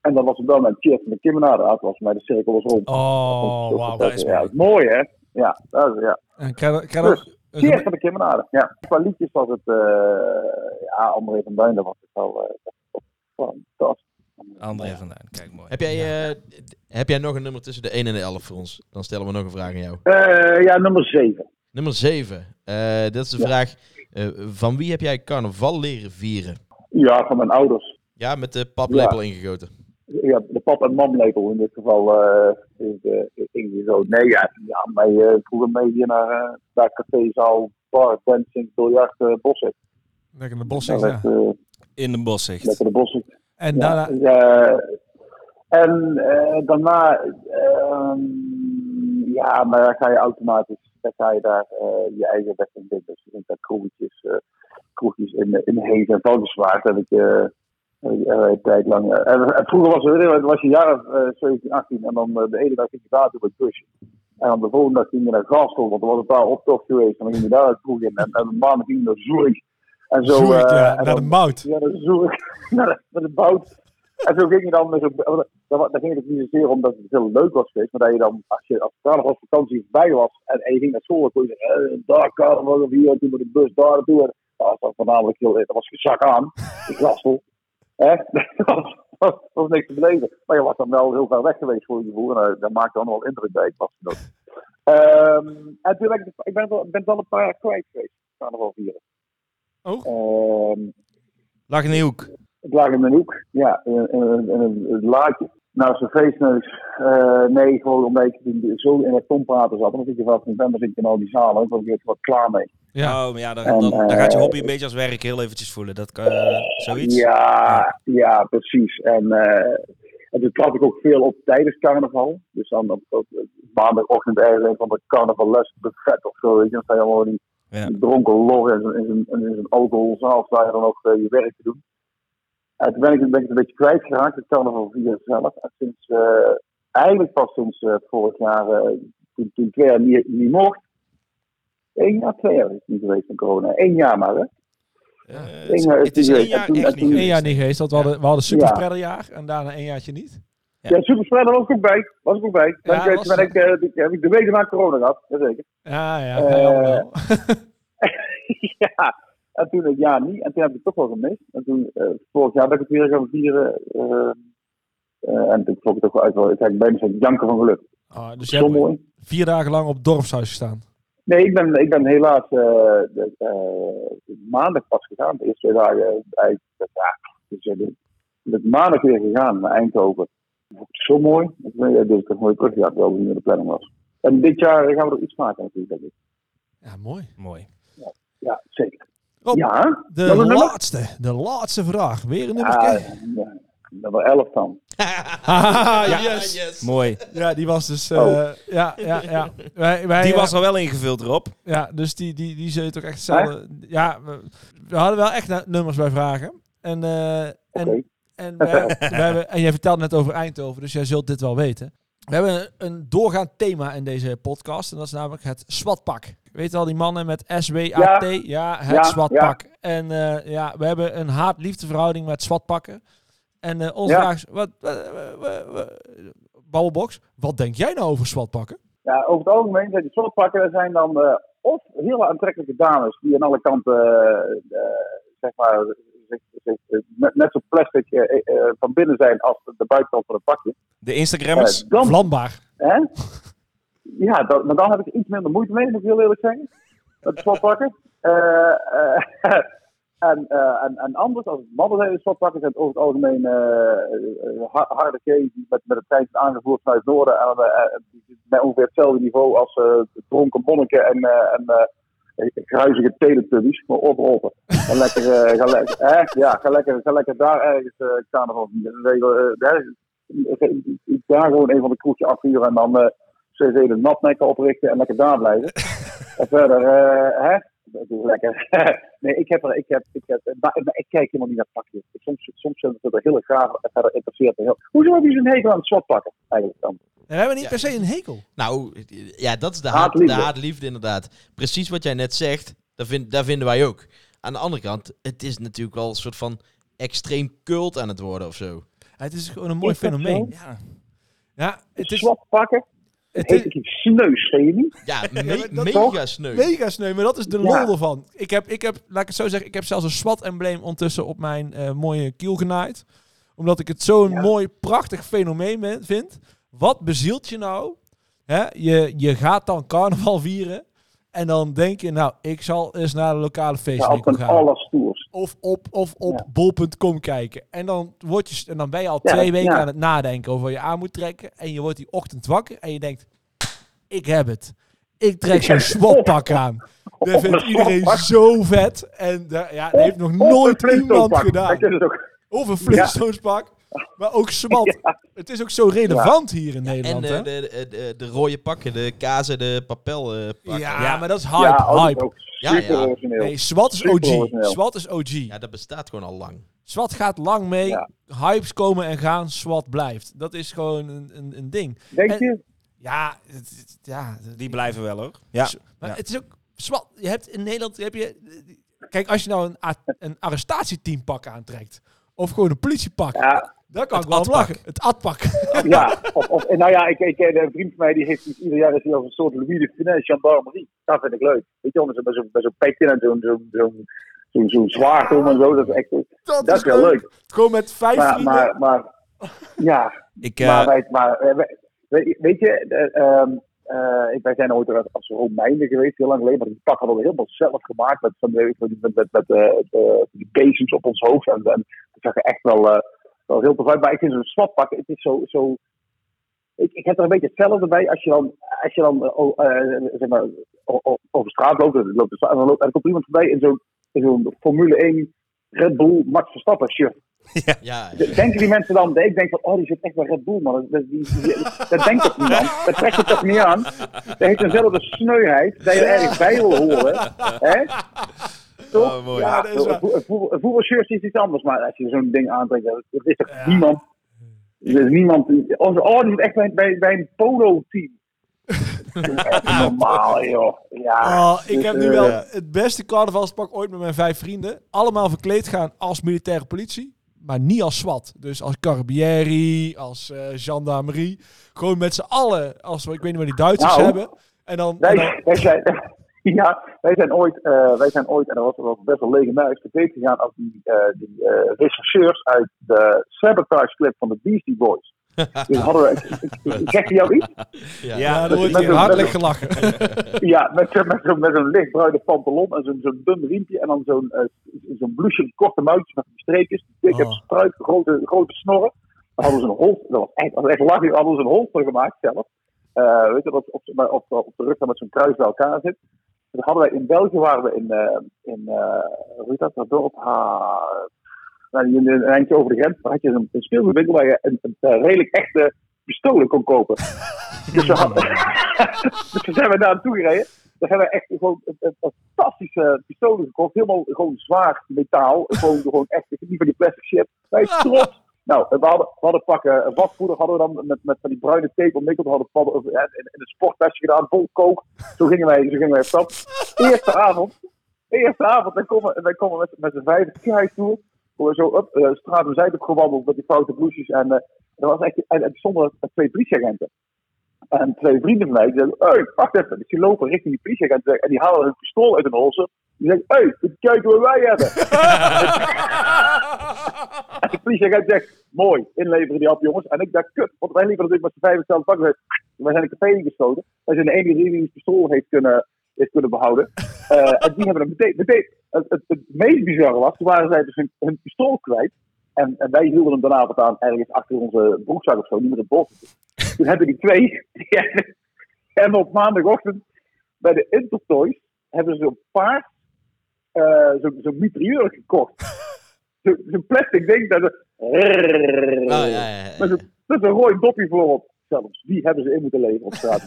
Speaker 16: En dat was op dat moment Cheers van de Kimmenaar. Dat Ah, was mij de cirkel was rond.
Speaker 4: Oh,
Speaker 16: Dat was-
Speaker 4: wauw,
Speaker 16: dat
Speaker 4: dat is
Speaker 16: is ja, mooi hè? Ja, dat is, ja.
Speaker 4: En ik krijg, ik krijg
Speaker 16: Dus,
Speaker 4: ook-
Speaker 16: Cheers van de Kimmenade. Ja, qua liedjes was het... eh ja, André van Duin, dat was het wel eh, fantastisch.
Speaker 3: André van Duin, kijk mooi.
Speaker 2: Nou Heb jij, eh, d- heb jij nog een nummer tussen de 1 en de 11 voor ons? Dan stellen we nog een vraag aan jou.
Speaker 16: Eh, ja, nummer 7.
Speaker 2: Nummer 7. Eh dat is de vraag. eh, van wie heb jij carnaval leren vieren?
Speaker 16: Ja, van mijn ouders.
Speaker 2: Ja, met de paplepel
Speaker 16: Ja.
Speaker 2: ingegoten.
Speaker 16: Ja, de pap- en mamlepel in dit geval eh is eh, ingezogen. Nee, ja, ja mij eh, vroeger mee hier naar, eh, naar cafézaal, bar, dancing, biljart, eh bossen.
Speaker 4: Lekker in de boszicht,
Speaker 16: Ja,
Speaker 4: ja.
Speaker 16: dat, eh,
Speaker 3: In de boszicht.
Speaker 16: Lekker de bossen.
Speaker 4: En
Speaker 16: Ja,
Speaker 4: daarna-
Speaker 16: dus, eh, en eh, daarna, ehm, ja, maar dan ga je automatisch, dan ga je daar eh, je eigen weg in doen. Dus je vindt daar kroegjes, eh, kroegjes in, eh, in Hees en Valkenswaard heb ik eh, heb ik, eh, een tijd lang. eh, en, en vroeger was, het- was je een jaar of eh, 17, 18 en dan eh, de ene dag ging je daar doen met busje. En dan de volgende dag ging je naar Gastel, want er was een paar optocht geweest. En dan ging je daar het kroeg in. En, en de maandag ging je naar Zurich. En zo,
Speaker 4: Zurich,
Speaker 16: eh,
Speaker 4: ja,
Speaker 16: en
Speaker 4: naar
Speaker 16: dan-
Speaker 4: de mout.
Speaker 16: Ja, naar Zurich, naar de, naar de mout. En zo ging je dan, dus, op- dan, dan ging het niet zozeer omdat het heel leuk was geweest, maar dat je dan, als je als carnavalsvakantie voorbij was en, en je ging naar school, dan kon je zeggen, eh, daar carnaval of hier, toen met de bus daar naartoe. En Dat was dan voornamelijk heel, dat was gezak aan, de gastel. Hè? Dat was- dat was niks te beleven. Maar je was dan wel heel ver weg geweest voor je gevoel. En eh, dat maakte dan wel indruk bij. Ik was toen ook. Ehm, en toen ben ik, ik ben, wel, ben wel een paar jaar kwijt geweest. Carnaval vieren.
Speaker 4: Oh?
Speaker 3: lag in de hoek.
Speaker 16: Het lag in een hoek, ja. In, in, in een- een laadje. Naast een feestneus. Eh, nee, gewoon omdat ik toen zo in het tompraten zat. Dan zit je vast in november zit je in al die zalen. Ik was ik wat klaar mee.
Speaker 3: Ja. Oh, maar ja, dan,
Speaker 16: En,
Speaker 3: dan, dan
Speaker 16: eh,
Speaker 3: gaat je hobby een beetje als werk heel eventjes voelen. Dat kan, eh, zoiets?
Speaker 16: Ja, ja, precies. En, eh, en toen trad ik ook veel op tijdens carnaval. Dus dan op, op maandagochtend ergens van het carnavalles buffet of zo. Weet je, dan sta je allemaal in die
Speaker 3: Ja.
Speaker 16: die dronken lor en in zo'n- in zo'n alcoholzaal sta je dan ook eh, je werk te doen. En toen ben ik, ben ik een beetje kwijtgeraakt, het carnaval via zelf. En sinds, eh, eigenlijk pas sinds eh, vorig jaar, eh, toen, toen twee jaar niet, niet mocht. Eén jaar, twee jaar is het niet geweest van corona. Eén jaar maar, hè? Eén jaar het is niet geweest. En toen- en toen-
Speaker 4: Eén jaar niet geweest, want we hadden, we hadden
Speaker 16: Ja.
Speaker 4: superspredderjaar en daarna één jaartje niet.
Speaker 16: Ja, superspreader was ik ook bij. Was ik ook bij. Ben
Speaker 4: Ja,
Speaker 16: ik,
Speaker 4: was-
Speaker 16: ben ik, eh, die- heb ik de week na corona gehad. Jazeker.
Speaker 4: Ja, ja,
Speaker 16: Eh,
Speaker 4: wij allemaal.
Speaker 16: ja. En toen het jaar niet. En toen heb ik het toch wel gemist. En toen, eh, vorig jaar ben ik het weer gaan vieren. eh, eh, en toen vond ik het ook wel uit. wel- Ik ben bijna zo'n janken van geluk.
Speaker 4: Ah, dus je
Speaker 16: Zo
Speaker 4: hebt
Speaker 16: mooi.
Speaker 4: vier dagen lang op dorpshuis gestaan.
Speaker 16: Nee, ik ben, ik ben helaas eh, de- eh, maandag pas gegaan. De eerste twee dagen. eh, eigenlijk, ja, dus, eh, de- met maandag weer gegaan naar Eindhoven. Ik vond het Zo mooi. Ik weet dat ik een mooie terugjaar had, wel hoe de planning was. En dit jaar gaan we er iets maken natuurlijk, denk ik.
Speaker 4: Ja, mooi.
Speaker 3: Mooi.
Speaker 16: Ja, zeker.
Speaker 4: Rob,
Speaker 16: ja,
Speaker 4: De
Speaker 16: nog een nummer?
Speaker 4: laatste, de laatste vraag. Weer een nummer.
Speaker 16: Ah, ja, nummer 11 dan. Ah,
Speaker 4: Haha,
Speaker 2: Ah,
Speaker 4: yes.
Speaker 3: Mooi.
Speaker 4: Ja, die was dus... eh,
Speaker 3: Oh.
Speaker 4: Ja, ja, ja. Wij, wij,
Speaker 3: die
Speaker 4: eh,
Speaker 3: was al wel ingevuld, Rob.
Speaker 4: Ja, dus die, die, die zul je toch echt hetzelfde... Ja, we, we hadden wel echt na- nummers bij vragen. En, eh, en, en, wij- wij hebben- en jij vertelde net over Eindhoven, dus jij zult dit wel weten. We hebben een, een doorgaand thema in deze podcast. En dat is namelijk het SWATpak. Weet je al die mannen met S-W-A-T? Ja,
Speaker 17: Ja.
Speaker 4: het
Speaker 17: Ja,
Speaker 4: SWATpak. En eh, ja, we hebben een haat-liefde verhouding met SWATpakken. En eh onze
Speaker 17: Ja.
Speaker 4: vraag is... Wat, wat, wat- wat- wat- Babbelbox, wat denk jij nou over SWATpakken?
Speaker 16: Ja, over het algemeen zijn die slotpakken, dat zijn dan eh, of heel aantrekkelijke dames die aan alle kanten, eh, eh, zeg maar, zich- zich, eh, net, net zo plastic eh, eh, eh, van binnen zijn als de buitenkant van het pakje.
Speaker 3: De Instagrammers.
Speaker 16: Eh, dan-
Speaker 4: Vlambaar.
Speaker 16: Hè? Ja, dat, maar dan heb ik er iets minder moeite mee, moet ik heel eerlijk zeggen. Met slotpakken. Eh, eh, En, eh, en, en anders, als het mannen zijn, is het pakken, zijn het over het algemeen eh, eh, ha- harde kees die met, met het treintje aangevoerd vanuit het noorden. En, eh, eh, die zitten met ongeveer hetzelfde niveau als eh, de dronken monniken en, eh en eh, gruizige teletubbies. Maar op, op. Ga lekker, eh, ga lekker, hè? ja, ga lekker, ga lekker daar ergens uh, carnaval vieren. Dan regel, eh, hè, ik- Daar gewoon een van de kroegje afvuren en dan eh CV de natnekken oprichten en lekker daar blijven. en verder, eh, hè? Dat is lekker. nee, ik heb er, ik heb, ik heb, eh, maar, maar ik kijk helemaal niet naar pakjes. Soms, soms zijn het er heel graag verder interesseert. me heel- Hoezo heb je zo'n hekel aan het zwart pakken eigenlijk dan?
Speaker 4: we hebben niet per se een hekel.
Speaker 2: Nou, ja, dat is de, haat,
Speaker 16: Haatliefde.
Speaker 2: de haatliefde inderdaad. Precies wat jij net zegt, daar, vind, daar vinden wij ook. Aan de andere kant, het is natuurlijk wel een soort van extreem cult aan het worden of zo.
Speaker 4: Het is gewoon een mooi
Speaker 2: Is dat
Speaker 4: fenomeen.
Speaker 2: zo?
Speaker 4: Ja. Ja, het is...
Speaker 16: Zwart pakken?
Speaker 4: Het
Speaker 16: heet ik iets sneus, zie je niet?
Speaker 2: Ja,
Speaker 4: Ja,
Speaker 2: me-
Speaker 4: maar dat-
Speaker 2: mega sneu.
Speaker 4: Mega sneu, maar dat is de lol
Speaker 2: Ja.
Speaker 4: ervan. Ik heb, ik heb, laat ik het zo zeggen, ik heb zelfs een SWAT-embleem ondertussen op mijn eh, mooie kiel genaaid. Omdat ik het zo'n mooi, prachtig fenomeen ben- vind. Wat bezielt je nou? Hè, je, je gaat dan carnaval vieren. En dan denk je, nou, ik zal eens naar de lokale
Speaker 16: op
Speaker 4: feestwinkel
Speaker 16: een
Speaker 4: gaan.
Speaker 16: alles tours.
Speaker 4: Of op, of op bol.com kijken. En dan, word je, en dan ben je al
Speaker 16: Ja,
Speaker 4: twee weken
Speaker 16: ja.
Speaker 4: aan het nadenken over wat je aan moet trekken. En je wordt die ochtend wakker en je denkt, ik heb het. Ik trek zo'n SWAT-pak aan. Dat vindt
Speaker 16: een
Speaker 4: iedereen
Speaker 16: SWAT-pak.
Speaker 4: zo vet. En daar- ja, dat heeft nog
Speaker 16: Of
Speaker 4: nooit
Speaker 16: een Flintstone
Speaker 4: iemand
Speaker 16: pak.
Speaker 4: gedaan.
Speaker 16: Dat is het ook.
Speaker 4: Of een Flintstones pak. Maar ook SWAT. Het is ook zo relevant hier in
Speaker 2: En
Speaker 4: Nederland.
Speaker 2: eh,
Speaker 4: hè?
Speaker 2: de, de, de, de rode pakken, de kaas en de papel eh, pakken.
Speaker 4: Ja, maar dat is hype. hype. Nee, SWAT is OG. SWAT is OG.
Speaker 2: Ja, dat bestaat gewoon al lang.
Speaker 4: SWAT gaat lang mee. Hypes komen en gaan. SWAT blijft. Dat is gewoon een, een, een ding.
Speaker 16: Denk
Speaker 4: En-
Speaker 16: je?
Speaker 4: Ja, het- het- ja,
Speaker 3: Die blijven wel hoor. Ja.
Speaker 4: S- Dus, Maar
Speaker 3: Ja.
Speaker 4: het is ook SWAT. Je hebt in Nederland heb je. Kijk, als je nou een, a- een arrestatieteampak aantrekt. Of gewoon een politiepak. Daar kan ik wel om lachen. Het atpak.
Speaker 16: Ja, of, of, en nou ja, ik, ik, een vriend van mij die heeft iets- ieder jaar is hij als een soort Louis de Funès gendarmerie. Dat vind ik leuk. Weet je, wel, met zo'n- met zo'n- met zo'n petje en zo'n zo'n zo'n zo'n zo'n zwaard om en zo. Dat is echt dat, is wel leuk.
Speaker 4: Gewoon met vijf
Speaker 16: Maar,
Speaker 4: vrienden.
Speaker 16: maar, maar ja,
Speaker 3: ik,
Speaker 16: maar, wij, maar eh, wij- weet, weet je, eh, ehm, eh, wij zijn ooit als- als Romeinen geweest, heel lang geleden, maar die pakken hadden we helemaal zelf gemaakt met, van die- van die- met, met, met, eh, eh, die bezems op ons hoofd. En, en dat zag er echt wel, eh, wel heel tof uit. Maar ik vind zo'n swappak, het is zo, zo ik, ik heb er een beetje hetzelfde bij als je dan, als je dan eh, o- eh, zeg maar, o- o- over straat loopt, en, loopt de straat, en, dan loopt, en er komt iemand voorbij in zo'n in zo'n Formule 1 Red Bull Max Verstappen shirt.
Speaker 2: Ja, ja.
Speaker 16: De- Denken die mensen dan, ik denk van, oh, die zit echt bij Red Bull, man. Dat, dat, die, die- dat denkt toch niemand? Dat trekt het toch niet aan? Dat heeft dezelfde sneuheid dat je er ergens bij wil horen. Hè? Toch?
Speaker 2: mooi.
Speaker 16: Ja,
Speaker 2: Ja, dat is
Speaker 16: een vo- een voetbal- een voetbalshirt is iets anders, maar als je zo'n ding aantrekt, dat, dat is toch niemand? Er is niemand die, oh, oh, die zit echt bij, bij, bij een polo-team. Dat is echt niet normaal, joh. Ja,
Speaker 4: Oh, ik
Speaker 16: dus,
Speaker 4: heb nu
Speaker 16: eh,
Speaker 4: wel
Speaker 16: ja.
Speaker 4: het beste carnavalspak ooit met mijn vijf vrienden. Allemaal verkleed gaan als militaire politie. Maar niet als SWAT. Dus als Carabinieri, als eh, gendarmerie. Gewoon met z'n allen. Als, we- ik weet niet wat die Duitsers
Speaker 16: Nou,
Speaker 4: hebben. En dan, en dan-
Speaker 16: Wij, wij zijn, ja, wij zijn ooit, eh, wij zijn ooit, en dat was, dat was best wel legendarisch, te weten gegaan als die, eh, die eh, rechercheurs uit de Sabotage Clip van de Beastie Boys. Dus hadden we, zegt hij jou iets?
Speaker 4: Ja, dan wordt
Speaker 16: Met
Speaker 4: hier
Speaker 16: een-
Speaker 4: hartelijk
Speaker 16: met
Speaker 4: gelachen.
Speaker 16: Ja, met, zo'n- met, zo'n- met zo'n lichtbruine pantalon en zo'n zo'n dun riempje en dan zo'n eh, zo'n blouseje, korte muitjes met die streepjes, die dikke
Speaker 4: Oh.
Speaker 16: struik, grote, grote snorren. Dan hadden ze een holster, dat was echt, dat was echt lachen, dan hadden ze een holster gemaakt zelf. Eh, weet je, dat op, maar op, op de rug dan met zo'n kruis bij elkaar zit. Dat hadden wij in België, waren we in, eh, in eh, hoe heet dat, dat dorp? Ha, nou, die- een eindje over de grens, daar had je een, een speelgoedwinkel waar je een, een, eh, redelijk echte pistolen kon kopen. dus, we hadden, dus daar zijn we naartoe gereden. Daar hebben we echt gewoon een, een- een fantastische pistolen gekocht. Helemaal gewoon zwaar metaal. Gewoon, gewoon echt, ik heb niet van die plastic shit. Wij trots. Nou, we hadden, we hadden pakken eh, waspoeder, hadden we dan met, met van die bruine tape omwikkeld, hadden we padden- eh, in, in een sporttasje gedaan, vol kook. Zo gingen wij, zo gingen wij op stap. Eerste avond, eerste avond, dan komen, dan komen we met, met z'n vijf kruis toe. Komen we zo op, eh, straat om zijde opgewandeld met die foute bloesjes. En eh dat was echt, en, en zonder twee politieagenten. En twee vrienden van mij, die zeggen, hey, wacht even. Dus die lopen richting die politieagent en die halen hun pistool uit hun holster. Die zeggen, hé, hey, moet je kijken wat wij hebben. en de politieagent zegt, mooi, inleveren die hap jongens. En ik dacht, kut, want wij liepen natuurlijk met z'n vijf hetzelfde pak. Wij zijn in de café ingeschoten. Wij zijn de enige die die het pistool heeft kunnen, heeft kunnen behouden. Eh, en die hebben dat meteen. meteen het, het, het meest bizarre was, toen waren zij dus hun, hun pistool kwijt. En, en wij hielden hem daarna wat aan ergens achter onze broekzak of zo, niet meer in het bos. Toen hebben die twee, die hebben- hebben op maandagochtend bij de Intertoys, hebben ze een paard, eh, zo- zo'n mitrailleur gekocht. Zo- zo'n plastic ding dat ze...
Speaker 2: Ah, ja, ja, ja.
Speaker 16: Met een, met een rooi dopje voorop. Zelfs die hebben ze in moeten leveren op straat.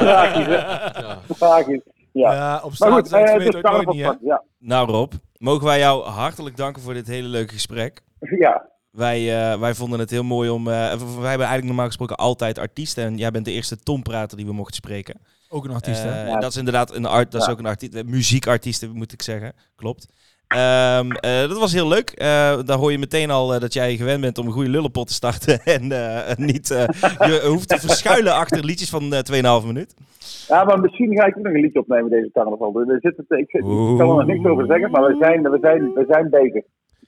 Speaker 16: Tragisch, hè? Tragisch. Ja.
Speaker 4: Ja, op
Speaker 16: Maar
Speaker 4: straat
Speaker 16: goed,
Speaker 4: zijn
Speaker 16: eh,
Speaker 4: twee
Speaker 16: het is
Speaker 4: het ook nooit
Speaker 16: carnaval
Speaker 4: niet,
Speaker 16: van-
Speaker 4: hè?
Speaker 16: ja.
Speaker 3: Nou Rob, mogen wij jou hartelijk danken voor dit hele leuke gesprek.
Speaker 16: Ja.
Speaker 3: Wij, eh, wij vonden het heel mooi om... eh, w- w- wij hebben eigenlijk normaal gesproken altijd artiesten. En jij bent de eerste tonprater die we mochten spreken.
Speaker 4: Ook een artiest,
Speaker 3: Eh,
Speaker 4: hè?
Speaker 3: en
Speaker 4: Ja.
Speaker 3: Dat is inderdaad een art, dat is
Speaker 4: Ja.
Speaker 3: ook een artiest. eh, Muziekartiest, moet ik zeggen. Klopt. Ehm, eh, dat was heel leuk. Eh, daar hoor je meteen al eh, dat jij gewend bent om een goede lullenpot te starten. En eh, niet, eh, je hoeft te verschuilen achter liedjes van eh 2,5 minuut.
Speaker 16: Ja, maar misschien ga ik ook nog een liedje opnemen deze carnaval. Dus we zitten, te- ik, zit- ik kan er nog niks over zeggen, maar we zijn, we zijn, we zijn bezig.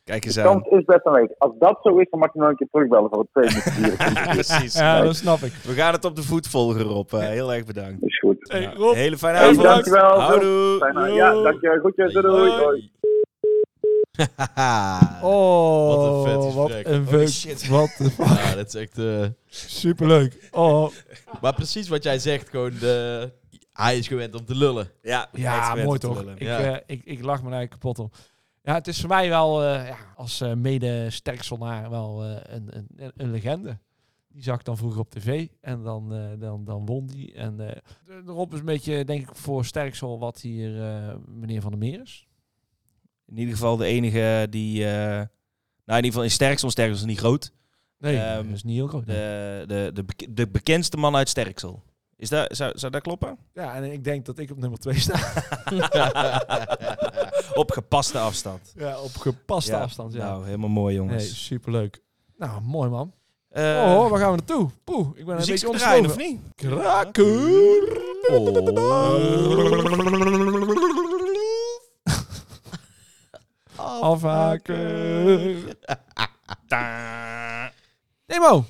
Speaker 3: Kijk
Speaker 16: eens de kans is best aanwezig. Als dat zo is, dan mag je nog een keer terugbellen voor het twee minuten hier.
Speaker 3: Precies.
Speaker 4: Ja, dat snap ik.
Speaker 3: We gaan het op de voet volgen, Rob. Eh, heel erg bedankt.
Speaker 16: Is goed.
Speaker 4: Rob.
Speaker 3: hele fijne
Speaker 16: Hey,
Speaker 3: avond.
Speaker 16: dankjewel.
Speaker 3: Houdoe.
Speaker 16: Fijne- Ja, dankjewel. Goedjes. Doei. doei. doei.
Speaker 4: Oh,
Speaker 2: Wat een vet
Speaker 4: wat
Speaker 2: gesprek.
Speaker 4: een
Speaker 2: Holy
Speaker 4: veuk.
Speaker 2: shit.
Speaker 4: Wat de fuck.
Speaker 2: Ja, dat is echt... eh,
Speaker 4: Superleuk. Oh,
Speaker 2: Maar precies wat jij zegt, gewoon de... Hij is gewend om te lullen.
Speaker 3: Ja,
Speaker 4: ja, mooi toch? Ik,
Speaker 2: Ja.
Speaker 4: eh, ik, ik lach me eigenlijk kapot om. Ja, het is voor mij wel eh, ja, als eh mede-sterkselnaar wel eh, een, een- een, een legende. Die zag ik dan vroeger op tv en dan, eh, dan, dan won die. En eh de- Rob is een beetje, denk ik, voor Sterksel wat hier eh, meneer Van der Meer is.
Speaker 3: In ieder geval de enige die... eh, nou, in ieder geval in Sterksel. Sterksel is niet groot.
Speaker 4: Nee,
Speaker 3: Ehm,
Speaker 4: dat is niet heel groot.
Speaker 3: De, de, de, bek- de bekendste man uit Sterksel. Is dat, zou, zou dat kloppen?
Speaker 4: Ja, en ik denk dat ik op nummer 2 sta.
Speaker 3: op gepaste afstand.
Speaker 4: ja, op gepaste afstand. Ja.
Speaker 3: Nou, helemaal mooi, jongens.
Speaker 4: Nee, superleuk. Nou, mooi man.
Speaker 3: Eh,
Speaker 4: oh, waar gaan we naartoe? Poeh, ik ben een
Speaker 3: muziekje
Speaker 4: beetje
Speaker 3: draaien,
Speaker 4: ontstaan.
Speaker 3: of niet? Oh.
Speaker 4: Kraken. Afhaken. Nemo,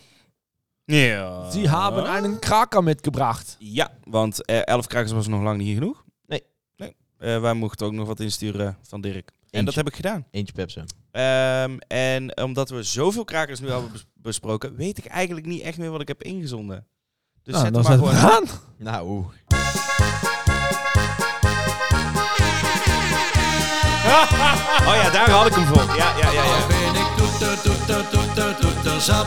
Speaker 3: Ja.
Speaker 4: die hebben einen Kraker metgebracht.
Speaker 3: Ja, want eh, elf krakers was nog lang niet genoeg.
Speaker 2: Nee.
Speaker 3: nee. Eh, wij mochten ook nog wat insturen van Dirk. En dat
Speaker 2: Eentje.
Speaker 3: heb ik gedaan.
Speaker 2: Eentje Pepsi.
Speaker 3: Ehm, en omdat we zoveel krakers nu hebben bes- besproken, weet ik eigenlijk niet echt meer wat ik heb ingezonden. Dus
Speaker 2: Nou,
Speaker 3: zet
Speaker 2: dan
Speaker 3: hem maar
Speaker 2: zet
Speaker 3: gewoon
Speaker 2: hem
Speaker 4: aan.
Speaker 2: Nou.
Speaker 3: Oh ja, daar had ik hem voor. Ja, ja, ja. ja.
Speaker 18: ben ik toeter, toeter, toeter, toeter zat.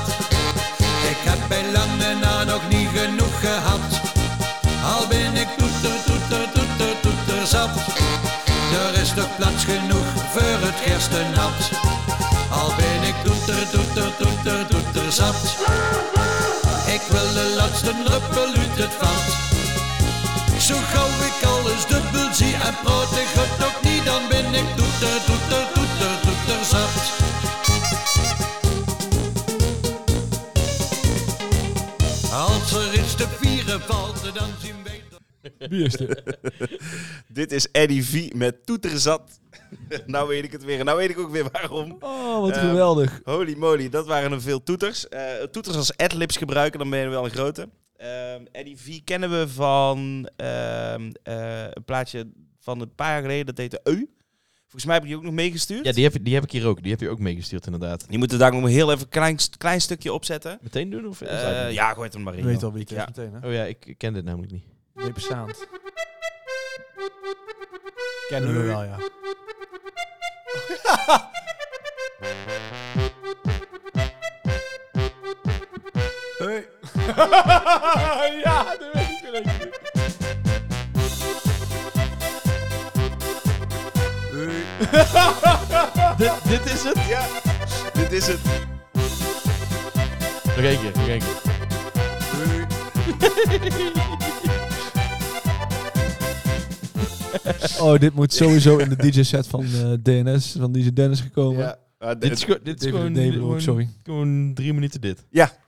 Speaker 18: Ik heb bij lange na nog niet genoeg gehad. Al ben ik toeter, toeter, toeter, toeter zat. Er is toch plaats genoeg voor het gerstenat. Al ben ik toeter, toeter, toeter, toeter zat. Ik wil de laatste druppel uit het vat. Zo gauw ik alles dubbel zie en praat ik het nog niet, dan ben ik toeter, toeter, toeter, toeter zat. Als er iets te vieren valt, dan zien wij...
Speaker 4: Wie is dit?
Speaker 3: dit is Eddie V met toeterzat. nou weet ik het weer. En nou weet ik ook weer waarom.
Speaker 4: Oh, wat
Speaker 3: Ehm,
Speaker 4: geweldig.
Speaker 3: Holy moly, dat waren er veel toeters. Eh, toeters als adlibs gebruiken, dan ben je wel een grote. Ehm Eddie V kennen we van ehm, eh, een plaatje van een paar jaar geleden. Dat heette Eu. Volgens mij heb ik die ook nog meegestuurd.
Speaker 2: Ja, die heb, die heb ik hier ook. Die heb je ook meegestuurd, inderdaad.
Speaker 3: Die moeten daar nog heel even een klein, klein stukje opzetten.
Speaker 2: Meteen doen? Of
Speaker 3: Eh, ja, gooi het er maar in.
Speaker 2: Je
Speaker 3: joh. Ja.
Speaker 2: Oh ja, ik ik ken dit namelijk niet.
Speaker 4: Nee, bestaand. Kennen we wel, ja.
Speaker 11: Hey.
Speaker 4: ja, dat weet ik wel even.
Speaker 2: dit, dit is het?
Speaker 3: Ja, dit is het.
Speaker 2: Nog één keer, nog één keer.
Speaker 4: Oh, dit moet sowieso in de DJ-set van eh, DNS, van DJ Dennis gekomen.
Speaker 3: Ah,
Speaker 2: Ja. dit, is, gewoon- dit is
Speaker 4: David
Speaker 2: gewoon,
Speaker 4: Dable ook,
Speaker 2: gewoon,
Speaker 4: sorry.
Speaker 2: gewoon drie minuten dit. Oh,
Speaker 3: Ja.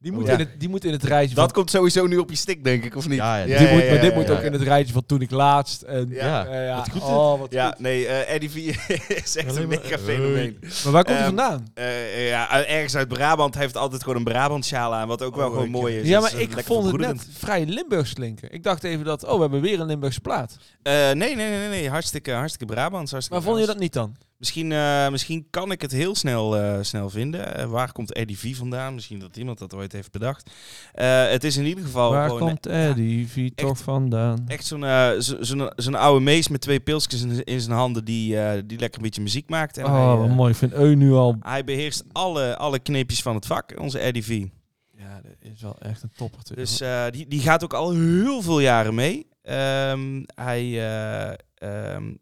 Speaker 4: Die moet,
Speaker 3: Oh, Ja.
Speaker 4: in, het, die moet in het rijtje
Speaker 3: Dat
Speaker 4: van...
Speaker 3: komt sowieso nu op je stick, denk ik, of niet?
Speaker 4: Ja, die moet, maar dit moet ook in het rijtje van toen ik laatst... En,
Speaker 3: Ja,
Speaker 4: eh,
Speaker 3: Wat goed, hè?
Speaker 4: oh, wat
Speaker 3: ja nee, eh, Eddie V is echt
Speaker 4: Alleen
Speaker 3: een
Speaker 4: maar-
Speaker 3: mega fenomeen.
Speaker 4: Maar waar komt hij
Speaker 3: Ehm,
Speaker 4: vandaan?
Speaker 3: eh, ja, ergens uit Brabant. Hij heeft altijd gewoon een Brabant sjaal aan, wat ook
Speaker 4: Oh,
Speaker 3: wel gewoon mooi is.
Speaker 4: Ja,
Speaker 3: Het is,
Speaker 4: maar
Speaker 3: eh,
Speaker 4: ik
Speaker 3: lekker
Speaker 4: vond het
Speaker 3: verbroederend.
Speaker 4: net vrij Limburgs klinken. Ik dacht even dat, oh, we hebben weer een Limburgse plaat.
Speaker 3: Eh, nee, nee, nee, nee, nee. Hartstikke, hartstikke Brabants. Hartstikke
Speaker 4: Maar vond je dat niet dan?
Speaker 3: Misschien, eh, misschien kan ik het heel snel, eh, snel vinden. Eh, waar komt Eddie V vandaan? Misschien dat iemand dat ooit heeft bedacht. Eh, het is in ieder geval
Speaker 4: Waar
Speaker 3: gewoon
Speaker 4: komt Eddie V toch vandaan?
Speaker 3: echt zo'n eh, zo- zo'n zo'n oude mees met twee pilsjes in, in zijn handen die, eh, die lekker een beetje muziek maakt. En hij,
Speaker 4: Oh, wat
Speaker 3: eh,
Speaker 4: mooi. Ik vind Eu nu al...
Speaker 3: hij beheerst alle, alle kneepjes van het vak, onze Eddie V.
Speaker 4: Ja, dat is wel echt een topper.
Speaker 3: Dus eh, die, die gaat ook al heel veel jaren mee. Ehm, hij eh, ehm,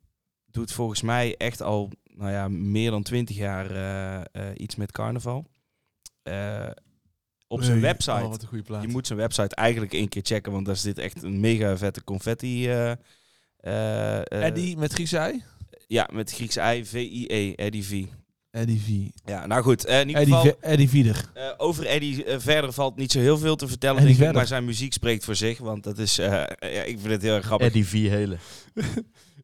Speaker 3: doet volgens mij echt al nou ja, meer dan twintig jaar eh, eh, iets met carnaval. Eh, op zijn
Speaker 4: Nee,
Speaker 3: website.
Speaker 4: oh, wat een goede plaat.
Speaker 3: Je moet zijn website eigenlijk één keer checken, want daar zit echt een mega vette confetti. eh eh, eh,
Speaker 4: Eddie met Griekse ei?
Speaker 3: Ja, met Grieks I, V-I-E, Eddie V.
Speaker 4: Eddie V.
Speaker 3: Ja, nou goed. eh, in ieder
Speaker 4: Eddie
Speaker 3: geval,
Speaker 4: Ve- Eddie Vieder.
Speaker 3: eh, over Eddie eh, verder valt niet zo heel veel te vertellen,
Speaker 4: Eddie
Speaker 3: denk ik,
Speaker 4: verder.
Speaker 3: maar zijn muziek spreekt voor zich. Want dat is, eh, ja, ik vind het heel erg grappig.
Speaker 2: Eddie V. Hele.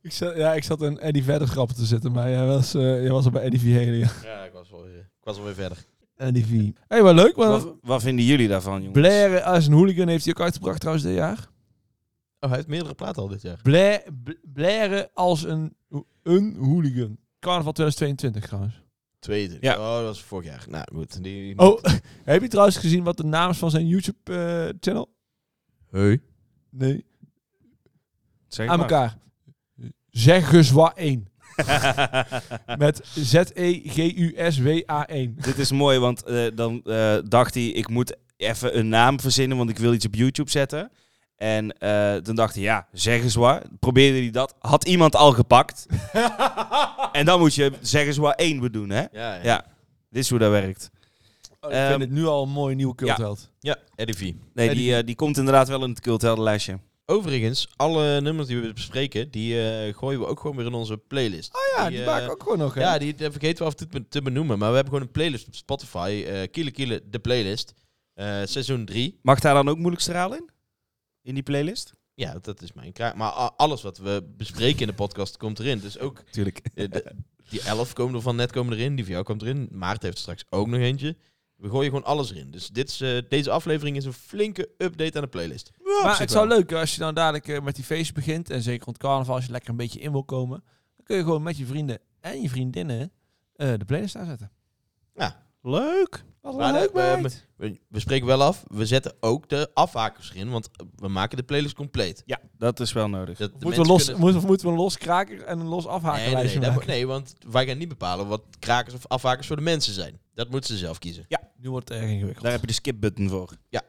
Speaker 4: Ik zat, ja, ik zat een Eddie verder grap te zetten, maar jij was, eh, jij was al bij Eddie V. Helen. ja.
Speaker 2: Ja, ik was, wel, weer- ik was alweer verder.
Speaker 4: Eddie V. Hé, hey, wat leuk. Want
Speaker 3: Wat, wat vinden jullie daarvan, jongens?
Speaker 4: Blair als een hooligan heeft hij ook uitgebracht trouwens dit jaar.
Speaker 2: Oh, hij heeft meerdere platen al dit jaar.
Speaker 4: Blair, bl- blaren als een, een hooligan. Carnaval 2022 trouwens.
Speaker 2: Tweede. Ja. Oh, dat was vorig jaar. Nou, goed. Die,
Speaker 4: Oh, heb je trouwens gezien wat de naam is van zijn eh, YouTube-channel?
Speaker 2: Hey.
Speaker 4: nee.
Speaker 3: Zeg
Speaker 4: Aan
Speaker 3: maar.
Speaker 4: elkaar. Zeg eens wat 1. Met E Z-E-G-U-S-W-A-1.
Speaker 3: Dit is mooi, want eh, dan eh, dacht hij, ik moet even een naam verzinnen, want ik wil iets op YouTube zetten. En eh, toen dacht hij, ja, zeg eens waar. Probeerde hij dat, had iemand al gepakt. en dan moet je zeg eens waar één bedoelen, hè?
Speaker 2: Ja, ja.
Speaker 3: Dit is hoe dat werkt.
Speaker 4: Oh,
Speaker 3: Ehm,
Speaker 4: ik vind het nu al een mooie nieuwe cultheld.
Speaker 2: Ja, Eddie V.
Speaker 3: Nee,
Speaker 2: Eddie
Speaker 3: die,
Speaker 2: V.
Speaker 3: eh, die komt inderdaad wel in het cultheldenlijstje.
Speaker 2: Overigens, alle nummers die we bespreken, die eh, gooien we ook gewoon weer in onze playlist. Oh
Speaker 4: ja, die maken we ook gewoon nog, hè?
Speaker 2: Ja, die, die vergeten we af en toe te, te benoemen. Maar we hebben gewoon een playlist op Spotify. eh Kiele Kiele, de playlist. Eh, seizoen 3.
Speaker 3: Mag daar dan ook moeilijk straal in? In die playlist?
Speaker 2: Ja, dat is mijn kraak. Maar a- alles wat we bespreken in de podcast komt erin. Dus ook...
Speaker 3: Tuurlijk.
Speaker 2: eh, de- die 11 komen er van net komen erin. Die van jou komt erin. Maarten heeft er straks ook nog eentje. We gooien gewoon alles erin. Dus dit is, eh, deze aflevering is een flinke update aan de playlist.
Speaker 4: maar het zou leuk hè, als je dan dadelijk eh, met die feest begint. En zeker rond carnaval, als je lekker een beetje in wil komen. Dan kun je gewoon met je vrienden en je vriendinnen eh, de playlist aanzetten.
Speaker 2: Ja.
Speaker 3: Leuk.
Speaker 4: Wat
Speaker 2: Maar
Speaker 4: leuk,
Speaker 2: de- we,
Speaker 4: meid.
Speaker 2: we, we spreken wel af, we zetten ook de afhakers erin, want we maken de playlist compleet.
Speaker 3: Ja, dat is wel nodig.
Speaker 4: Moeten we, los, moeten, we- moeten we een los kraker en een los
Speaker 2: nee, nee, nee,
Speaker 4: afhakenlijstje
Speaker 2: dat-
Speaker 4: maken?
Speaker 2: nee, want wij gaan niet bepalen wat krakers of afhakers voor de mensen zijn. Dat moeten ze zelf kiezen.
Speaker 3: Ja.
Speaker 4: Nu wordt het erg ingewikkeld.
Speaker 3: Daar heb je de skip-button voor.
Speaker 2: Ja.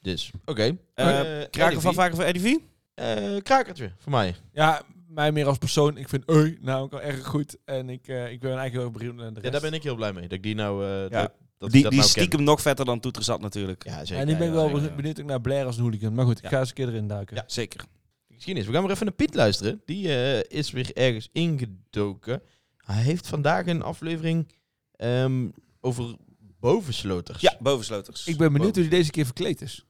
Speaker 2: Dus, oké.
Speaker 3: Eh, kraker van vaker voor Eddie V? Eh,
Speaker 2: krakertje, voor mij.
Speaker 4: Ja, mij meer als persoon. Ik vind Ui nou ook al erg goed. En ik, eh, ik ben eigenlijk heel erg benieuwd naar de
Speaker 2: Ja,
Speaker 4: rest.
Speaker 2: daar ben ik heel blij mee, dat ik die nou... eh,
Speaker 3: Ja.
Speaker 2: dat, dat ik
Speaker 3: die
Speaker 2: dat
Speaker 3: die
Speaker 2: nou ken.
Speaker 3: stiekem nog vetter dan Toeterzat natuurlijk.
Speaker 2: Ja,
Speaker 4: en ik ben wel benieuwd ook naar Blair als een hooligan. Maar goed, ik
Speaker 3: Ja.
Speaker 4: ga eens een keer erin duiken.
Speaker 2: Ja.
Speaker 3: Zeker.
Speaker 2: Geschiedenis. We gaan maar even naar Piet luisteren. Die eh, is weer ergens ingedoken. Hij heeft vandaag een aflevering ehm, over bovensloters.
Speaker 3: Ja, bovensloters.
Speaker 4: Ik ben benieuwd hoe hij deze keer verkleed is.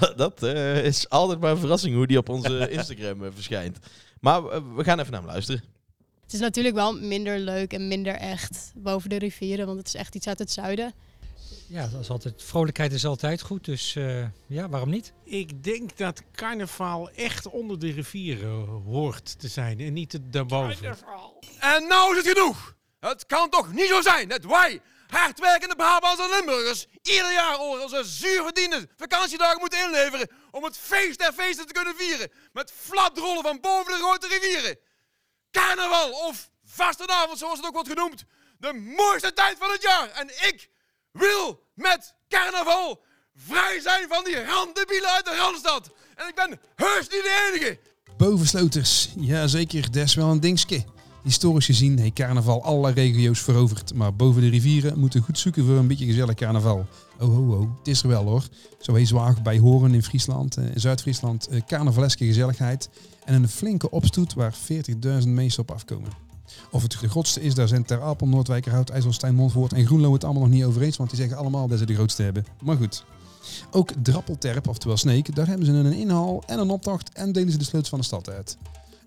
Speaker 2: Dat, dat, eh, is altijd maar een verrassing hoe die op onze Instagram eh, verschijnt. Maar eh, we gaan even naar hem luisteren.
Speaker 19: Het is natuurlijk wel minder leuk en minder echt boven de rivieren, want het is echt iets uit het zuiden.
Speaker 20: Ja, dat is altijd, vrolijkheid is altijd goed, dus eh, ja, waarom niet?
Speaker 11: Ik denk dat carnaval echt onder de rivieren hoort te zijn en niet daarboven.
Speaker 21: En nou is het genoeg. Het kan toch niet zo zijn dat wij, hardwerkende Brabants en Limburgers, ieder jaar over onze zuurverdiende vakantiedagen moeten inleveren om het feest der feesten te kunnen vieren met flaprollen van boven de grote rivieren. Carnaval of vastenavond, zoals het ook wordt genoemd, de mooiste tijd van het jaar. En ik wil met carnaval vrij zijn van die randdebielen uit de Randstad. En ik ben heus niet de enige.
Speaker 22: Bovensloters, ja zeker, dat is wel een dingske. Historisch gezien heeft carnaval alle regio's veroverd, maar boven de rivieren moeten goed zoeken voor een beetje gezellig carnaval. Oh ho ho, het is er wel hoor. Zo heet Zwaag bij Horen in Friesland, eh, in Zuid-Friesland, eh, carnavaleske gezelligheid en een flinke opstoet waar 40.000 mensen op afkomen. Of het de grootste is, daar zijn Ter Apel, Noordwijkerhout, IJsselstein, Montvoort en Groenlo het allemaal nog niet over eens. Want die zeggen allemaal dat ze de grootste hebben. Maar goed. Ook Drappelterp, oftewel Sneek, daar hebben ze een inhaal en een optocht en delen ze de sleutel van de stad uit.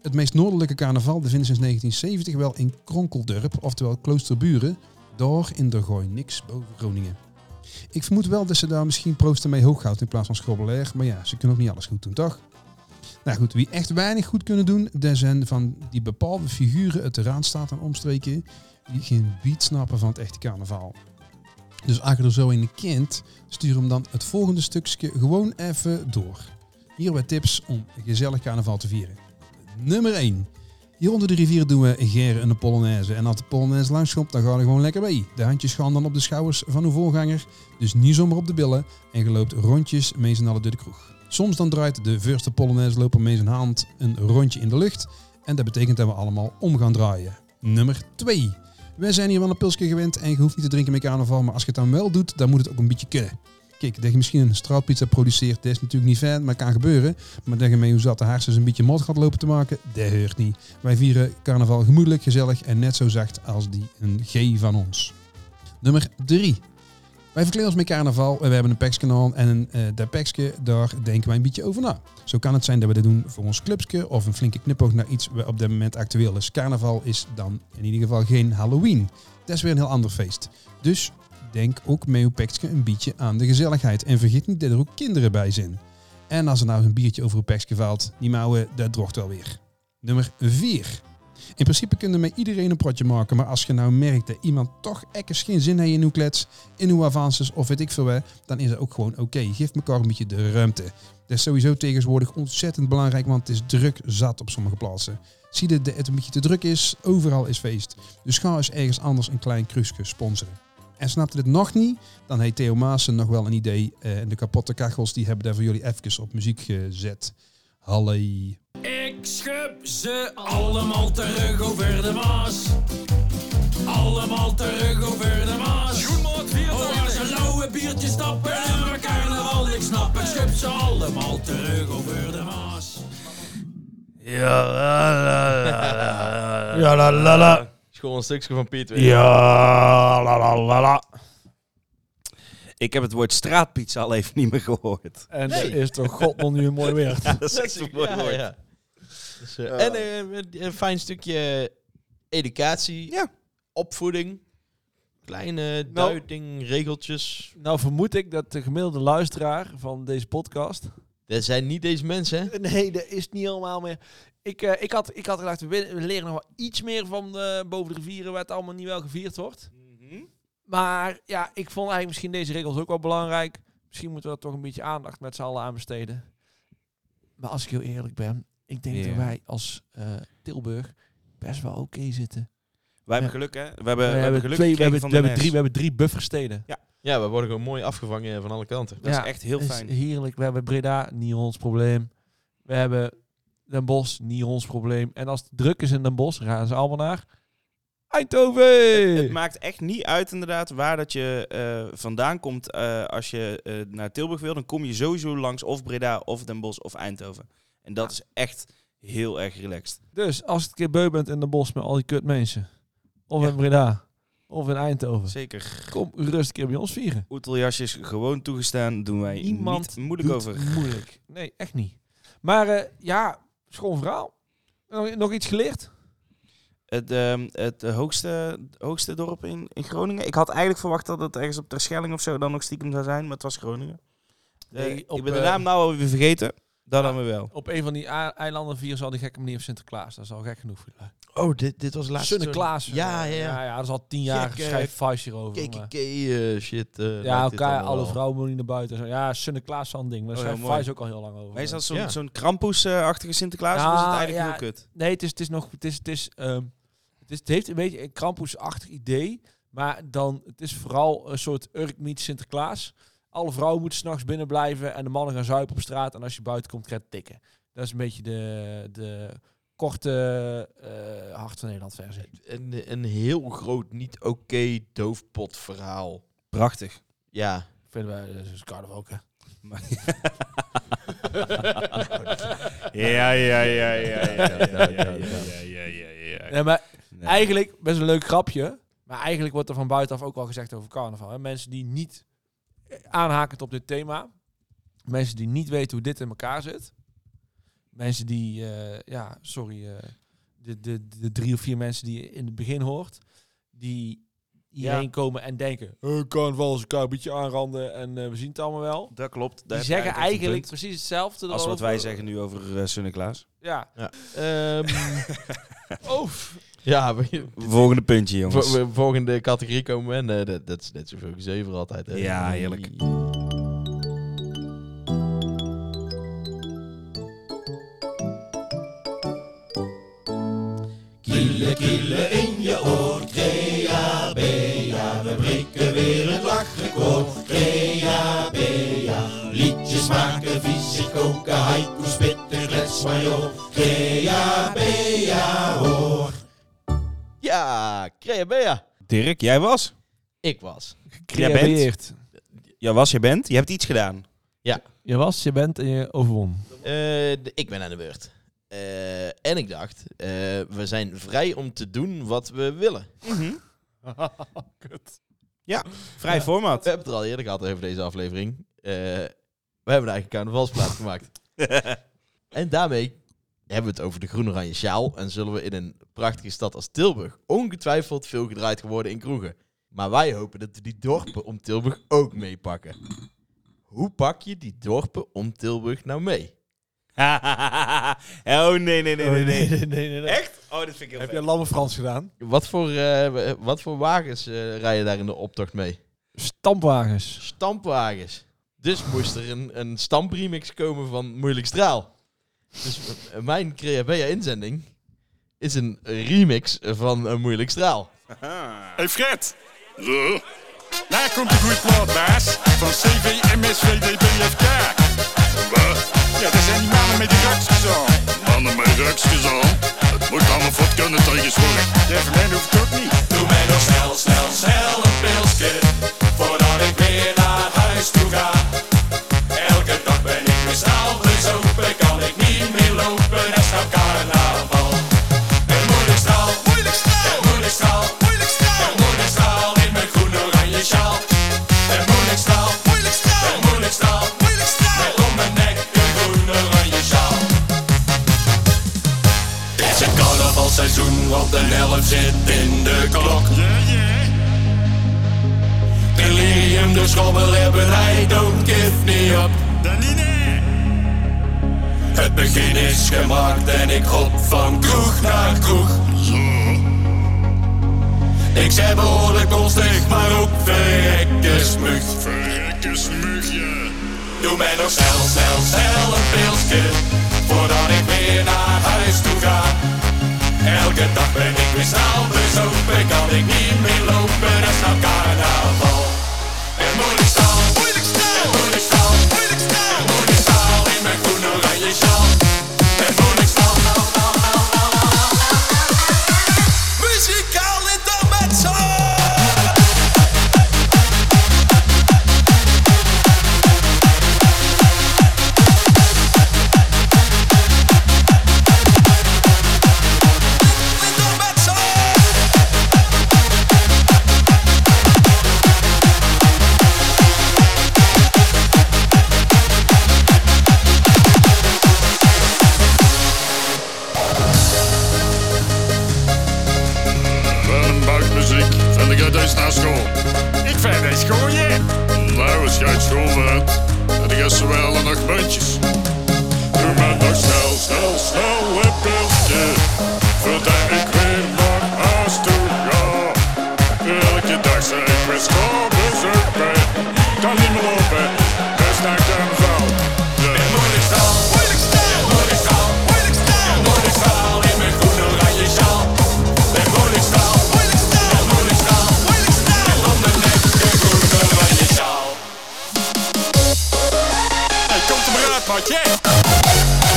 Speaker 22: Het meest noordelijke carnaval bevindt sinds 1970 wel in Kronkeldurp, oftewel Kloosterburen, door in de Gooi, niks boven Groningen. Ik vermoed wel dat ze daar misschien proosten mee hooghoudt in plaats van schrobbelair, maar ja, ze kunnen ook niet alles goed doen, toch? Nou goed, wie echt weinig goed kunnen doen, dat zijn van die bepaalde figuren uit de raandstaat en omstreken die geen bied snappen van het echte carnaval. Dus als je er zo een kind, stuur hem dan het volgende stukje gewoon even door. Hier wat tips om een gezellig carnaval te vieren. Nummer 1. Hier onder de rivier doen we geren en de Polonaise. En als de Polonaise langskomt, dan ga je gewoon lekker mee. De handjes gaan dan op de schouders van uw voorganger. Dus niet zomaar op de billen. En je loopt rondjes mee z'n allen door de kroeg. Soms dan draait de eerste Polonaise loper mee zijn hand een rondje in de lucht. En dat betekent dat we allemaal om gaan draaien. Nummer 2. Wij zijn hier wel een pilsje gewend en je hoeft niet te drinken met carnaval. Maar als je het dan wel doet, dan moet het ook een beetje kunnen. Kijk, dat je misschien een straatpizza produceert, dat is natuurlijk niet fijn, maar kan gebeuren. Maar dat je met hoe zat de haarsjes een beetje mot gaat lopen te maken, dat heurt niet. Wij vieren carnaval gemoedelijk, gezellig en net zo zacht als die een G van ons. Nummer 3. Wij verkleden ons met carnaval en we hebben een pekskanaal en een, eh dat pekske, daar denken wij een beetje over na. Zo kan het zijn dat we dit doen voor ons clubske of een flinke knipoog naar iets wat op dit moment actueel is. Carnaval is dan in ieder geval geen Halloween. Dat is weer een heel ander feest. Dus denk ook met uw pekske een beetje aan de gezelligheid en vergeet niet dat er ook kinderen bij zijn. En als er nou eens een biertje over uw pekske valt, die mouwen, dat droogt wel weer. Nummer 4. In principe kunnen met iedereen een protje maken, maar als je nou merkt dat iemand toch ekkers geen zin heeft in uw klets, in uw avances of weet ik veel wat, dan is dat ook gewoon oké. Geef elkaar een beetje de ruimte. Dat is sowieso tegenwoordig ontzettend belangrijk, want het is druk zat op sommige plaatsen. Zie je dat het een beetje te druk is, overal is feest. Dus ga eens ergens anders een klein kruisje sponsoren. En snapte dit nog niet, dan heeft Theo Maassen nog wel een idee. Eh, en de kapotte kachels die hebben daar voor jullie even op muziek gezet. Halle.
Speaker 11: Ik schub ze allemaal terug over de Maas. Allemaal terug over de Maas. Oh, waar ze lauwe biertjes stappen en waar carnaval ik snap. Ik schub ze allemaal terug over de Maas.
Speaker 3: Ja, la, la, la, la, la.
Speaker 2: Eh. Ja, la, la, la. Is gewoon een stukje van Piet. weer.
Speaker 3: Ja, la, la, la, la. Ik heb het woord straatpizza al even niet meer gehoord.
Speaker 4: En dat is toch godnon nu een mooi woord.
Speaker 3: Ja, dat is echt een mooi
Speaker 2: Ja,
Speaker 3: woord.
Speaker 2: ja. Dus, eh,
Speaker 3: Ja.
Speaker 2: En eh, een fijn stukje educatie, opvoeding, kleine duiding, regeltjes.
Speaker 4: Nou vermoed ik dat de gemiddelde luisteraar van deze podcast...
Speaker 2: Dat zijn niet deze mensen, hè?
Speaker 4: Nee, dat is niet allemaal meer... Ik, eh, ik, had, ik had gedacht, we, win- we leren nog wel iets meer van de, boven de rivieren... waar het allemaal niet wel gevierd wordt.
Speaker 3: Mhm.
Speaker 4: Maar ja, ik vond eigenlijk misschien deze regels ook wel belangrijk. Misschien moeten we er toch een beetje aandacht met z'n allen aan besteden. Maar als ik heel eerlijk ben, ik denk
Speaker 3: Ja.
Speaker 4: dat wij als eh, Tilburg best wel oké zitten.
Speaker 3: Wij hebben
Speaker 4: Ja.
Speaker 3: geluk, hè? We hebben, we hebben geluk
Speaker 4: twee, we
Speaker 3: gekregen
Speaker 4: hebben,
Speaker 3: van
Speaker 4: we
Speaker 3: de
Speaker 4: hebben drie,
Speaker 3: NS.
Speaker 4: we hebben drie buffersteden.
Speaker 3: Ja.
Speaker 2: Ja, we worden gewoon mooi afgevangen eh, van alle kanten.
Speaker 3: Dat is echt heel
Speaker 4: het
Speaker 3: fijn.
Speaker 4: heerlijk. We hebben Breda, niet ons probleem. We hebben Den Bosch, niet ons probleem. En als het druk is in Den Bosch, gaan ze allemaal naar Eindhoven.
Speaker 3: Het maakt echt niet uit inderdaad waar dat je eh, vandaan komt. Eh, als je eh, naar Tilburg wil, dan kom je sowieso langs of Breda of Den Bosch of Eindhoven. En dat is echt heel erg relaxed.
Speaker 4: Dus als het een keer beu bent in Den Bosch met al die kut mensen. Of in Breda. Of in Eindhoven.
Speaker 3: Zeker.
Speaker 4: Kom rustig een keer bij ons vieren.
Speaker 3: Oeteljasjes gewoon toegestaan, doen wij
Speaker 4: Niemand
Speaker 3: niet moeilijk
Speaker 4: doet
Speaker 3: over.
Speaker 4: moeilijk. Nee, echt niet. Maar eh, ja, schoon verhaal. Nog, nog iets geleerd?
Speaker 3: Het, ehm, het hoogste, hoogste dorp in, in Groningen. Ik had eigenlijk verwacht dat het ergens op Terschelling of zo dan nog stiekem zou zijn, maar het was Groningen. Eh,
Speaker 4: Nee, op,
Speaker 3: ik ben de
Speaker 4: eh,
Speaker 3: naam nou alweer vergeten. Dat dan weer wel.
Speaker 4: Op een van die a- eilanden vieren ze al die gekke manier op Sinterklaas. Dat is al gek genoeg voor jullie.
Speaker 2: Oh, dit, dit was de laatste.
Speaker 4: Sinterklaas.
Speaker 2: Ja, ja,
Speaker 4: eh, ja.
Speaker 2: ja.
Speaker 4: ja, dat is al tien jaar
Speaker 2: Gekke
Speaker 4: schrijf vuist hierover. maar-
Speaker 2: KKK eh, shit. eh,
Speaker 4: ja,
Speaker 2: lijkt dit
Speaker 4: elkaar,
Speaker 2: allemaal
Speaker 4: alle
Speaker 2: wel.
Speaker 4: vrouwen moeten niet naar buiten. en zo. Ja, Sinterklaas zo'n ding. Maar daar
Speaker 3: Oh, ja,
Speaker 4: schrijft
Speaker 3: mooi.
Speaker 4: Vuist ook al heel lang over.
Speaker 3: Hij is dat zo'n
Speaker 4: Ja.
Speaker 3: zo'n Krampus-achtige Sinterklaas? of is het
Speaker 4: Ja,
Speaker 3: eigenlijk
Speaker 4: Nou, ja,
Speaker 3: heel kut?
Speaker 4: Nee, het is, het is nog. Het, is, het, is, ehm, het, is, het heeft een beetje een krampusachtig idee. Maar dan, het is vooral een soort Urk meets Sinterklaas. Alle vrouwen moeten s'nachts binnen blijven en de mannen gaan zuipen op straat. En als je buiten komt, krijg je tikken. Dat is een beetje de, de korte eh, Hart van Nederland versie.
Speaker 2: Een, een heel groot, niet oké doofpot verhaal.
Speaker 3: Prachtig.
Speaker 2: Ja.
Speaker 4: Vinden wij, dat is carnaval ook, hè?
Speaker 3: Ja, ja, ja, ja, ja, ja, ja, ja, ja, ja, ja, ja.
Speaker 4: Nee, maar Eigenlijk best een leuk grapje. Maar eigenlijk wordt er van buitenaf ook wel gezegd over carnaval. Hè? Mensen die niet eh, aanhakend op dit thema. Mensen die niet weten hoe dit in elkaar zit. Mensen die, eh, ja, sorry, eh, de, de, de drie of vier mensen die je in het begin hoort. Die hierheen
Speaker 3: Ja.
Speaker 4: komen en denken, eh carnaval is elkaar een beetje aanranden en eh, we zien het allemaal wel.
Speaker 3: Dat klopt.
Speaker 4: die zeggen eigenlijk precies hetzelfde.
Speaker 3: als wat
Speaker 4: erover.
Speaker 3: wij zeggen nu over eh Sinterklaas.
Speaker 4: Ja. Ehm.
Speaker 2: Ja.
Speaker 4: Oof.
Speaker 2: Ja, we-
Speaker 3: Volgende puntje, jongens.
Speaker 2: Vo- we- volgende categorie komen we en eh, dat, dat is net zoveel gezever altijd. Hè?
Speaker 3: Ja, heerlijk.
Speaker 11: Kielen, kielen in je oor, Crea Bea. We breken weer het lachrecord, Crea Bea. Liedjes maken, vieze koken, haiku spitten, klets major, Crea Bea hoor.
Speaker 2: Ja, Crea Bea.
Speaker 3: Dirk, jij was?
Speaker 2: Ik was.
Speaker 3: Jij bent? Jij was, je bent. Je hebt iets gedaan.
Speaker 2: Ja.
Speaker 4: Je was, je bent en je overwon.
Speaker 2: Eh, de- ik ben aan de beurt. Eh, en ik dacht, eh, we zijn vrij om te doen wat we willen.
Speaker 4: Kut.
Speaker 3: Ja, vrij format.
Speaker 2: We hebben het er al eerder gehad over deze aflevering. Eh, we hebben een eigen carnavalsplaat gemaakt. en daarmee hebben we het over de groen-oranje sjaal. En zullen we in een prachtige stad als Tilburg ongetwijfeld veel gedraaid geworden in kroegen. Maar wij hopen dat we die dorpen om Tilburg ook meepakken. Hoe pak je die dorpen om Tilburg nou mee?
Speaker 3: oh nee, nee, nee, nee, nee.
Speaker 2: Echt?
Speaker 3: Oh, dat vind ik heel
Speaker 4: Heb
Speaker 3: vet.
Speaker 4: je Lamme Frans gedaan?
Speaker 2: Wat voor, eh, wat voor wagens eh, rijden daar in de optocht mee?
Speaker 4: Stampwagens.
Speaker 2: Stampwagens. Dus moest er een, een stampremix komen van Moeilijk Straal. Dus m- mijn Creabea-inzending is een remix van eh, Moeilijk Straal.
Speaker 10: Hey Fred! Daar komt de goede plaat, baas. Van CV, MSVDBFK. Ja, dat zijn die mannen met die rakstjes aan. Mannen met rakstjes aan? Het moet allemaal wat kunnen tegen zorg. Ja, van mij hoeft het ook niet.
Speaker 11: Doe mij nog snel, snel, snel een pilsje, voordat ik weer naar huis toe ga. Elke dag ben ik weer snel bezopen, kan ik niet meer lopen, het is nou carnaval. Het moeilijk straal, moeilijk straal, het moeilijk straal, moeilijk straal, het moeilijk straal in mijn groen oranje sjaal. Het moeilijk straal, moeilijk straal, het moeilijk straal, moeilijk straal, met om mijn nek de groen oranje sjaal. Het is het carnavalseizoen, want de helft zit in de klok. Delirium, de schobbelhebberij, don't give me up. Het begin is gemaakt en ik hop van kroeg naar kroeg. Ik zei behoorlijk onsteeg, maar ook verrekkersmug. Verrekkersmug, ja. Doe mij nog snel, snel, snel een pilsje, voordat ik weer naar huis toe ga. Elke dag ben ik weer snel bezopen, kan ik niet meer lopen, dat is nou carnaval. Het moeilijk staal, moeilijk staal, het moeilijk staal, moeilijk staal, het moeilijk staal in mijn groen oranje sjaal. Het moeilijk staal, au, au, au, au, au, au. Muzikaal in de
Speaker 10: Wel een buikmuziek. En ik ga deze naar school. Ik vind deze school, ja. Nou, als jij uit school bent, dan ga ze wel en nog muntjes. Doe maar nog snel, snel, snel een pilsje. Voordat ik weer naar huis toe ga. Elke dag zeg ik weer school bezoeken. Kan niet meer lopen, dus naar een val. Moeilijk staan, moeilijk staan, moeilijk staan. Hey, komt er maar uit, maatje.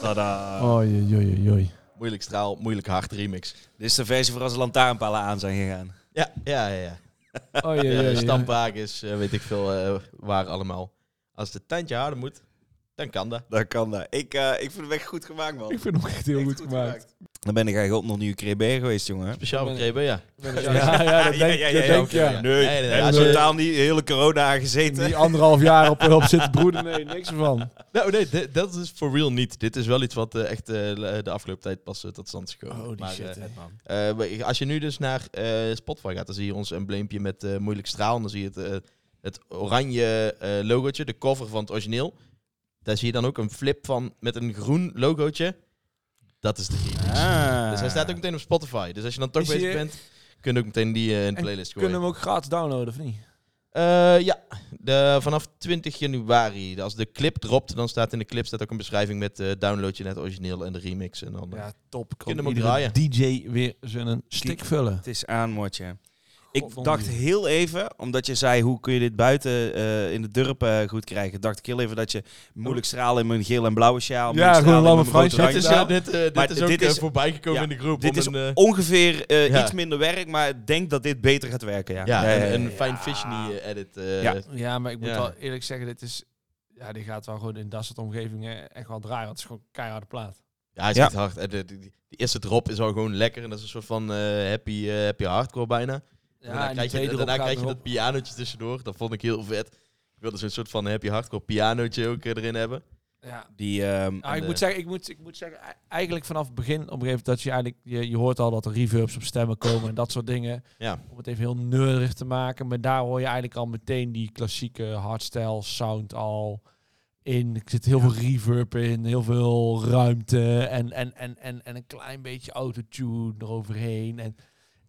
Speaker 3: Tada.
Speaker 4: Oei, oei, oei, oei.
Speaker 2: Moeilijk straal, moeilijk hard remix.
Speaker 3: Dit is de versie voor als de lantaarnpalen aan zijn gegaan.
Speaker 2: Ja, ja, ja. ja.
Speaker 4: Oh, ja, ja, ja.
Speaker 2: Stampwagens, eh, weet ik veel eh, waar allemaal. Als het tandje harder moet, dan kan dat.
Speaker 3: Dan kan dat. Ik, eh, ik vind hem echt goed gemaakt, man.
Speaker 4: Ik vind hem echt heel goed, gemaakt.
Speaker 3: Dan ben ik eigenlijk ook nog niet Crebe geweest, jongen.
Speaker 2: Speciaal voor Krebe, ja.
Speaker 4: Ja, ja, dat denk, dat denk ik, ja.
Speaker 3: Nee,
Speaker 2: Nee, nee,
Speaker 3: hij
Speaker 4: nee.
Speaker 3: heeft totaal niet de hele corona aangezeten.
Speaker 4: Die anderhalf jaar op, op zitten broeden, nee, niks ervan.
Speaker 2: Nou, nee, dit- dat is for real niet. Dit is wel iets wat eh, echt eh, de afgelopen tijd pas eh, tot stand is gekomen.
Speaker 4: Holy shit,
Speaker 2: eh,
Speaker 4: hè,
Speaker 2: eh, maar ik- als je nu dus naar eh, Spotify gaat, dan zie je ons embleempje met eh, moeilijk straal. En dan zie je het, eh, het oranje eh logootje, de cover van het origineel. Daar zie je dan ook een flip van met een groen logootje. Dat is de remix.
Speaker 3: Ah.
Speaker 2: Dus hij staat ook meteen op Spotify. Dus als je dan toch
Speaker 4: Is
Speaker 2: bezig
Speaker 4: hij-
Speaker 2: bent, kun je ook meteen die eh, in de
Speaker 4: En
Speaker 2: playlist gooien.
Speaker 4: Kunnen we hem ook gratis downloaden, of niet?
Speaker 2: Eh, ja, de, vanaf 20 januari. Als de clip dropt, dan staat in de clip staat ook een beschrijving met eh download je net origineel en de remix. En dan, eh,
Speaker 4: Ja, top. Kan
Speaker 2: Kunnen we hem
Speaker 4: iedere
Speaker 2: draaien.
Speaker 4: DJ weer zijn stick vullen.
Speaker 3: Het is aan, Mortje. Ik
Speaker 4: Goddomme.
Speaker 3: dacht heel even, omdat je zei hoe kun je dit buiten eh, in de dorp eh, goed krijgen, dacht ik heel even dat je moeilijk stralen in mijn geel en blauwe sjaal.
Speaker 4: Ja,
Speaker 3: moeilijk
Speaker 4: gewoon
Speaker 3: stralen in
Speaker 4: lange
Speaker 3: mijn rood
Speaker 4: Fransje.
Speaker 2: dit
Speaker 3: oranje
Speaker 2: is,
Speaker 3: sjaal.
Speaker 2: eh, dit, eh, dit
Speaker 3: Maar
Speaker 2: is ook eh, voorbijgekomen
Speaker 3: ja,
Speaker 2: in de groep.
Speaker 3: Dit
Speaker 2: om
Speaker 3: is
Speaker 2: een, eh,
Speaker 3: ongeveer eh,
Speaker 2: ja.
Speaker 3: iets minder werk, maar ik denk dat dit beter gaat werken. Ja,
Speaker 2: ja,
Speaker 3: Ja, ja, ja,
Speaker 2: een,
Speaker 3: ja.
Speaker 2: een fijn Fishny eh, edit. eh,
Speaker 3: Ja.
Speaker 4: Ja, maar ik moet
Speaker 2: Ja.
Speaker 4: wel eerlijk zeggen, dit is... Ja, die gaat wel gewoon in dat soort omgevingen echt wel draaien. want Het is gewoon een keiharde plaat.
Speaker 2: Ja, hij is
Speaker 3: Ja.
Speaker 2: echt hard. Eh, de- de- die eerste drop is al gewoon lekker. En dat is een soort van eh, happy, eh, happy hardcore bijna.
Speaker 4: Ja,
Speaker 2: daarna
Speaker 4: en die
Speaker 2: krijg je,
Speaker 4: tweede erop
Speaker 2: daarna
Speaker 4: gaat
Speaker 2: krijg je
Speaker 4: erop.
Speaker 2: dat pianootje tussendoor. Dat vond ik heel vet. Ik wilde zo'n soort van happy hardcore pianootje ook eh, erin hebben.
Speaker 4: Ja.
Speaker 3: Die, ehm,
Speaker 4: Ah, ik,
Speaker 2: de-
Speaker 4: moet zeggen, ik, moet, ik moet zeggen, ei- eigenlijk vanaf het begin op een gegeven moment dat je eigenlijk... Je, je hoort al dat er reverbs op stemmen komen en dat soort dingen.
Speaker 2: Ja.
Speaker 4: Om het even heel nerdig te maken. Maar daar hoor je eigenlijk al meteen die klassieke hardstyle sound al in. Er zit heel veel reverb in, heel veel ruimte en, en, en, en, en een klein beetje autotune eroverheen. En,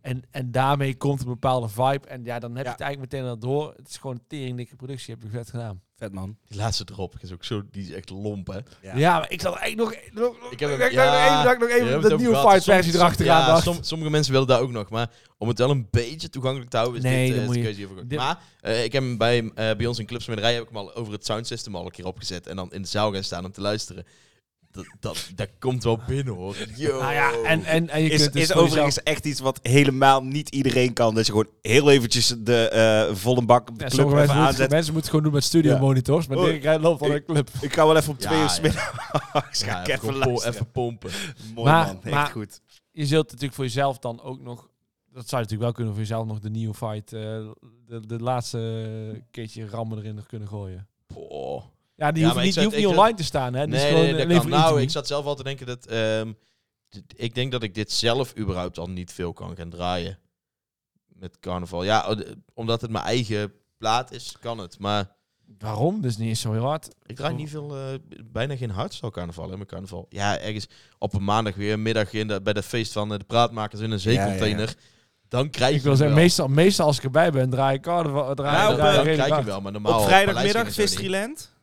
Speaker 4: en, en daarmee komt een bepaalde vibe. En ja, dan heb
Speaker 3: Ja.
Speaker 4: je het eigenlijk meteen al door. Het is gewoon een teringdikke productie, heb je vet gedaan.
Speaker 3: Vet man.
Speaker 2: Die laatste drop is ook zo, die is echt lomp, hè?
Speaker 4: Ja, maar ik zal eigenlijk nog... nog- nog-
Speaker 2: Ik heb hem,
Speaker 4: nog-
Speaker 2: ja,
Speaker 4: nog even, dat ik nog
Speaker 2: daar hebben we
Speaker 4: even
Speaker 2: het
Speaker 4: de
Speaker 2: over
Speaker 4: nieuwe
Speaker 2: gehad. dus
Speaker 4: fight versie
Speaker 2: Soms-
Speaker 4: erachteraan
Speaker 2: ja,
Speaker 4: dacht.
Speaker 2: som- sommige mensen willen dat ook nog. Maar om het wel een beetje toegankelijk te houden, is
Speaker 4: Nee,
Speaker 2: dit,
Speaker 4: dan
Speaker 2: eh, is
Speaker 4: moet
Speaker 2: de
Speaker 4: je-
Speaker 2: keuze hiervoor.
Speaker 4: dit-
Speaker 2: Maar eh, ik heb hem bij, eh, bij ons in Clubs met Rij heb ik hem al over het soundsystem al een keer opgezet. En dan in de zaal gaan staan om te luisteren. Dat, dat, dat komt wel binnen, hoor. Yo.
Speaker 4: Nou ja, en, en, en je
Speaker 3: Is,
Speaker 4: kunt dus
Speaker 3: is
Speaker 4: voor jezelf-
Speaker 3: overigens echt iets wat helemaal niet iedereen kan. Dat je gewoon heel eventjes de eh, volle bak op de
Speaker 4: Ja,
Speaker 3: club
Speaker 4: sommige
Speaker 3: even
Speaker 4: mensen moeten,
Speaker 3: aanzet.
Speaker 4: mensen moeten het gewoon doen met studio
Speaker 3: Ja.
Speaker 4: monitors. Maar
Speaker 3: Oh,
Speaker 4: Dirk Rijn loopt al
Speaker 3: ik-
Speaker 4: een club.
Speaker 3: Ik ga wel even op twee
Speaker 2: Ja,
Speaker 3: uur smiddags.
Speaker 2: Ja,
Speaker 3: ga
Speaker 2: even,
Speaker 3: ik even
Speaker 2: gewoon po-
Speaker 3: luisteren.
Speaker 2: even pompen.
Speaker 3: Mooi
Speaker 4: Maar-
Speaker 3: man, echt
Speaker 4: maar-
Speaker 3: goed.
Speaker 4: Je zult natuurlijk voor jezelf dan ook nog... Dat zou je natuurlijk wel kunnen voor jezelf nog de nieuwe fight... eh, de, de laatste keertje rammen erin nog kunnen gooien.
Speaker 2: Boah.
Speaker 4: Ja, die
Speaker 2: Ja,
Speaker 4: hoeft
Speaker 2: maar
Speaker 4: niet,
Speaker 2: ik
Speaker 4: die hoeft niet
Speaker 2: zou- ik zou-
Speaker 4: online te staan. Hè? Die is
Speaker 2: Nee,
Speaker 4: gewoon,
Speaker 2: nee,
Speaker 4: eh,
Speaker 2: dat
Speaker 4: alleen
Speaker 2: kan.
Speaker 4: voor
Speaker 2: Nou,
Speaker 4: YouTube.
Speaker 2: ik zat zelf al te denken dat... ehm, d- ik denk dat ik dit zelf überhaupt al niet veel kan gaan draaien. Met carnaval. Ja, o- d- omdat het mijn eigen plaat is, kan het. Maar
Speaker 4: Waarom? Dus niet eens zo heel hard.
Speaker 2: ik draai niet veel, eh, b- bijna geen hardstyle carnaval in mijn carnaval. Ja, ergens op een maandag weer, een middag in de, bij dat feest van eh, de praatmakers in een zeecontainer. Dan krijg je
Speaker 4: Ik wil zeggen,
Speaker 2: wel.
Speaker 4: meestal, meestal als ik erbij ben, draai ik carnaval. Draai,
Speaker 3: Nou,
Speaker 4: draai,
Speaker 2: dan,
Speaker 3: eh,
Speaker 2: dan
Speaker 4: redelijk
Speaker 2: krijg je
Speaker 4: hard.
Speaker 2: wel, maar normaal...
Speaker 3: Op
Speaker 2: Paleising
Speaker 3: vrijdagmiddag,
Speaker 2: en zo niet.
Speaker 3: Vistryland?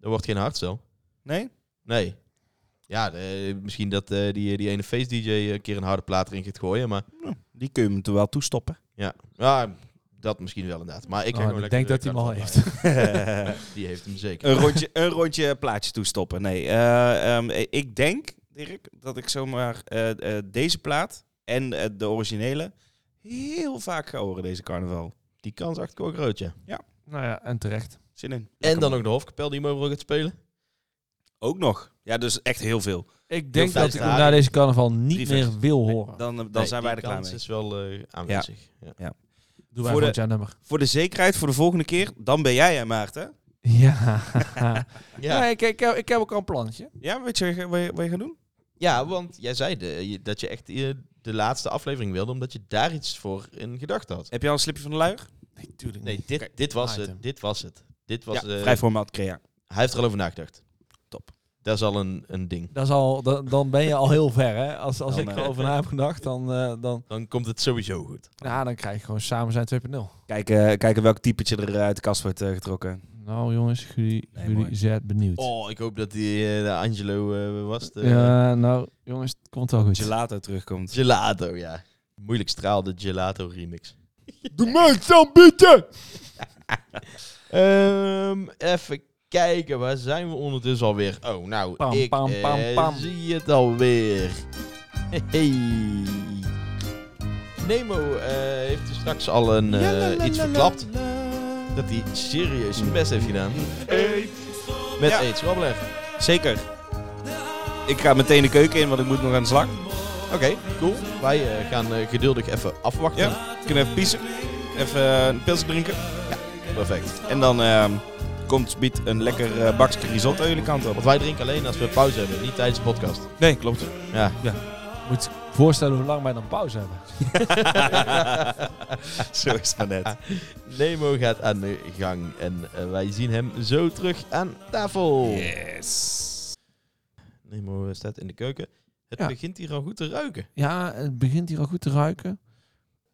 Speaker 2: Er wordt geen hardstyle.
Speaker 3: Nee?
Speaker 2: Nee. Ja, de- misschien dat eh, die, die ene feest-dj een keer een harde plaat erin gaat gooien, maar...
Speaker 3: Die kun je hem er wel toestoppen.
Speaker 2: Ja. ja, dat misschien wel inderdaad. Maar ik, ga
Speaker 4: Oh,
Speaker 2: gewoon
Speaker 4: ik
Speaker 2: lekker
Speaker 4: denk dat
Speaker 2: de
Speaker 4: hij hem al
Speaker 2: carnaval
Speaker 4: heeft.
Speaker 2: draaien. Die heeft hem zeker.
Speaker 3: een, rondje, een rondje plaatje toestoppen. Nee, eh, ehm, ik denk, Dirk, dat ik zomaar eh, eh, deze plaat en eh, de originele heel vaak ga horen deze carnaval.
Speaker 2: Die kans acht ik ook groot, ja.
Speaker 4: Nou ja, en terecht.
Speaker 3: Zin in.
Speaker 2: En dan ook de Hofkapel die mogen gaat spelen.
Speaker 3: Ook nog. Ja, dus echt heel veel.
Speaker 4: Ik denk
Speaker 2: fijn
Speaker 4: dat ik hem
Speaker 2: draaien.
Speaker 4: na deze carnaval niet
Speaker 3: Drie
Speaker 4: meer
Speaker 3: vers.
Speaker 4: wil horen.
Speaker 3: Dan, dan
Speaker 2: Nee,
Speaker 3: zijn
Speaker 2: die
Speaker 3: wij er klaar
Speaker 2: kans
Speaker 3: mee.
Speaker 2: is wel eh, aanwezig. Ja.
Speaker 4: Doe
Speaker 3: Voor
Speaker 4: wij
Speaker 3: de-
Speaker 4: volgend jaar nummer.
Speaker 3: Voor de zekerheid, voor de volgende keer, dan ben jij hè, Maarten.
Speaker 4: Ja.
Speaker 2: Ja.
Speaker 4: Nee, ik, ik, heb, ik heb ook al een plannetje.
Speaker 3: Ja, weet je wat je- wat je, wat je gaat doen?
Speaker 2: Ja, want jij zei de- je- dat je echt eh, de laatste aflevering wilde, omdat je daar iets voor in gedachten had.
Speaker 3: Heb je al een slipje van de luier?
Speaker 4: Nee, tuurlijk
Speaker 2: Nee, dit, dit was het.
Speaker 4: item.
Speaker 2: Dit was het. Dit was,
Speaker 3: Ja,
Speaker 2: eh,
Speaker 3: vrij formaat crea.
Speaker 2: hij heeft er al over nagedacht.
Speaker 3: Top.
Speaker 2: Dat is al een, een ding.
Speaker 4: Dat is al, dan, dan ben je al heel ver, hè? Als, als
Speaker 3: Dan,
Speaker 4: ik
Speaker 3: eh,
Speaker 4: erover na heb gedacht, dan, eh, dan,
Speaker 2: Dan komt het sowieso goed.
Speaker 4: nou, dan krijg je gewoon samen zijn 2.0.
Speaker 3: Kijken, eh, kijken welk typetje er uit de kast wordt eh, getrokken.
Speaker 4: Nou, jongens, jullie,
Speaker 3: Nee,
Speaker 4: jullie
Speaker 3: mooi.
Speaker 4: zijn benieuwd.
Speaker 2: Oh, ik hoop dat die eh, de Angelo eh, was. De
Speaker 4: ja, nou, jongens, het komt wel goed.
Speaker 3: Gelato terugkomt.
Speaker 2: Gelato, ja. Moeilijk straal, de Gelato remix.
Speaker 4: Doe mij het bieden!
Speaker 2: Ehm, even kijken, waar zijn we ondertussen alweer? Oh, nou,
Speaker 4: Pam,
Speaker 2: ik
Speaker 4: pam, pam,
Speaker 2: eh,
Speaker 4: pam.
Speaker 2: zie het alweer. Hey. Nemo eh, heeft dus straks al een, eh, iets verklapt. Dat hij serieus zijn best heeft gedaan. Met
Speaker 3: Ja.
Speaker 2: aids, wel belegd.
Speaker 3: Zeker. Ik ga meteen de keuken in, want ik moet nog aan de slag.
Speaker 2: Oké, cool. Wij eh, gaan eh, geduldig even afwachten.
Speaker 3: Kunnen even piezen. Even eh, een pilsje drinken. Ja,
Speaker 2: perfect.
Speaker 3: En dan ehm, komt biedt een lekker eh, bakje risotto jullie kant op.
Speaker 2: Want wij drinken alleen als we pauze hebben, niet tijdens de podcast.
Speaker 3: Nee, klopt.
Speaker 2: Ja.
Speaker 3: ja.
Speaker 4: Moet voorstellen hoe lang wij dan pauze hebben.
Speaker 3: zo is dat net.
Speaker 2: Nemo gaat aan de gang en eh, wij zien hem zo terug aan tafel.
Speaker 3: Yes.
Speaker 2: Nemo eh, staat in de keuken. Het
Speaker 4: Ja.
Speaker 2: begint hier al goed te ruiken.
Speaker 4: Ja, het begint hier al goed te ruiken.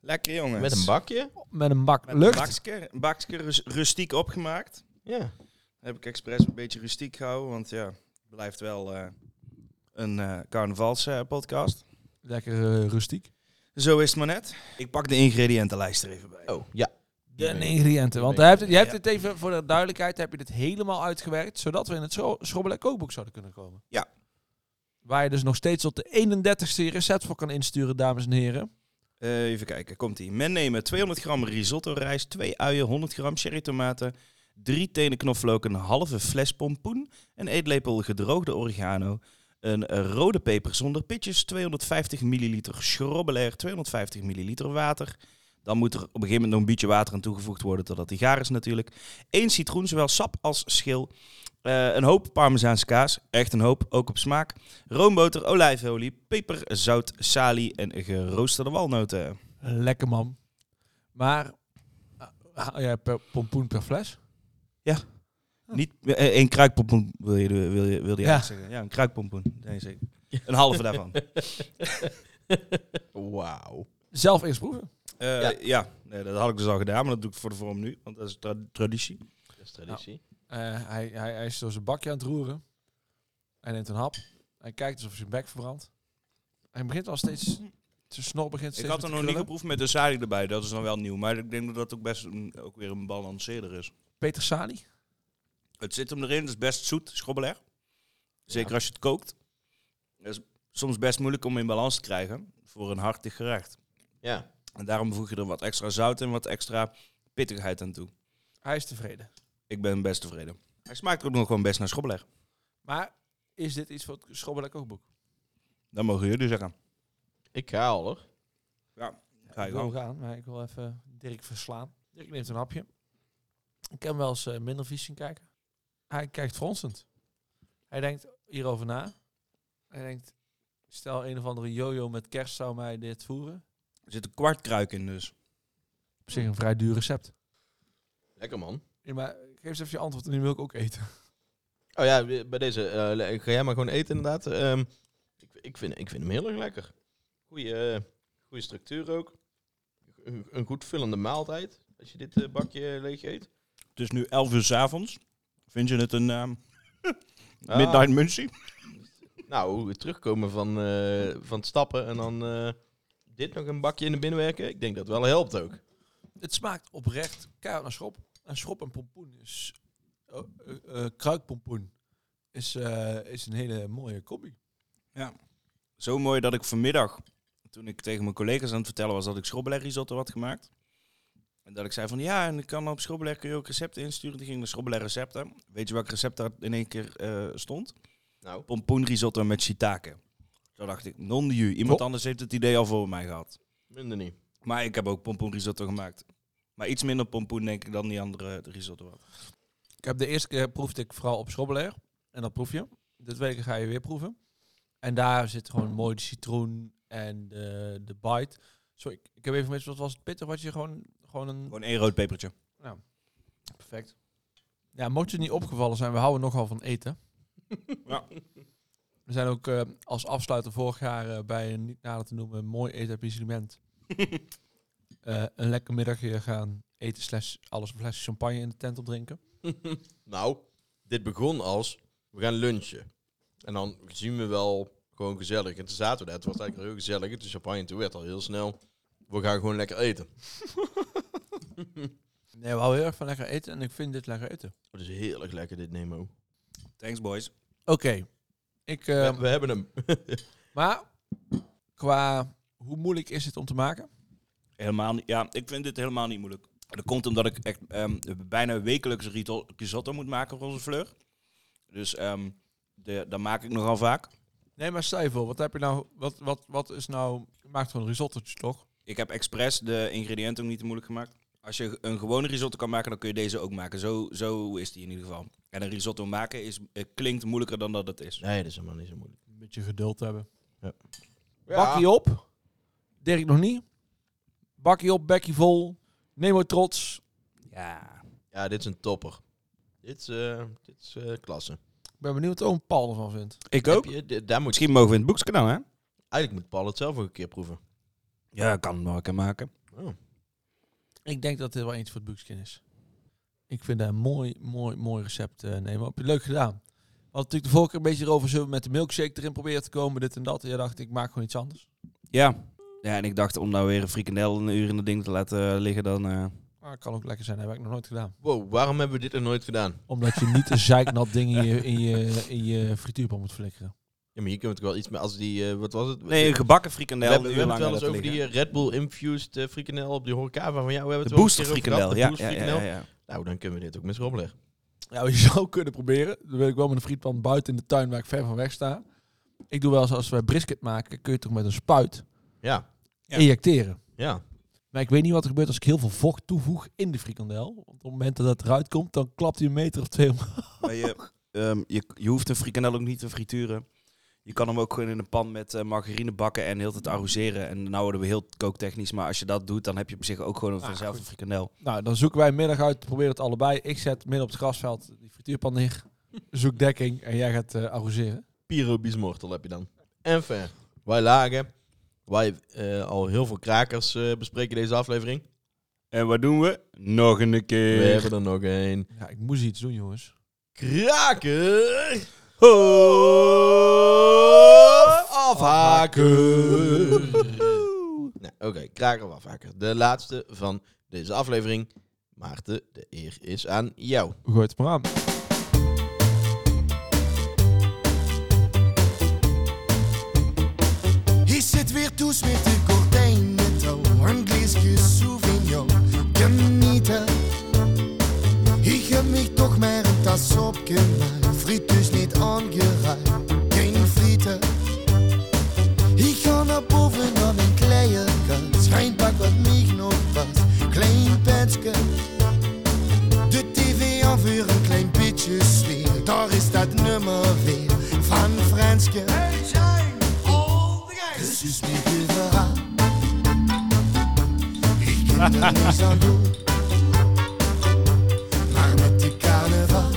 Speaker 3: Lekker jongens.
Speaker 2: Met een bakje?
Speaker 4: Met een bak
Speaker 3: Met
Speaker 4: lucht.
Speaker 3: Een bakje, een bakje rus- rustiek opgemaakt.
Speaker 2: Ja.
Speaker 3: Heb ik expres een beetje rustiek gehouden, want ja, het blijft wel eh, een eh carnavalspodcast.
Speaker 4: Lekker eh, rustiek.
Speaker 3: Zo is het maar net. Ik pak de ingrediëntenlijst er even bij.
Speaker 2: Oh, ja.
Speaker 4: De ingrediënten. Want je hebt, je hebt het even voor de duidelijkheid, heb je dit helemaal uitgewerkt, zodat we in het schro- schrobbelen kookboek zouden kunnen komen.
Speaker 3: Ja.
Speaker 4: Waar je dus nog steeds tot de 31ste je recept voor kan insturen, dames en heren.
Speaker 3: Eh, even kijken, komt ie. Men nemen 200 gram risotto rijst, 2 uien, 100 gram cherry tomaten, 3 tenen knoflook, een halve fles pompoen, een eetlepel gedroogde oregano, een eh, rode peper zonder pitjes, 250 milliliter schrobbelair, 250 milliliter water. Dan moet er op een gegeven moment nog een beetje water aan toegevoegd worden, totdat die gaar is natuurlijk. Eén citroen, zowel sap als schil. Eh, een hoop Parmezaanse kaas, echt een hoop, ook op smaak. Roomboter, olijfolie, peper, zout, salie en geroosterde walnoten.
Speaker 4: Lekker man. Maar eh, haal jij per pompoen per fles?
Speaker 3: Niet eh, één kruikpompoen wil je, wil je, wil je
Speaker 4: Oh. Ja.
Speaker 3: ja. zeggen. Ja, een kruikpompoen. Nee, zeker. Een halve daarvan.
Speaker 2: Wauw.
Speaker 4: Zelf eerst proeven.
Speaker 3: Eh, ja, Nee, dat had ik dus al gedaan, maar dat doe ik voor de vorm nu, want dat is tra- traditie.
Speaker 2: Dat is traditie.
Speaker 4: Eh, hij, hij, hij is door zijn bakje aan het roeren. Hij neemt een hap. Hij kijkt alsof zijn bek verbrandt. Hij begint al steeds... Zijn snor begint
Speaker 3: Ik
Speaker 4: steeds
Speaker 3: had
Speaker 4: meer te
Speaker 3: er nog niet
Speaker 4: krullen.
Speaker 3: geproefd met de salie erbij, dat is dan wel nieuw. Maar ik denk dat dat ook best een- ook weer een balanceerder is.
Speaker 4: Peter Sali?
Speaker 3: Het zit hem erin, het is best zoet, schrobbeler. Zeker als je het kookt. Het is soms best moeilijk om in balans te krijgen voor een hartig gerecht.
Speaker 2: Ja.
Speaker 3: En daarom voeg je er wat extra zout en wat extra pittigheid aan toe.
Speaker 4: Hij is tevreden.
Speaker 3: Ik ben best tevreden. Hij smaakt ook nog gewoon best naar schrobbeler.
Speaker 4: Maar is dit iets voor het Schrobbelen Kookboek?
Speaker 3: Dat mogen jullie zeggen.
Speaker 2: Ik ga al hoor.
Speaker 3: Ja, ga je
Speaker 4: ik wil
Speaker 3: gang.
Speaker 4: gaan, maar ik wil even Dirk verslaan. Dirk neemt een hapje. Ik heb hem wel eens eh, minder vies zien kijken. Hij kijkt fronsend. Hij denkt hierover na. Hij denkt, stel een of andere jojo met kerst zou mij dit voeren.
Speaker 3: Er zit een kwart kruik in dus.
Speaker 4: Op zich een vrij duur recept.
Speaker 2: Lekker man.
Speaker 4: Ja, maar geef eens even je antwoord en nu wil ik ook eten.
Speaker 2: Oh ja, bij deze. eh, le- ga jij maar gewoon eten inderdaad. Ehm, ik, ik, vind, ik vind hem heel erg lekker. Goeie, eh, goeie structuur ook. Een, een goed vullende maaltijd. Als je dit eh, bakje leeg eet.
Speaker 3: Het is nu 11 uur 's avonds. Vind je het een ehm,
Speaker 2: Ah.
Speaker 3: midnight munchie?
Speaker 2: Nou, het terugkomen van, eh, van het stappen en dan eh, dit nog een bakje in de binnenwerken. Ik denk dat wel helpt ook.
Speaker 4: Het smaakt oprecht keihard naar schop. En schop en pompoen is... oh, eh, eh, kruikpompoen is, eh, is een hele mooie combi.
Speaker 3: Ja. Zo mooi dat ik vanmiddag, toen ik tegen mijn collega's aan het vertellen was dat ik schrobbeler risotto had gemaakt. En dat ik zei van ja, en ik kan op schrobbeler kun je ook recepten insturen. Die ging naar schrobbeler recepten. Weet je welk recept daar in één keer eh, stond?
Speaker 2: Nou.
Speaker 3: Pompoen risotto met shiitake. Toen dacht ik, non de ju. Iemand
Speaker 2: Oh.
Speaker 3: anders heeft het idee al voor mij gehad.
Speaker 2: Minder niet.
Speaker 3: Maar ik heb ook pompoen risotto gemaakt. Maar iets minder pompoen denk ik dan die andere risotto had.
Speaker 4: Ik heb de eerste keer eh, proefde ik vooral op schrobbelair. En dat proef je. De tweede keer ga je weer proeven. En daar zit gewoon mooi de citroen en de, de bite. Sorry, ik, ik heb even mis, wat was het pittig? Wat je gewoon, gewoon een...
Speaker 3: Gewoon één rood pepertje.
Speaker 4: Nou, perfect. Ja, mocht je het niet opgevallen zijn, we houden nogal van eten.
Speaker 3: Ja.
Speaker 4: We zijn ook eh, als afsluiter vorig jaar eh, bij een niet nader te noemen mooi eetablissement. eh een lekker middagje gaan eten slash alles een flesje champagne in de tent opdrinken.
Speaker 2: Nou, dit begon als we gaan lunchen. En dan zien we wel gewoon gezellig. En toen zaten we daar. Het was eigenlijk heel gezellig. Toen champagne, toen werd al heel snel. We gaan gewoon lekker eten.
Speaker 4: Nee, we houden heel erg van lekker eten en ik vind dit lekker eten.
Speaker 2: Het Oh, is heerlijk lekker, dit Nemo.
Speaker 3: Thanks, boys.
Speaker 4: Oké. Ik, ehm,
Speaker 2: We- we hebben hem.
Speaker 4: maar qua hoe moeilijk is het om te maken?
Speaker 3: Helemaal niet. Ja, ik vind dit helemaal niet moeilijk. Dat komt omdat ik echt ehm, bijna wekelijks rito- risotto moet maken voor onze fleur. Dus ehm de, dat maak ik nogal vaak.
Speaker 4: Nee, maar stel je voor, wat heb je nou, wat, wat, wat is nou, je maakt gewoon risotto's toch?
Speaker 3: Ik heb expres de ingrediënten ook niet te moeilijk gemaakt. Als je een gewone risotto kan maken, dan kun je deze ook maken. Zo, zo is die in ieder geval. En een risotto maken is, eh, klinkt moeilijker dan dat het is.
Speaker 2: Nee, dat is helemaal niet zo moeilijk.
Speaker 4: Een beetje geduld hebben.
Speaker 2: Ja.
Speaker 4: Bakkie op. Dirk nog niet. Bakkie op, bekkie vol. Nemo trots.
Speaker 3: Ja.
Speaker 2: Ja, dit is een topper. Dit is, eh, dit is eh, klasse.
Speaker 4: Ik ben benieuwd wat oom Paul ervan vindt.
Speaker 3: Ik
Speaker 2: Heb
Speaker 3: ook.
Speaker 2: je- d- daar moet
Speaker 3: Misschien mogen we in het boekskanaal, hè?
Speaker 2: Eigenlijk moet Paul het zelf ook een keer proeven.
Speaker 3: Ja, ik kan het wel een keer maken.
Speaker 4: Ik denk dat dit wel iets voor het Buckskin is. Ik vind dat een mooi, mooi, mooi recept eh nemen. Heb je leuk gedaan. We hadden natuurlijk de vorige keer een beetje erover zullen we met de milkshake erin proberen te komen, dit en dat. En jij dacht, ik maak gewoon iets anders.
Speaker 3: Ja. Ja, en ik dacht om nou weer een frikandel een uur in dat ding te laten liggen, dan... eh,
Speaker 4: Maar het kan ook lekker zijn, dat heb Ah, ik nog nooit gedaan.
Speaker 2: Wow, waarom hebben we dit nog nooit gedaan?
Speaker 4: Omdat je niet een zeiknat ding in je, in je, in je frituurpan moet flikkeren.
Speaker 2: Ja, maar hier kunnen we toch wel iets mee als die, eh, wat was het?
Speaker 3: Nee, een gebakken frikandel,
Speaker 2: We hebben,
Speaker 3: een
Speaker 2: we hebben
Speaker 3: uur
Speaker 2: het wel
Speaker 3: lang
Speaker 2: eens over
Speaker 3: laten
Speaker 2: die eh, Red Bull infused eh, frikandel op die horecava van jou. We hebben
Speaker 3: De
Speaker 2: het wel eens
Speaker 3: booster
Speaker 2: een keer over gehad,
Speaker 3: frikandel,
Speaker 2: de
Speaker 3: ja,
Speaker 2: booster
Speaker 3: ja, ja,
Speaker 2: frikandel.
Speaker 3: ja.
Speaker 2: Nou, dan kunnen we dit ook met schrobbelen.
Speaker 4: Ja, Nou, je zou kunnen proberen. Dan wil ik wel met een frietpan buiten in de tuin waar ik ver van weg sta. Ik doe wel eens als we brisket maken, kun je toch met een spuit
Speaker 2: Ja. Ja.
Speaker 4: injecteren.
Speaker 2: Ja.
Speaker 4: Maar ik weet niet wat er gebeurt als ik heel veel vocht toevoeg in de frikandel. Want op het moment dat dat eruit komt, dan klapt hij een meter of twee omhoog.
Speaker 3: Maar je, ehm, je, je hoeft een frikandel ook niet te frituren. Je kan hem ook gewoon in een pan met eh, margarine bakken en heel het arroseren. En nou worden we heel kooktechnisch, maar als je dat doet, dan heb je op zich ook gewoon een
Speaker 4: Ah,
Speaker 3: vanzelf een
Speaker 4: goed.
Speaker 3: frikandel.
Speaker 4: Nou, dan zoeken wij een middag uit, proberen het allebei. Ik zet midden op het grasveld die frituurpan neer, zoek dekking en jij gaat eh arroseren.
Speaker 2: Piro Bismortel heb je dan. En ver. Wij lagen. Wij eh, al heel veel krakers eh, bespreken deze aflevering.
Speaker 3: En wat doen we? Nog een keer.
Speaker 2: We hebben er nog één.
Speaker 4: Ja, ik moest iets doen, jongens.
Speaker 2: Kraker! Afhaken! nou, Oké, kraker of afhaken. De laatste van deze aflevering. Maarten, de eer is aan jou.
Speaker 4: Gooi het maar aan.
Speaker 1: Hier zit weer Toes met de gordijnen touw. Een glaasje sauvignon, genieten. Ik heb mich toch maar een tas opgemaakt. Friet dus niet aangeraakt, geen frieten. Ik ga naar boven naar mijn kleienkast. Schijnpak wat mij nog past, klein petske. De tv aan weer een klein beetje sfeer. Daar is dat nummer weer van Franske. Het is niet te verhaal. Ik ken er niks aan doen. Maar met de carnaval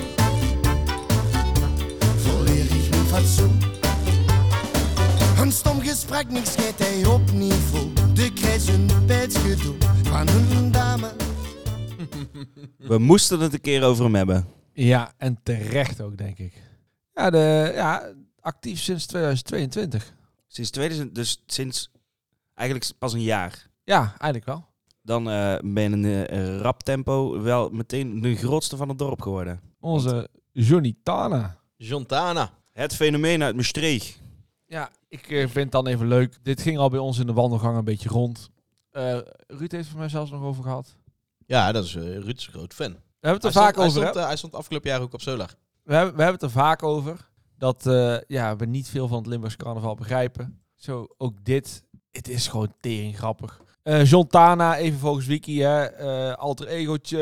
Speaker 1: verleer ik mijn fatsoen. Een stom gesprek, niks schijnt hij op niveau. De krijg een pijtsgedoe van een dame.
Speaker 3: We moesten het een keer over hem hebben.
Speaker 4: Ja, en terecht ook, denk ik. Ja, de, ja actief sinds 2022.
Speaker 3: Sinds 2000, dus sinds eigenlijk pas een jaar.
Speaker 4: Ja, eigenlijk wel.
Speaker 3: Dan eh, ben je in een rap tempo wel meteen de grootste van het dorp geworden.
Speaker 4: Onze Johnny Tana.
Speaker 2: Jontana.
Speaker 3: Het fenomeen uit Maastricht.
Speaker 4: Ja, ik eh, vind het dan even leuk. Dit ging al bij ons in de wandelgang een beetje rond. Eh, Ruud heeft het voor mij zelfs nog over gehad.
Speaker 2: Ja, dat is eh, Ruud's groot fan.
Speaker 4: We hebben het er vaak
Speaker 2: Hij stond- hij
Speaker 4: over,
Speaker 2: stond,
Speaker 4: hè?
Speaker 2: eh, hij stond afgelopen jaar ook op Solar.
Speaker 4: We hebben, we hebben het er vaak over. Dat eh, ja, we niet veel van het Limburgse carnaval begrijpen. Zo, ook dit. Het is gewoon tering grappig. Eh John Tana, even volgens Wiki, hè, eh, alter egootje.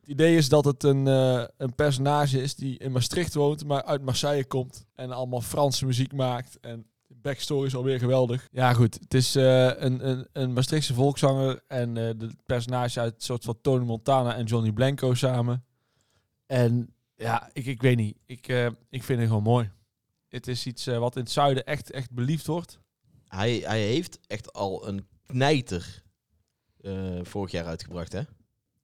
Speaker 4: Het idee is dat het een, eh, een personage is die in Maastricht woont, maar uit Marseille komt. En allemaal Franse muziek maakt. En de backstory is alweer geweldig. Ja goed, het is eh, een, een, een Maastrichtse volkszanger en eh de personage uit een soort van Tony Montana en Johnny Blanco samen. En ja, ik, ik weet niet. Ik, eh, ik vind het gewoon mooi. Het is iets eh, wat in het zuiden echt, echt beliefd wordt.
Speaker 2: Hij, hij heeft echt al een knijter eh, vorig jaar uitgebracht, hè?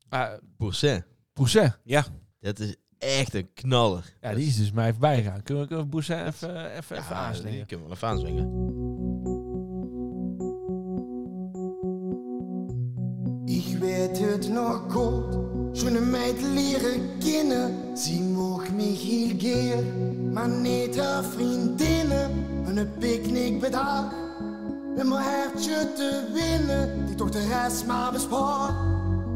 Speaker 4: Ah,
Speaker 2: Boursin.
Speaker 4: Poussin.
Speaker 3: Ja.
Speaker 2: Dat is echt een knaller.
Speaker 4: Ja, die is dus mij even bijgegaan. Kunnen we, kunnen we Poussin even, even, even
Speaker 2: Ah, die
Speaker 4: aansnijden?
Speaker 2: kunnen we wel even aanzwingen.
Speaker 1: Ik weet Zeit hört noch Gott, schon ein Mädel ihre Kinder. Sie mag mich heel geer, maar niet haar vriendinnen. Een picknickbedrag, een mijn hertje te winnen, die toch de rest maar bespaar.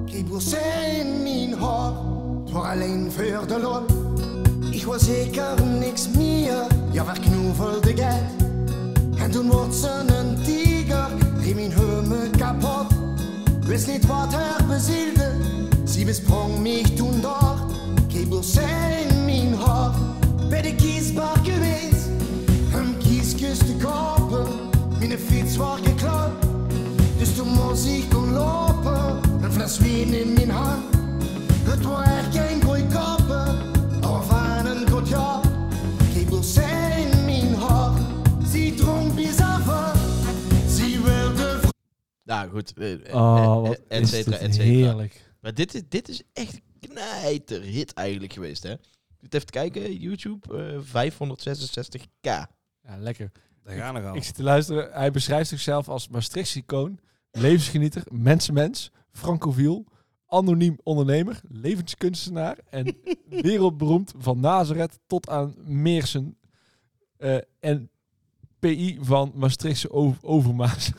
Speaker 1: Kriebels in mijn haar, het was alleen voor de lol. Ik was zeker niks meer, ja verknovelde geld. En toen wordt ze een tiger, riep mijn heumen kapot. Wist niet wat haar bezielde, ze besprong mich toen daar. Kriebels in mijn haar, ben ik kiesbaar geweest. Een kieskes te kopen, mijn fiets was geklaut. Dus toen moest ik kon lopen, een fles wien in mijn hand. Het was echt geen gooi kopen, maar van een goed jaar. Kriebels in mijn haar, ze dronk bizar. Ze wilde
Speaker 2: Nou goed, eh, eh,
Speaker 4: Oh,
Speaker 2: eh,
Speaker 4: wat
Speaker 2: et
Speaker 4: is
Speaker 2: cetera,
Speaker 4: dit
Speaker 2: et cetera.
Speaker 4: heerlijk.
Speaker 2: Maar dit is, dit is echt een knijterhit eigenlijk geweest, hè? Moet Even kijken, YouTube, eh 566k.
Speaker 4: Ja, lekker.
Speaker 2: Daar gaan we al.
Speaker 4: Ik zit te luisteren. Hij beschrijft zichzelf als Maastrichtse icoon, levensgenieter, mensenmens, francofiel, anoniem ondernemer, levenskunstenaar en wereldberoemd van Nazareth tot aan Meersen eh, en PI van Maastrichtse O- Overmaas.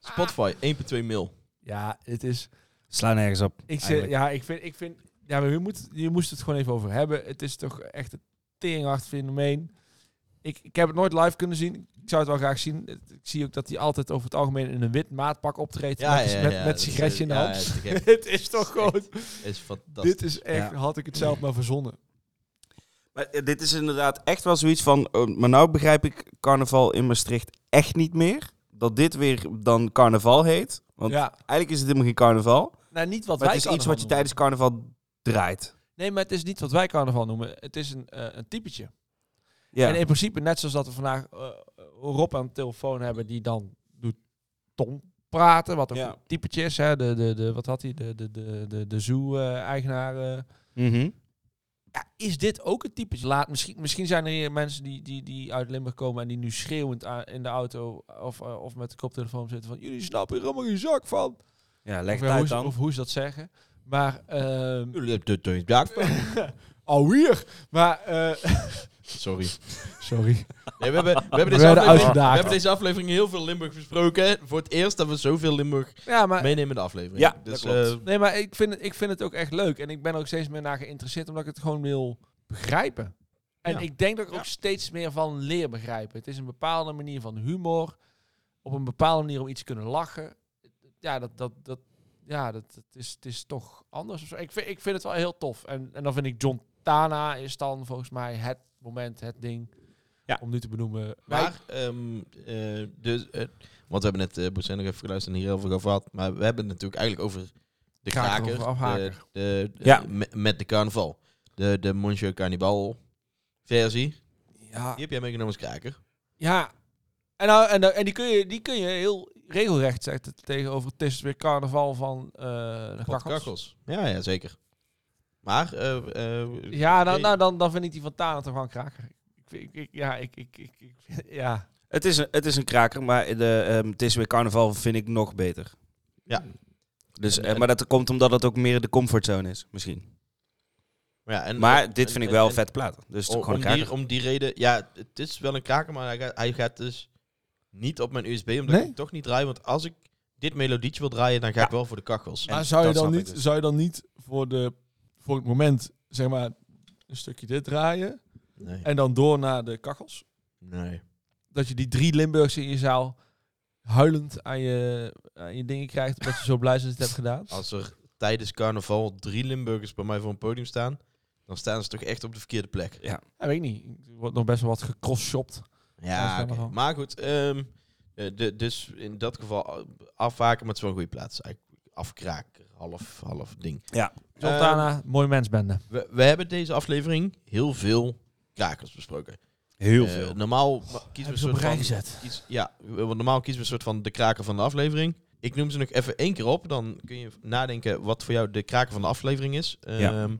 Speaker 2: Spotify, 1,2 mil.
Speaker 4: Ja, het is...
Speaker 3: Slaan nergens op.
Speaker 4: Ik zeg,
Speaker 3: eigenlijk.
Speaker 4: ja, ik vind, ik vind, ja, maar je moet, je moest het gewoon even over hebben. Het is toch echt een teringhard fenomeen. Ik, ik heb het nooit live kunnen zien. Ik zou het wel graag zien. Het- Ik zie ook dat hij altijd over het algemeen in een wit maatpak optreedt.
Speaker 2: Ja,
Speaker 4: met
Speaker 2: ja,
Speaker 4: met,
Speaker 2: ja,
Speaker 4: met
Speaker 2: dat
Speaker 4: sigaretje
Speaker 2: is-
Speaker 4: in de
Speaker 2: ja,
Speaker 4: hand.
Speaker 2: ja, te gek.
Speaker 4: het is toch gewoon...
Speaker 2: is fantastisch.
Speaker 4: Dit is echt...
Speaker 3: Ja.
Speaker 4: Had ik het zelf maar verzonnen.
Speaker 3: Maar eh, dit is inderdaad echt wel zoiets van. oh, maar nou begrijp ik carnaval in Maastricht echt niet meer. Dat dit weer dan carnaval heet. Want
Speaker 4: Ja.
Speaker 3: eigenlijk is het helemaal geen carnaval.
Speaker 4: Nou, niet wat
Speaker 3: maar
Speaker 4: wij
Speaker 3: het is iets
Speaker 4: carnaval
Speaker 3: wat
Speaker 4: noemen.
Speaker 3: je tijdens carnaval draait.
Speaker 4: Nee, maar het is niet wat wij carnaval noemen. Het is een, eh, een typetje.
Speaker 3: Ja.
Speaker 4: En in principe, net zoals dat we vandaag eh, Rob aan de telefoon hebben, die dan doet tong praten, wat een
Speaker 3: Ja.
Speaker 4: typetje is. Hè? De, de, de, wat had hij? De, de, de, de, de zoo-eigenaar.
Speaker 3: Mhm.
Speaker 4: ja, is dit ook een typetje? Laat, misschien, misschien zijn er hier mensen die, die, die uit Limburg komen en die nu schreeuwend aan- in de auto of, eh, of met de koptelefoon zitten van jullie snappen hier helemaal geen zak van.
Speaker 3: Ja, leg
Speaker 4: of,
Speaker 3: het
Speaker 4: ja,
Speaker 3: uit
Speaker 4: hoe ze-
Speaker 3: dan.
Speaker 4: Of hoe ze dat zeggen. Maar... ehm
Speaker 2: Jullie
Speaker 4: Oh, hier! Maar... eh,
Speaker 2: Sorry.
Speaker 4: Sorry.
Speaker 2: Nee, we hebben, we, hebben
Speaker 4: We
Speaker 2: deze
Speaker 4: werden
Speaker 2: aflevering, we
Speaker 4: uitgedaagd.
Speaker 2: hebben deze aflevering heel veel Limburg besproken. hè. Voor het eerst dat we zoveel Limburg
Speaker 4: Ja, maar-
Speaker 2: meenemen in de aflevering.
Speaker 4: Ja,
Speaker 2: dus,
Speaker 4: dat klopt.
Speaker 2: eh,
Speaker 4: nee, maar ik vind, het, ik vind het ook echt leuk. En ik ben er ook steeds meer naar geïnteresseerd, omdat ik het gewoon wil begrijpen. En
Speaker 2: Ja.
Speaker 4: ik denk dat ik er ook steeds meer van leer begrijpen. Het is een bepaalde manier van humor. Op een bepaalde manier om iets te kunnen lachen. Ja, dat, dat, dat, ja, dat, dat is, het is toch anders. of zo. Ik vind, ik vind het wel heel tof. En, en dan vind ik John Tana is dan volgens mij het moment, het ding. Om nu te benoemen.
Speaker 2: Maar, ehm, eh, dus, eh, want we hebben net eh Boesijn nog even geluisterd en hier heel veel over gehad. Maar we hebben het natuurlijk eigenlijk over de
Speaker 4: Kraker
Speaker 2: kraker.
Speaker 4: of afhaker.
Speaker 2: de- de- de-
Speaker 4: Ja.
Speaker 2: me- met de carnaval. De, de Monsieur Cannibal versie.
Speaker 4: Ja.
Speaker 2: Die heb jij meegenomen als kraker.
Speaker 4: Ja. En, nou, en, nou- en die, kun je, die kun je heel regelrecht zetten tegenover het is weer carnaval van eh de
Speaker 2: Pot
Speaker 4: kakkels.
Speaker 2: kakkels. Ja, ja, zeker. Maar, eh, eh,
Speaker 4: Ja, nou,
Speaker 2: nee.
Speaker 4: nou dan, dan vind ik die van Tana toch wel een kraker. Ik, vind- ik, ik- ja, ik, ik, ik, ik vind- ja.
Speaker 3: Het is, een, het is een kraker, maar de, ehm, het is weer carnaval vind ik nog beter.
Speaker 2: Ja.
Speaker 3: Dus, eh, maar dat komt omdat het ook meer de comfortzone is, misschien.
Speaker 2: Maar ja, en-
Speaker 3: maar
Speaker 2: en-
Speaker 3: dit vind ik
Speaker 2: en-
Speaker 3: wel
Speaker 2: en-
Speaker 3: een vet plaat. Dus het
Speaker 2: om,
Speaker 3: is gewoon
Speaker 2: om
Speaker 3: een
Speaker 2: die,
Speaker 3: kraker.
Speaker 2: om die reden, ja, het is wel een kraker, maar hij gaat, hij gaat dus niet op mijn USB, omdat ik hem toch niet draai. Want als ik dit melodietje wil draaien, dan ga ik wel voor de kachels.
Speaker 4: Maar zou je, dan niet,
Speaker 3: dus.
Speaker 4: zou je dan niet voor, de, voor het moment, zeg maar, een stukje dit draaien
Speaker 2: Nee.
Speaker 4: en dan door naar de kachels?
Speaker 2: Nee.
Speaker 4: Dat je die drie Limburgse in je zaal huilend aan je, aan je dingen krijgt, omdat je zo blij bent dat je het hebt gedaan?
Speaker 2: Als er tijdens carnaval drie Limburgers bij mij voor een podium staan, dan staan ze toch echt op de verkeerde plek.
Speaker 3: Ja.
Speaker 4: Ja, weet ik niet. Er wordt nog best wel wat gecrossshopt.
Speaker 2: Ja,
Speaker 4: Dat is
Speaker 2: oké.
Speaker 4: wel
Speaker 2: maar goed. ehm, eh, de, dus in dat geval eh, afhaken, maar het is wel een goede plaats. Eigenlijk afkraken, half, half ding.
Speaker 3: Ja.
Speaker 4: John
Speaker 2: Ehm,
Speaker 4: Tana, mooi mensbende.
Speaker 2: We, we hebben deze aflevering heel veel krakers besproken.
Speaker 3: Heel
Speaker 2: Eh,
Speaker 3: veel.
Speaker 2: Normaal kiezen
Speaker 4: hebben
Speaker 2: we
Speaker 4: ze
Speaker 2: een
Speaker 4: op
Speaker 2: soort
Speaker 4: rij
Speaker 2: van,
Speaker 4: gezet.
Speaker 2: kies- ja, want normaal kiezen we een soort van de kraker van de aflevering. Ik noem ze nog even één keer op, dan kun je nadenken wat voor jou de kraker van de aflevering is.
Speaker 3: Ja.
Speaker 2: Ehm,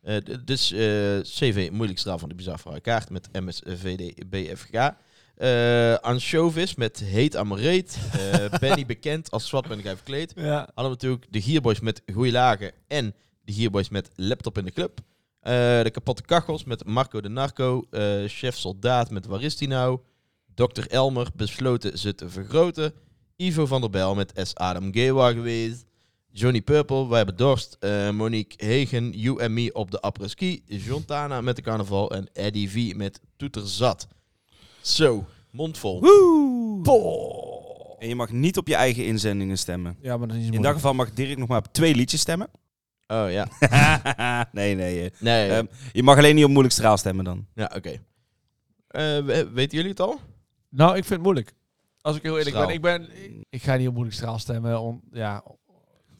Speaker 2: eh, d- dus eh, CV, moeilijk straal van de bizarre kaart met MSVD BFG. eh Anchovis met Heet aan mijn reet. Eh, Benny bekend als zwart ben ik even kleed.
Speaker 4: Ja.
Speaker 2: Hadden we natuurlijk de Gierboys met Goeie Lagen. En de Gierboys met Laptop in de Club. Eh, de Kapotte Kachels met Marco de Narco. Eh, Chef Soldaat met Waar is die nou? Dr. Elmer besloten ze te vergroten. Ivo van der Bel met S. Adam Gewa geweest. Johnny Purple, wij hebben dorst. Eh, Monique Hegen, You and Me op de apres-ski. John Tana met de carnaval. En Eddie V met Toeter Zat. Zo, mondvol.
Speaker 3: En je mag niet op je eigen inzendingen stemmen.
Speaker 4: Ja, maar dat is
Speaker 3: In dat
Speaker 4: moeilijk.
Speaker 3: geval mag Dirk nog maar op twee liedjes stemmen.
Speaker 2: Oh ja.
Speaker 3: nee, nee. eh.
Speaker 2: Nee.
Speaker 3: Ehm, je mag alleen niet op moeilijk straal stemmen dan.
Speaker 2: Ja, oké. Eh, we- weten jullie het al?
Speaker 4: Nou, ik vind het moeilijk. Als ik heel eerlijk
Speaker 2: Straal.
Speaker 4: ben, ik ben... ik- Ik ga niet op moeilijk straal stemmen. Om, ja,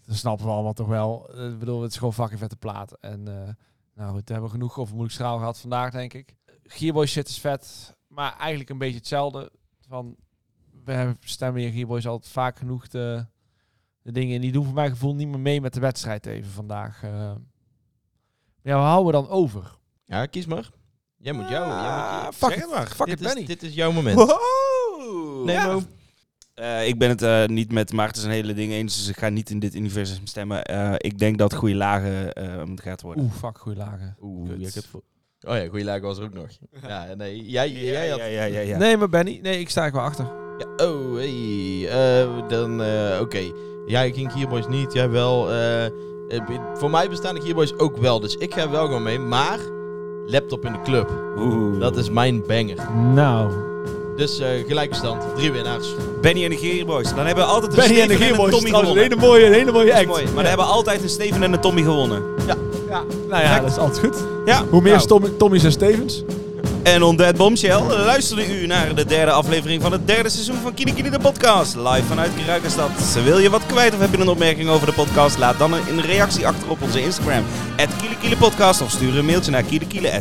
Speaker 4: dat snappen we allemaal toch wel. Eh, Ik bedoel, het is gewoon fucking vette plaat. En eh, nou goed, we hebben we genoeg over moeilijk straal gehad vandaag, denk ik. Gearboy shit is vet, maar eigenlijk een beetje hetzelfde. Van, we hebben- stemmen hier Gearboys altijd vaak genoeg de, de dingen. En die doen voor mijn gevoel niet meer mee met de wedstrijd even vandaag. eh. ja, we houden we dan over.
Speaker 2: Ja, kies maar. Jij moet jou. jij moet-
Speaker 4: fuck
Speaker 2: Zeg
Speaker 4: it. Fuck
Speaker 2: dit
Speaker 4: it,
Speaker 2: is,
Speaker 4: Benny.
Speaker 2: Dit is jouw moment. Nee,
Speaker 3: Ja.
Speaker 2: Mo.
Speaker 3: Eh, ik ben het eh, niet met Maarten zijn hele ding eens, dus ik ga niet in dit universum stemmen. Eh, ik denk dat goede lagen eh, hem gaat worden.
Speaker 4: Oeh, fuck, goede lagen.
Speaker 2: Oeh, jij kunt voor- Oh ja, goeie laag was er ook nog. Ja, nee. Jij, jij had...
Speaker 4: Nee, maar Benny, nee, ik sta er wel achter.
Speaker 2: Ja, oh, hey. Eh, dan, eh, oké. Jij ging Gearboys niet, jij wel. eh, eh, be- voor mij bestaan de Gearboys ook wel, dus ik ga wel gewoon mee. Maar, laptop in de club. Dat is mijn banger.
Speaker 4: Nou.
Speaker 2: Dus eh gelijkstand, drie winnaars.
Speaker 3: Benny en de Gearboys. Dan hebben we altijd een
Speaker 2: Benny en
Speaker 3: Steven
Speaker 2: de Gearboys,
Speaker 3: Tommy
Speaker 2: trouwens,
Speaker 3: gewonnen.
Speaker 2: een hele mooie- een hele mooie
Speaker 3: Dat is
Speaker 2: act.
Speaker 3: mooi. Maar
Speaker 2: Ja.
Speaker 3: dan hebben we altijd een Steven en een Tommy gewonnen.
Speaker 2: Ja.
Speaker 4: ja. Nou ja, dat is altijd goed.
Speaker 3: Ja.
Speaker 4: Hoe meer
Speaker 3: Nou.
Speaker 4: Tommy, Tommy's en Stevens.
Speaker 3: En Undead Bombshell luisterde u naar de derde aflevering van het derde seizoen van Kini Kini de podcast. Live vanuit Kruikenstad. Wil je wat kwijt of heb je een opmerking over de podcast? Laat dan een reactie achter op onze Instagram. @kielekielePodcast of stuur een mailtje naar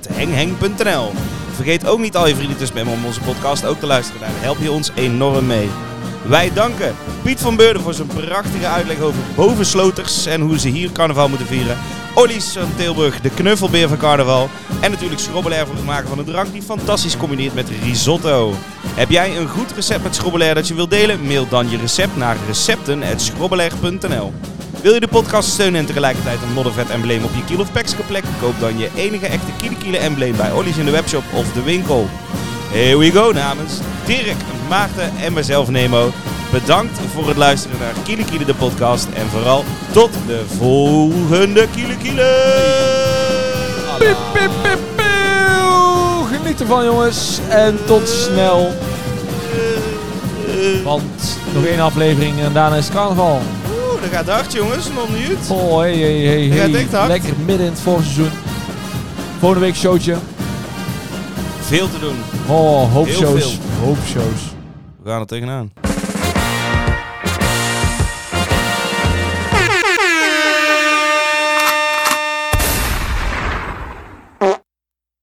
Speaker 3: kielekiele.hengheng.nl Vergeet ook niet al je vrienden te spammen om onze podcast ook te luisteren. Daar help je ons enorm mee. Wij danken Piet van Beurden voor zijn prachtige uitleg over bovensloters en hoe ze hier carnaval moeten vieren. Olly van Tilburg, de knuffelbeer van carnaval. En natuurlijk schrobbelair voor het maken van een drank die fantastisch combineert met risotto. Heb jij een goed recept met schrobbelair dat je wilt delen? Mail dan je recept naar recepten.schrobbelair.nl Wil je de podcast steunen en tegelijkertijd een moddervet embleem op je kiel of plek? Koop dan je enige echte kielekiele embleem bij Olly's in de webshop of de winkel. Here we go namens Dirk, Maarten en mezelf Nemo. Bedankt voor het luisteren naar Kiele Kiele de podcast. En vooral tot de volgende Kiele Kiele!
Speaker 4: Pip, pip, pip, peeuw. Geniet ervan, jongens. En tot snel. Want nog één aflevering en daarna is het carnaval.
Speaker 3: Oeh, dat gaat hard jongens, nog niet.
Speaker 4: Oh, hey, hey, hey, hey.
Speaker 3: Dat gaat echt hard.
Speaker 4: Lekker midden in het voorseizoen. Volgende week showtje.
Speaker 3: Veel te doen.
Speaker 4: Oh, hoop
Speaker 3: Heel
Speaker 4: shows.
Speaker 3: veel.
Speaker 4: Hoop Oh, shows.
Speaker 3: We gaan er tegenaan.